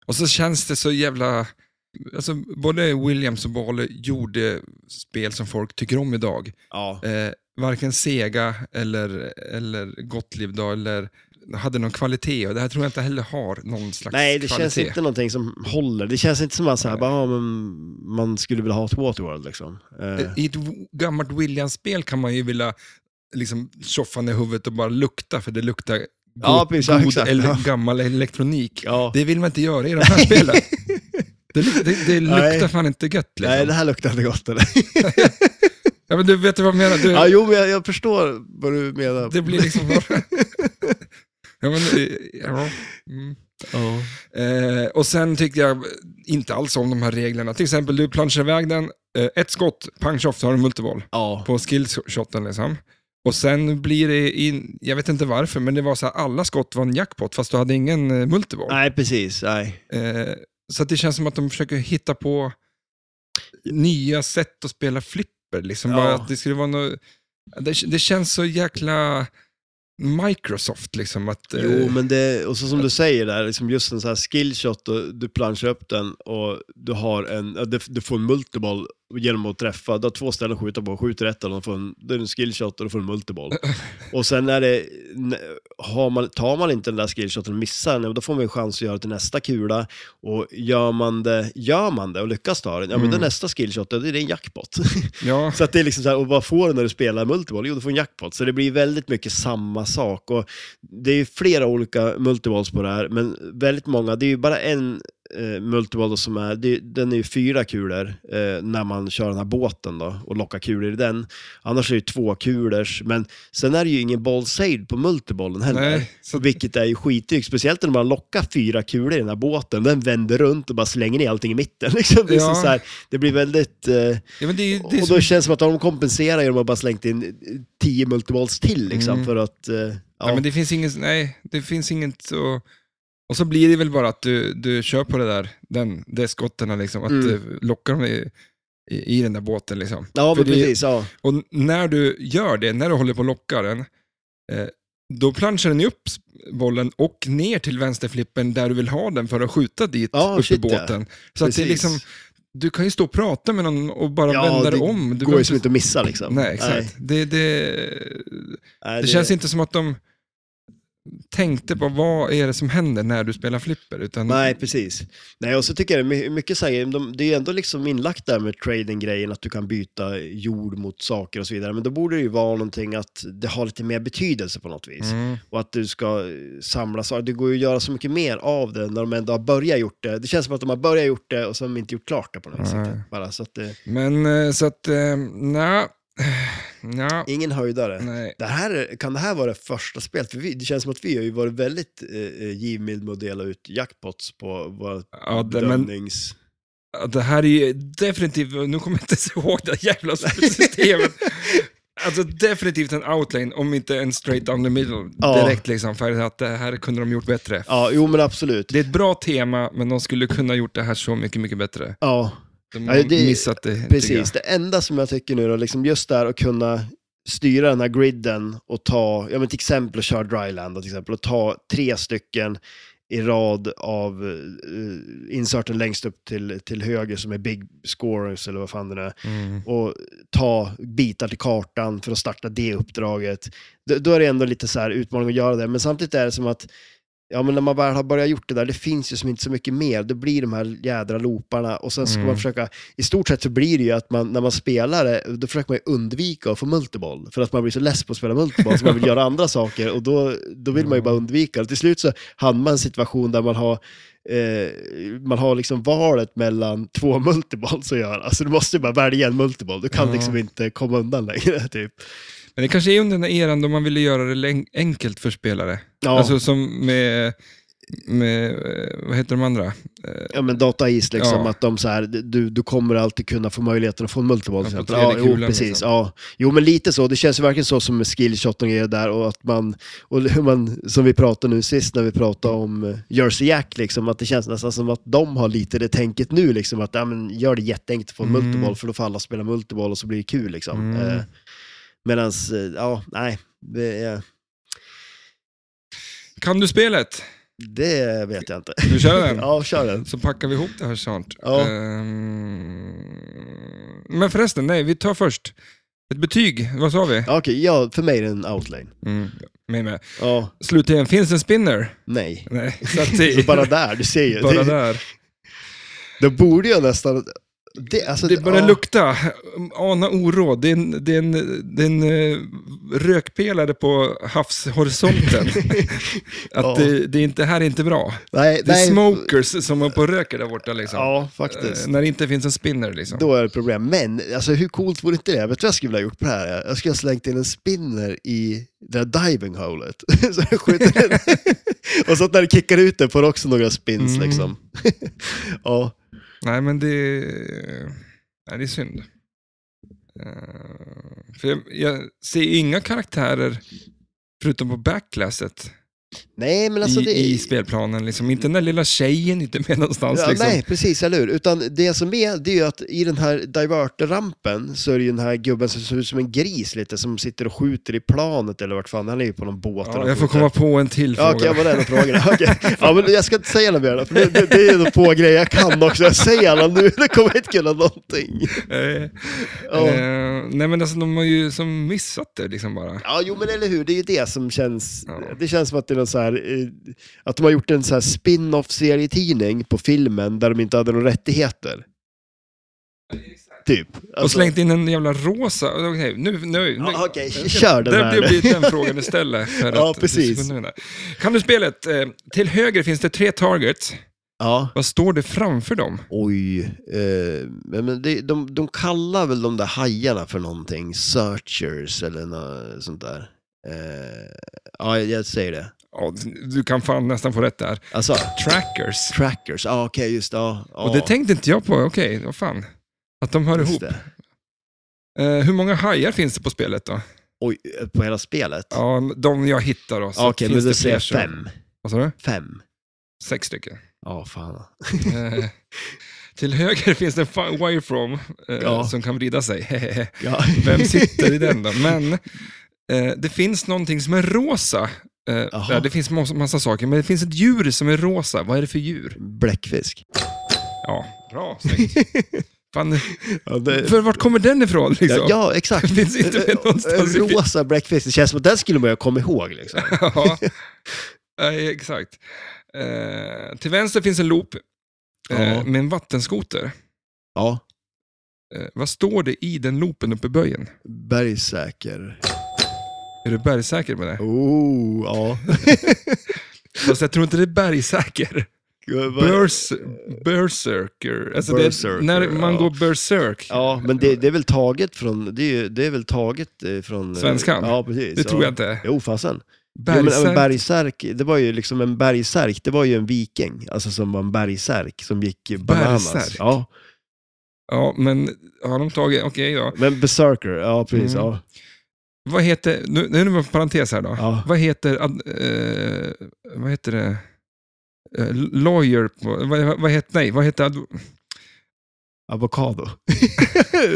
Speaker 2: Och så känns det så jävla... Alltså, både Williams och Bale gjorde spel som folk tycker om idag.
Speaker 1: Ja.
Speaker 2: Eh, varken Sega eller, eller Gottlieb då, eller hade någon kvalitet. Och det här tror jag inte heller har någon slags
Speaker 1: Nej, det
Speaker 2: kvalitet.
Speaker 1: känns inte någonting som håller. Det känns inte som att så här, bara, ja, men man skulle vilja ha ett Waterworld. Liksom. Eh,
Speaker 2: I ett w- gammalt Williams-spel kan man ju vilja liksom tjoffa ner huvudet och bara lukta, för det luktar go-
Speaker 1: Ja, precis, ja,
Speaker 2: god
Speaker 1: exakt,
Speaker 2: eller
Speaker 1: ja.
Speaker 2: gammal elektronik.
Speaker 1: ja.
Speaker 2: Det vill man inte göra i de här spelen. Det, luk- det, det luktar
Speaker 1: Nej.
Speaker 2: fan inte gött liksom.
Speaker 1: Nej, det här luktar inte gott. Eller?
Speaker 2: ja, men du vet du vad jag menar? Du,
Speaker 1: ja, jo, men jag, jag förstår vad du menar.
Speaker 2: det blir liksom bara... ja, men, eh, ja. Mm.
Speaker 1: Ja.
Speaker 2: Eh, och sen tyckte jag inte alls om de här reglerna. Till exempel, du planschar iväg den, eh, ett skott, pang tjoff, så har du multiboll.
Speaker 1: Ja.
Speaker 2: På skillshoten liksom. Och sen blir det, in, jag vet inte varför, men det var så här, alla skott var en jackpot, fast du hade ingen eh, multiboll.
Speaker 1: Nej, precis. Nej.
Speaker 2: Eh, så att det känns som att de försöker hitta på nya sätt att spela flipper. Liksom.
Speaker 1: Ja.
Speaker 2: Bara att det, skulle vara nå det, det känns så jäkla Microsoft. Liksom, att, eh,
Speaker 1: Jo, men det, och så som du säger där, liksom just en sån här skillshot, och du planschar upp den och du, har en, ja, du, du får en multiboll genom att träffa, du har två ställen att skjuta på, skjuter ett av dem, får en, då är det en skillshot och du får en multiboll. och sen är det, n- har man, tar man inte den där skillshoten och missar den, då får man en chans att göra det till nästa kula. Och gör man det, gör man det och lyckas ta den, ja men
Speaker 2: Mm.
Speaker 1: då nästa skillshot, då är det en jackpot.
Speaker 2: ja,
Speaker 1: Så att det är liksom så här, och vad får du när du spelar multiboll? Jo, du får en jackpot. Så det blir väldigt mycket samma sak. Och det är ju flera olika multibolls på det här, men väldigt många. Det är ju bara en eh, multiboll då som är, det, är- den är ju fyra kulor eh, när man kör den här båten då och lockar kulor i den. Annars är det ju två kulors, men sen är det ju ingen ball saved på multibollen heller.
Speaker 2: nej, så,
Speaker 1: Vilket är ju skitdrygt, speciellt när man lockar fyra kulor i den här båten. Den vänder runt och bara slänger ner allting i mitten. Liksom. Det, är
Speaker 2: Ja.
Speaker 1: så här, det blir väldigt... Eh,
Speaker 2: ja, men det, är- det är
Speaker 1: och
Speaker 2: så,
Speaker 1: då känns det som att de kompenserar genom att bara slängt in 10 multiballs till liksom
Speaker 2: Mm.
Speaker 1: för att... eh, ja.
Speaker 2: nej, men det finns inget, nej, det finns inget så... Och så blir det väl bara att du, du kör på det där, den, de skotten, liksom, att
Speaker 1: Mm.
Speaker 2: du lockar dem i, i, i den där båten. Liksom.
Speaker 1: ja, men
Speaker 2: för det-
Speaker 1: precis. Ja.
Speaker 2: Och n- när du gör det, när du håller på att locka den, eh, då planschar den ju upp s- bollen och ner till vänsterflippen där du vill ha den för att skjuta dit
Speaker 1: Ja,
Speaker 2: upp i
Speaker 1: shit, ja.
Speaker 2: båten. Så att det är
Speaker 1: Precis.
Speaker 2: liksom, du kan ju stå och prata med någon och bara
Speaker 1: Ja,
Speaker 2: vända det
Speaker 1: det
Speaker 2: om. Du
Speaker 1: Det går
Speaker 2: behöver
Speaker 1: ju som inte att missa liksom.
Speaker 2: Nej, exakt. Det, det,
Speaker 1: Nej,
Speaker 2: det,
Speaker 1: det-
Speaker 2: känns inte som att de tänkte på vad är det som händer när du spelar flipper. Utan,
Speaker 1: Nej, precis. Nej, och så tycker jag det är my- mycket så här, de, det är ju ändå liksom inlagt där med trading-grejen, att du kan byta jord mot saker och så vidare. Men då borde det ju vara någonting att det har lite mer betydelse på något vis.
Speaker 2: Mm.
Speaker 1: och att du ska eh, samla saker. Det går ju att göra så mycket mer av det när de ändå har börjat gjort det. Det känns som att de har börjat gjort det och så har de inte gjort klart det på något
Speaker 2: Nej.
Speaker 1: sätt. Bara, så att det,
Speaker 2: Men eh, så att, eh, nja, nja,
Speaker 1: ingen höjdare.
Speaker 2: nej.
Speaker 1: Det här, är- kan det här vara det första spelet? För vi, det känns som att vi har ju varit väldigt eh, givmild med att dela ut jackpots på våra
Speaker 2: Ja, det, men
Speaker 1: bedömnings...
Speaker 2: Ja, Det här är ju definitivt, nu kommer jag inte ens ihåg det här jävla systemet. Alltså definitivt en outline, om inte en straight down the middle
Speaker 1: Ja.
Speaker 2: direkt liksom. För att det här kunde de gjort bättre.
Speaker 1: Ja, jo men absolut.
Speaker 2: Det är ett bra tema, men de skulle kunna gjort det här så mycket, mycket bättre.
Speaker 1: Ja.
Speaker 2: De
Speaker 1: Ja,
Speaker 2: har
Speaker 1: det-
Speaker 2: missat det. lite grann.
Speaker 1: Precis, det enda som jag tycker nu då, liksom just där att kunna styra den här griden och ta, ja men till exempel att köra dryland då, till exempel, och ta tre stycken i rad av eh, inserten längst upp till, till höger som är big scorers eller vad fan det nu är
Speaker 2: Mm.
Speaker 1: och ta bitar till kartan för att starta det uppdraget. Då, då är det ändå lite så här utmaning att göra det, men samtidigt är det som att Ja, men när man väl har börjat gjort det där, det finns ju som inte så mycket mer. Det blir de här jädra looparna och sen ska
Speaker 2: Mm.
Speaker 1: man försöka, i stort sett så blir det ju att man, när man spelar det, då försöker man ju undvika att få multiboll. För att man blir så less på att spela multiboll så man vill göra andra saker och då, då vill man ju bara undvika det. Till slut så hamnar man i en situation där man har eh, man har liksom valet mellan två multiballs att göra. Alltså du måste ju bara välja en multiball. Du kan
Speaker 2: Ja.
Speaker 1: liksom inte komma undan längre. Typ.
Speaker 2: Men det kanske är under den här eran då man ville göra det läng- enkelt för spelare.
Speaker 1: Ja,
Speaker 2: Alltså som med, med, eh, vad heter de andra?
Speaker 1: ja, men data is liksom,
Speaker 2: Ja.
Speaker 1: att de så här, du, du kommer alltid kunna få möjligheten att få en multiball.
Speaker 2: Ja,
Speaker 1: till
Speaker 2: på
Speaker 1: exempel.
Speaker 2: tredje
Speaker 1: Ja, jo,
Speaker 2: kulan,
Speaker 1: precis.
Speaker 2: liksom.
Speaker 1: Ja. Jo, men lite så. Det känns ju verkligen så som med skillshot och grejer där. Och att man, och hur man, som vi pratade nu sist när vi pratade om eh, Jersey Jack, liksom, att det känns nästan som att de har lite det tänket nu. Liksom, att ja, men, gör det jätteenkelt att få en
Speaker 2: Mm.
Speaker 1: multiball, för då får alla spela multiball och så blir det kul. Liksom.
Speaker 2: Mm.
Speaker 1: Eh, Medans, eh, ja, nej. Det, är-
Speaker 2: Kan du spelet?
Speaker 1: det vet jag inte.
Speaker 2: Du kör den?
Speaker 1: ja, kör den.
Speaker 2: Så packar vi ihop det här snart.
Speaker 1: Ja.
Speaker 2: Ehm, men förresten, nej, vi tar först ett betyg. Vad sa vi?
Speaker 1: Ja, Okej, ja, för mig är det en outlane.
Speaker 2: Mm. Med, med.
Speaker 1: Ja,
Speaker 2: Slutligen, finns en spinner?
Speaker 1: nej.
Speaker 2: Nej, så att det,
Speaker 1: Så bara där, du ser ju. det,
Speaker 2: bara där.
Speaker 1: då borde jag nästan... Det, alltså,
Speaker 2: Det börjar
Speaker 1: ja.
Speaker 2: lukta, ana oråd. Det är en, det är en, det är en eh, rökpelare på havshorisonten. att
Speaker 1: Ja.
Speaker 2: det, det är inte, här är inte bra.
Speaker 1: Nej,
Speaker 2: Det är
Speaker 1: nej.
Speaker 2: smokers som är på och röker där borta liksom.
Speaker 1: Ja, faktiskt.
Speaker 2: Eh, När det inte finns en spinner liksom.
Speaker 1: Då är det problem. Men alltså, hur coolt vore inte det? Vet du vad jag skulle ha gjort på det här? Jag skulle ha slängt in en spinner i det där diving holet. så jag skjuter den. Och så att när det kickar ut den får det också några spins
Speaker 2: Mm.
Speaker 1: liksom. ja,
Speaker 2: Nej, men det, nej, det är synd. Eh, För jag, jag ser inga karaktärer, förutom på backlasset,
Speaker 1: nej men alltså
Speaker 2: i,
Speaker 1: det...
Speaker 2: i spelplanen. Liksom. Inte den där lilla tjejen, inte med någonstans.
Speaker 1: Ja,
Speaker 2: liksom.
Speaker 1: Nej, precis, eller hur? Utan det som är, det är ju att i den här diverter-rampen så är det ju den här gubben som ser ut som en gris lite, som sitter och skjuter i planet eller vart fan, han är ju på någon båt. eller
Speaker 2: ja, jag får
Speaker 1: skjuter.
Speaker 2: komma på en till
Speaker 1: Ja,
Speaker 2: fråga.
Speaker 1: okej, jag var den och frågade. Okej. Ja, men jag ska inte säga något mer, för det, det, det är en på grej jag kan också. Jag säger alla nu, det kommer jag inte kunna någonting.
Speaker 2: Eh,
Speaker 1: Ja.
Speaker 2: eh, nej, men alltså, de har ju som missat det liksom bara.
Speaker 1: Ja, jo men eller hur, det är ju det som känns,
Speaker 2: Ja.
Speaker 1: det känns som att det är någon så här, eh, att de har gjort en så här spin-off serietidning på filmen där de inte hade några rättigheter. Typ.
Speaker 2: Och
Speaker 1: Alltså-
Speaker 2: slängt in en jävla rosa. Okej, nu, nu, nu.
Speaker 1: Ja, Okej, kör den
Speaker 2: Det,
Speaker 1: här.
Speaker 2: det blir den frågan istället. För
Speaker 1: Ja,
Speaker 2: att
Speaker 1: precis.
Speaker 2: Kan du spelet? Eh, till höger finns det tre targets.
Speaker 1: Ja.
Speaker 2: Vad står det framför dem?
Speaker 1: Oj, eh, men men det, de, de kallar väl de där hajarna för någonting, searchers eller något sånt där. Eh, ja, jag säger det.
Speaker 2: Ja, du kan fan nästan få rätt där.
Speaker 1: Alltså,
Speaker 2: Trackers.
Speaker 1: trackers, ja okej just det. Ja, ja,
Speaker 2: Och det tänkte inte jag på. Okej, vad fan. Att de hör
Speaker 1: just
Speaker 2: ihop.
Speaker 1: det.
Speaker 2: Eh, hur många hajar finns det på spelet då?
Speaker 1: Oj, eh, på hela spelet?
Speaker 2: Ja, de jag hittar då. så
Speaker 1: Ja, okej,
Speaker 2: finns
Speaker 1: men då
Speaker 2: det
Speaker 1: säger jag
Speaker 2: fler, så-
Speaker 1: fem.
Speaker 2: Vad sa du?
Speaker 1: Fem.
Speaker 2: Sex stycken.
Speaker 1: Ja, fan.
Speaker 2: Eh, till höger finns det en fi- wirefrom eh,
Speaker 1: Ja.
Speaker 2: som kan vrida sig.
Speaker 1: Ja.
Speaker 2: Vem sitter i den då? Men eh, det finns någonting som är rosa. Eh,
Speaker 1: Jaha.
Speaker 2: där det finns massa, massa saker, men det finns ett djur som är rosa. Vad är det för djur?
Speaker 1: Bläckfisk.
Speaker 2: Ja, bra, snyggt. Fan,
Speaker 1: Ja, det...
Speaker 2: för vart kommer den ifrån? Liksom?
Speaker 1: Eh, Ja, ja, exakt.
Speaker 2: Det finns inte med någonstans i-
Speaker 1: Rosa bläckfisk, det känns som att den skulle man ju komma ihåg. Liksom.
Speaker 2: Ja, eh, exakt. Eh, till vänster finns en loop eh,
Speaker 1: Ja.
Speaker 2: med en vattenskoter.
Speaker 1: Ja,
Speaker 2: Eh, vad står det i den loopen uppe i böjen?
Speaker 1: bergsäker.
Speaker 2: Är du bergsäker på det?
Speaker 1: Oh, ja.
Speaker 2: Fast jag tror inte det är bergsäker.
Speaker 1: Gud, vad-
Speaker 2: Bers, berserker. Alltså
Speaker 1: Berserker,
Speaker 2: det, när man
Speaker 1: ja.
Speaker 2: går berserk.
Speaker 1: Ja, men det, det är väl taget från... Det är, ju, det är väl taget eh, från... eh,
Speaker 2: Svenskan?
Speaker 1: Ja, precis.
Speaker 2: det tror
Speaker 1: ja.
Speaker 2: jag inte.
Speaker 1: Jo, fasen. Jo, men,
Speaker 2: Bergserk.
Speaker 1: men bergsärk, det var ju liksom en bergsärk, det var ju en viking, alltså som var en bergsärk som gick eh, bananas.
Speaker 2: Bergsärk?
Speaker 1: Ja,
Speaker 2: ja, men har de tagit... Okej, ja.
Speaker 1: men berserker, ja precis.
Speaker 2: Mm.
Speaker 1: Ja.
Speaker 2: Vad heter... Nu, nu är det en parentes här då.
Speaker 1: Ja.
Speaker 2: Vad heter... ad- eh, vad heter det? Eh, lawyer på... Vad, vad heter... Nej, vad heter... Ad,
Speaker 1: Avokado.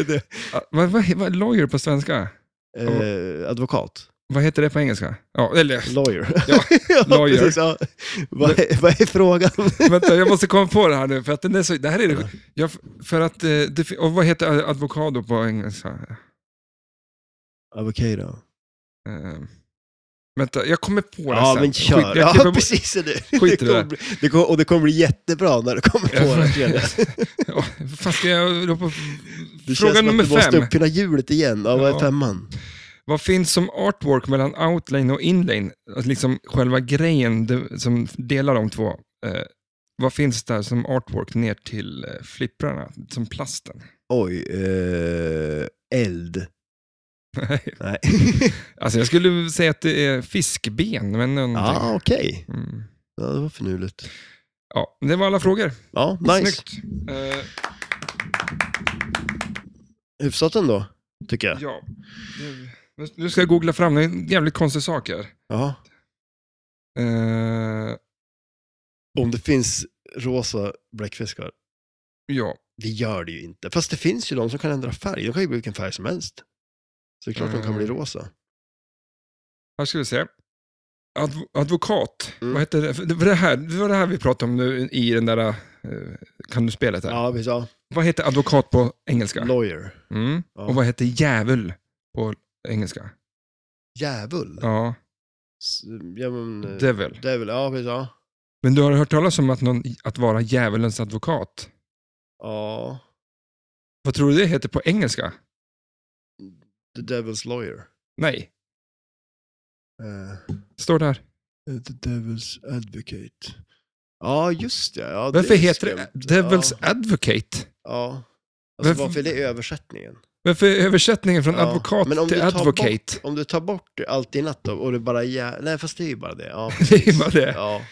Speaker 1: det,
Speaker 2: Ah, Vad, vad, vad, lawyer på svenska?
Speaker 1: eh, advokat.
Speaker 2: Vad heter det på engelska? Ja, eller,
Speaker 1: Lawyer.
Speaker 2: Ja, lawyer.
Speaker 1: precis, ja. Vad, är, vad är frågan?
Speaker 2: vänta, jag måste komma på det här nu, för att den är så, det här är det, jag, för att, eh, det, fi- och vad heter advokado på engelska?
Speaker 1: Avokado.
Speaker 2: Eh, vänta, jag kommer på det
Speaker 1: Ja,
Speaker 2: sen.
Speaker 1: men kör.
Speaker 2: Skit, jag
Speaker 1: ja,
Speaker 2: klipper bort-
Speaker 1: precis. Det,
Speaker 2: i
Speaker 1: det,
Speaker 2: det
Speaker 1: kommer,
Speaker 2: där.
Speaker 1: bli- det kommer, och det kommer bli jättebra när du kommer på det. verkligen.
Speaker 2: Ja, vad fan ska jag hålla på-
Speaker 1: Det känns
Speaker 2: Fråga
Speaker 1: som
Speaker 2: nummer
Speaker 1: att du måste
Speaker 2: fem.
Speaker 1: uppfinna hjulet igen. Ja, vad är
Speaker 2: Ja.
Speaker 1: femman?
Speaker 2: Vad finns som artwork mellan outlane och inlane? Alltså liksom själva grejen det- som delar de två. Eh, vad finns där som artwork ner till eh, flipprarna, som plasten?
Speaker 1: Oj, eh, eld.
Speaker 2: Nej.
Speaker 1: Nej.
Speaker 2: alltså jag skulle säga att det är fiskben, men någonting.
Speaker 1: ja, okej.
Speaker 2: Mm.
Speaker 1: Ja, det var finurligt.
Speaker 2: Ja, det var alla frågor.
Speaker 1: Ja, nice.
Speaker 2: Snyggt. Eh,
Speaker 1: Hyfsat ändå, tycker jag.
Speaker 2: ja. Nu- Nu ska jag googla fram, det är en jävligt konstig sak här.
Speaker 1: Ja.
Speaker 2: Eh,
Speaker 1: Om det finns rosa bläckfiskar.
Speaker 2: ja.
Speaker 1: Det gör det ju inte. Fast det finns ju de som kan ändra färg. De kan ju bli vilken färg som helst. Så det är klart de kan bli
Speaker 2: Mm.
Speaker 1: rosa.
Speaker 2: Här ska vi se. Adv- advokat.
Speaker 1: Mm.
Speaker 2: Vad heter det? För Det var det, här, det var det här vi pratade om nu i den där eh, kan du-spelet. Här.
Speaker 1: Ja, visst. Ja.
Speaker 2: Vad heter advokat på engelska?
Speaker 1: Lawyer.
Speaker 2: Mm.
Speaker 1: Ja.
Speaker 2: Och vad heter djävul på engelska?
Speaker 1: Djävul.
Speaker 2: Ja,
Speaker 1: S- Ja, men, eh,
Speaker 2: devil.
Speaker 1: Devil. Ja, precis. Ja.
Speaker 2: Men du har hört talas om att, någon, att vara djävulens advokat?
Speaker 1: ja.
Speaker 2: Vad tror du det heter på engelska?
Speaker 1: The Devil's Lawyer.
Speaker 2: Nej,
Speaker 1: Eh,
Speaker 2: står där.
Speaker 1: the Devil's Advocate. Ja, just det. Ja,
Speaker 2: Varför
Speaker 1: det är
Speaker 2: heter
Speaker 1: skumt.
Speaker 2: det Devil's
Speaker 1: Ja.
Speaker 2: Advocate?
Speaker 1: ja. Alltså,
Speaker 2: Varför-
Speaker 1: varför är det översättningen?
Speaker 2: Varför är översättningen från
Speaker 1: Ja,
Speaker 2: advokat
Speaker 1: men om du
Speaker 2: till
Speaker 1: tar
Speaker 2: advocate?
Speaker 1: Om du tar bort allt i natt då, och det bara jä... Nej, fast det är ju bara det. Ja,
Speaker 2: Det är ju bara det.
Speaker 1: ja,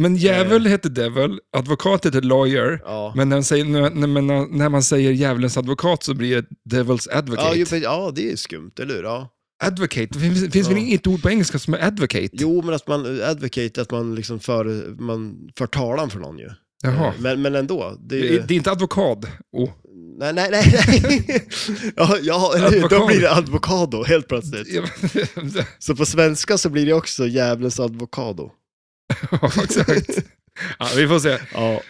Speaker 2: Men djävul heter devil, advokat heter lawyer.
Speaker 1: ja.
Speaker 2: Men när, man säger, när, när, när man säger djävulens advokat så blir det devil's advocate.
Speaker 1: Ja, ju, men- ja, det är skumt, eller hur? Ja.
Speaker 2: advocate, det finns, det finns väl
Speaker 1: Ja.
Speaker 2: inget ord på engelska som är advocate?
Speaker 1: Jo, men att man advocate, att man liksom för, man för talan för någon ju.
Speaker 2: Jaha.
Speaker 1: Men, men ändå, eh, det är
Speaker 2: Det
Speaker 1: ju...
Speaker 2: är, det är inte advokat. Oh.
Speaker 1: Nej, nej, nej. nej. ja, ja, eller hur? Då
Speaker 2: Advokado.
Speaker 1: blir det advokado helt plötsligt.
Speaker 2: Ja,
Speaker 1: Så på svenska så blir det också djävulens advokado.
Speaker 2: exakt. Ja, vi får se.
Speaker 1: Ja.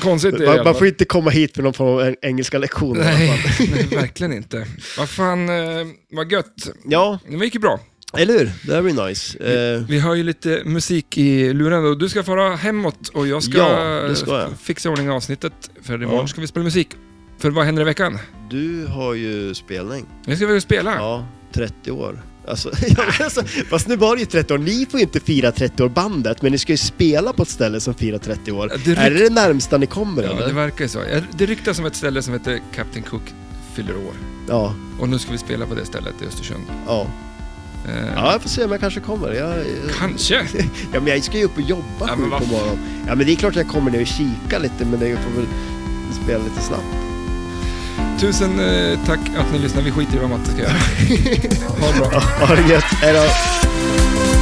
Speaker 2: Konstigt är det i
Speaker 1: Man,
Speaker 2: alla
Speaker 1: man
Speaker 2: fall.
Speaker 1: får inte komma hit med någon form av en- engelska lektion i alla
Speaker 2: Nej,
Speaker 1: fall.
Speaker 2: nej, verkligen inte. Vad fan, eh, vad gött.
Speaker 1: Ja,
Speaker 2: Det gick ju bra.
Speaker 1: eller hur? Det här blir nice. Eh,
Speaker 2: Vi har ju lite musik i luren och du ska fara hemåt och jag ska,
Speaker 1: Ja, det ska jag.
Speaker 2: fixa i ordning avsnittet för imorgon
Speaker 1: Ja.
Speaker 2: ska vi spela musik. För vad händer i veckan?
Speaker 1: du har ju spelning.
Speaker 2: Nu ska vi spela.
Speaker 1: Ja, 30 år. Alltså, ja, men alltså, fast nu var det ju 30 år. Ni får ju inte fira 30 år bandet, men ni ska ju spela på ett ställe som firar 30 år.
Speaker 2: Ja, det rykt-
Speaker 1: är det det närmsta ni kommer
Speaker 2: Ja,
Speaker 1: eller?
Speaker 2: det verkar ju så. Jag- Det ryktas om ett ställe som heter Captain Cook fyller år.
Speaker 1: Ja,
Speaker 2: Och nu ska vi spela på det stället i Östersund.
Speaker 1: ja.
Speaker 2: Eh,
Speaker 1: Ja, jag får se om jag kanske kommer. Jag, jag-
Speaker 2: Kanske.
Speaker 1: ja, men jag ska ju upp och jobba
Speaker 2: Ja,
Speaker 1: sju
Speaker 2: men vad-
Speaker 1: på morgonen. Ja, men det är klart jag kommer ner och kika lite, men jag får väl spela lite snabbt.
Speaker 2: Tusen eh, tack att ni lyssnar. Vi skiter i vad Matte ska göra. Ha det bra.
Speaker 1: Ja, ha det gött. Hej då.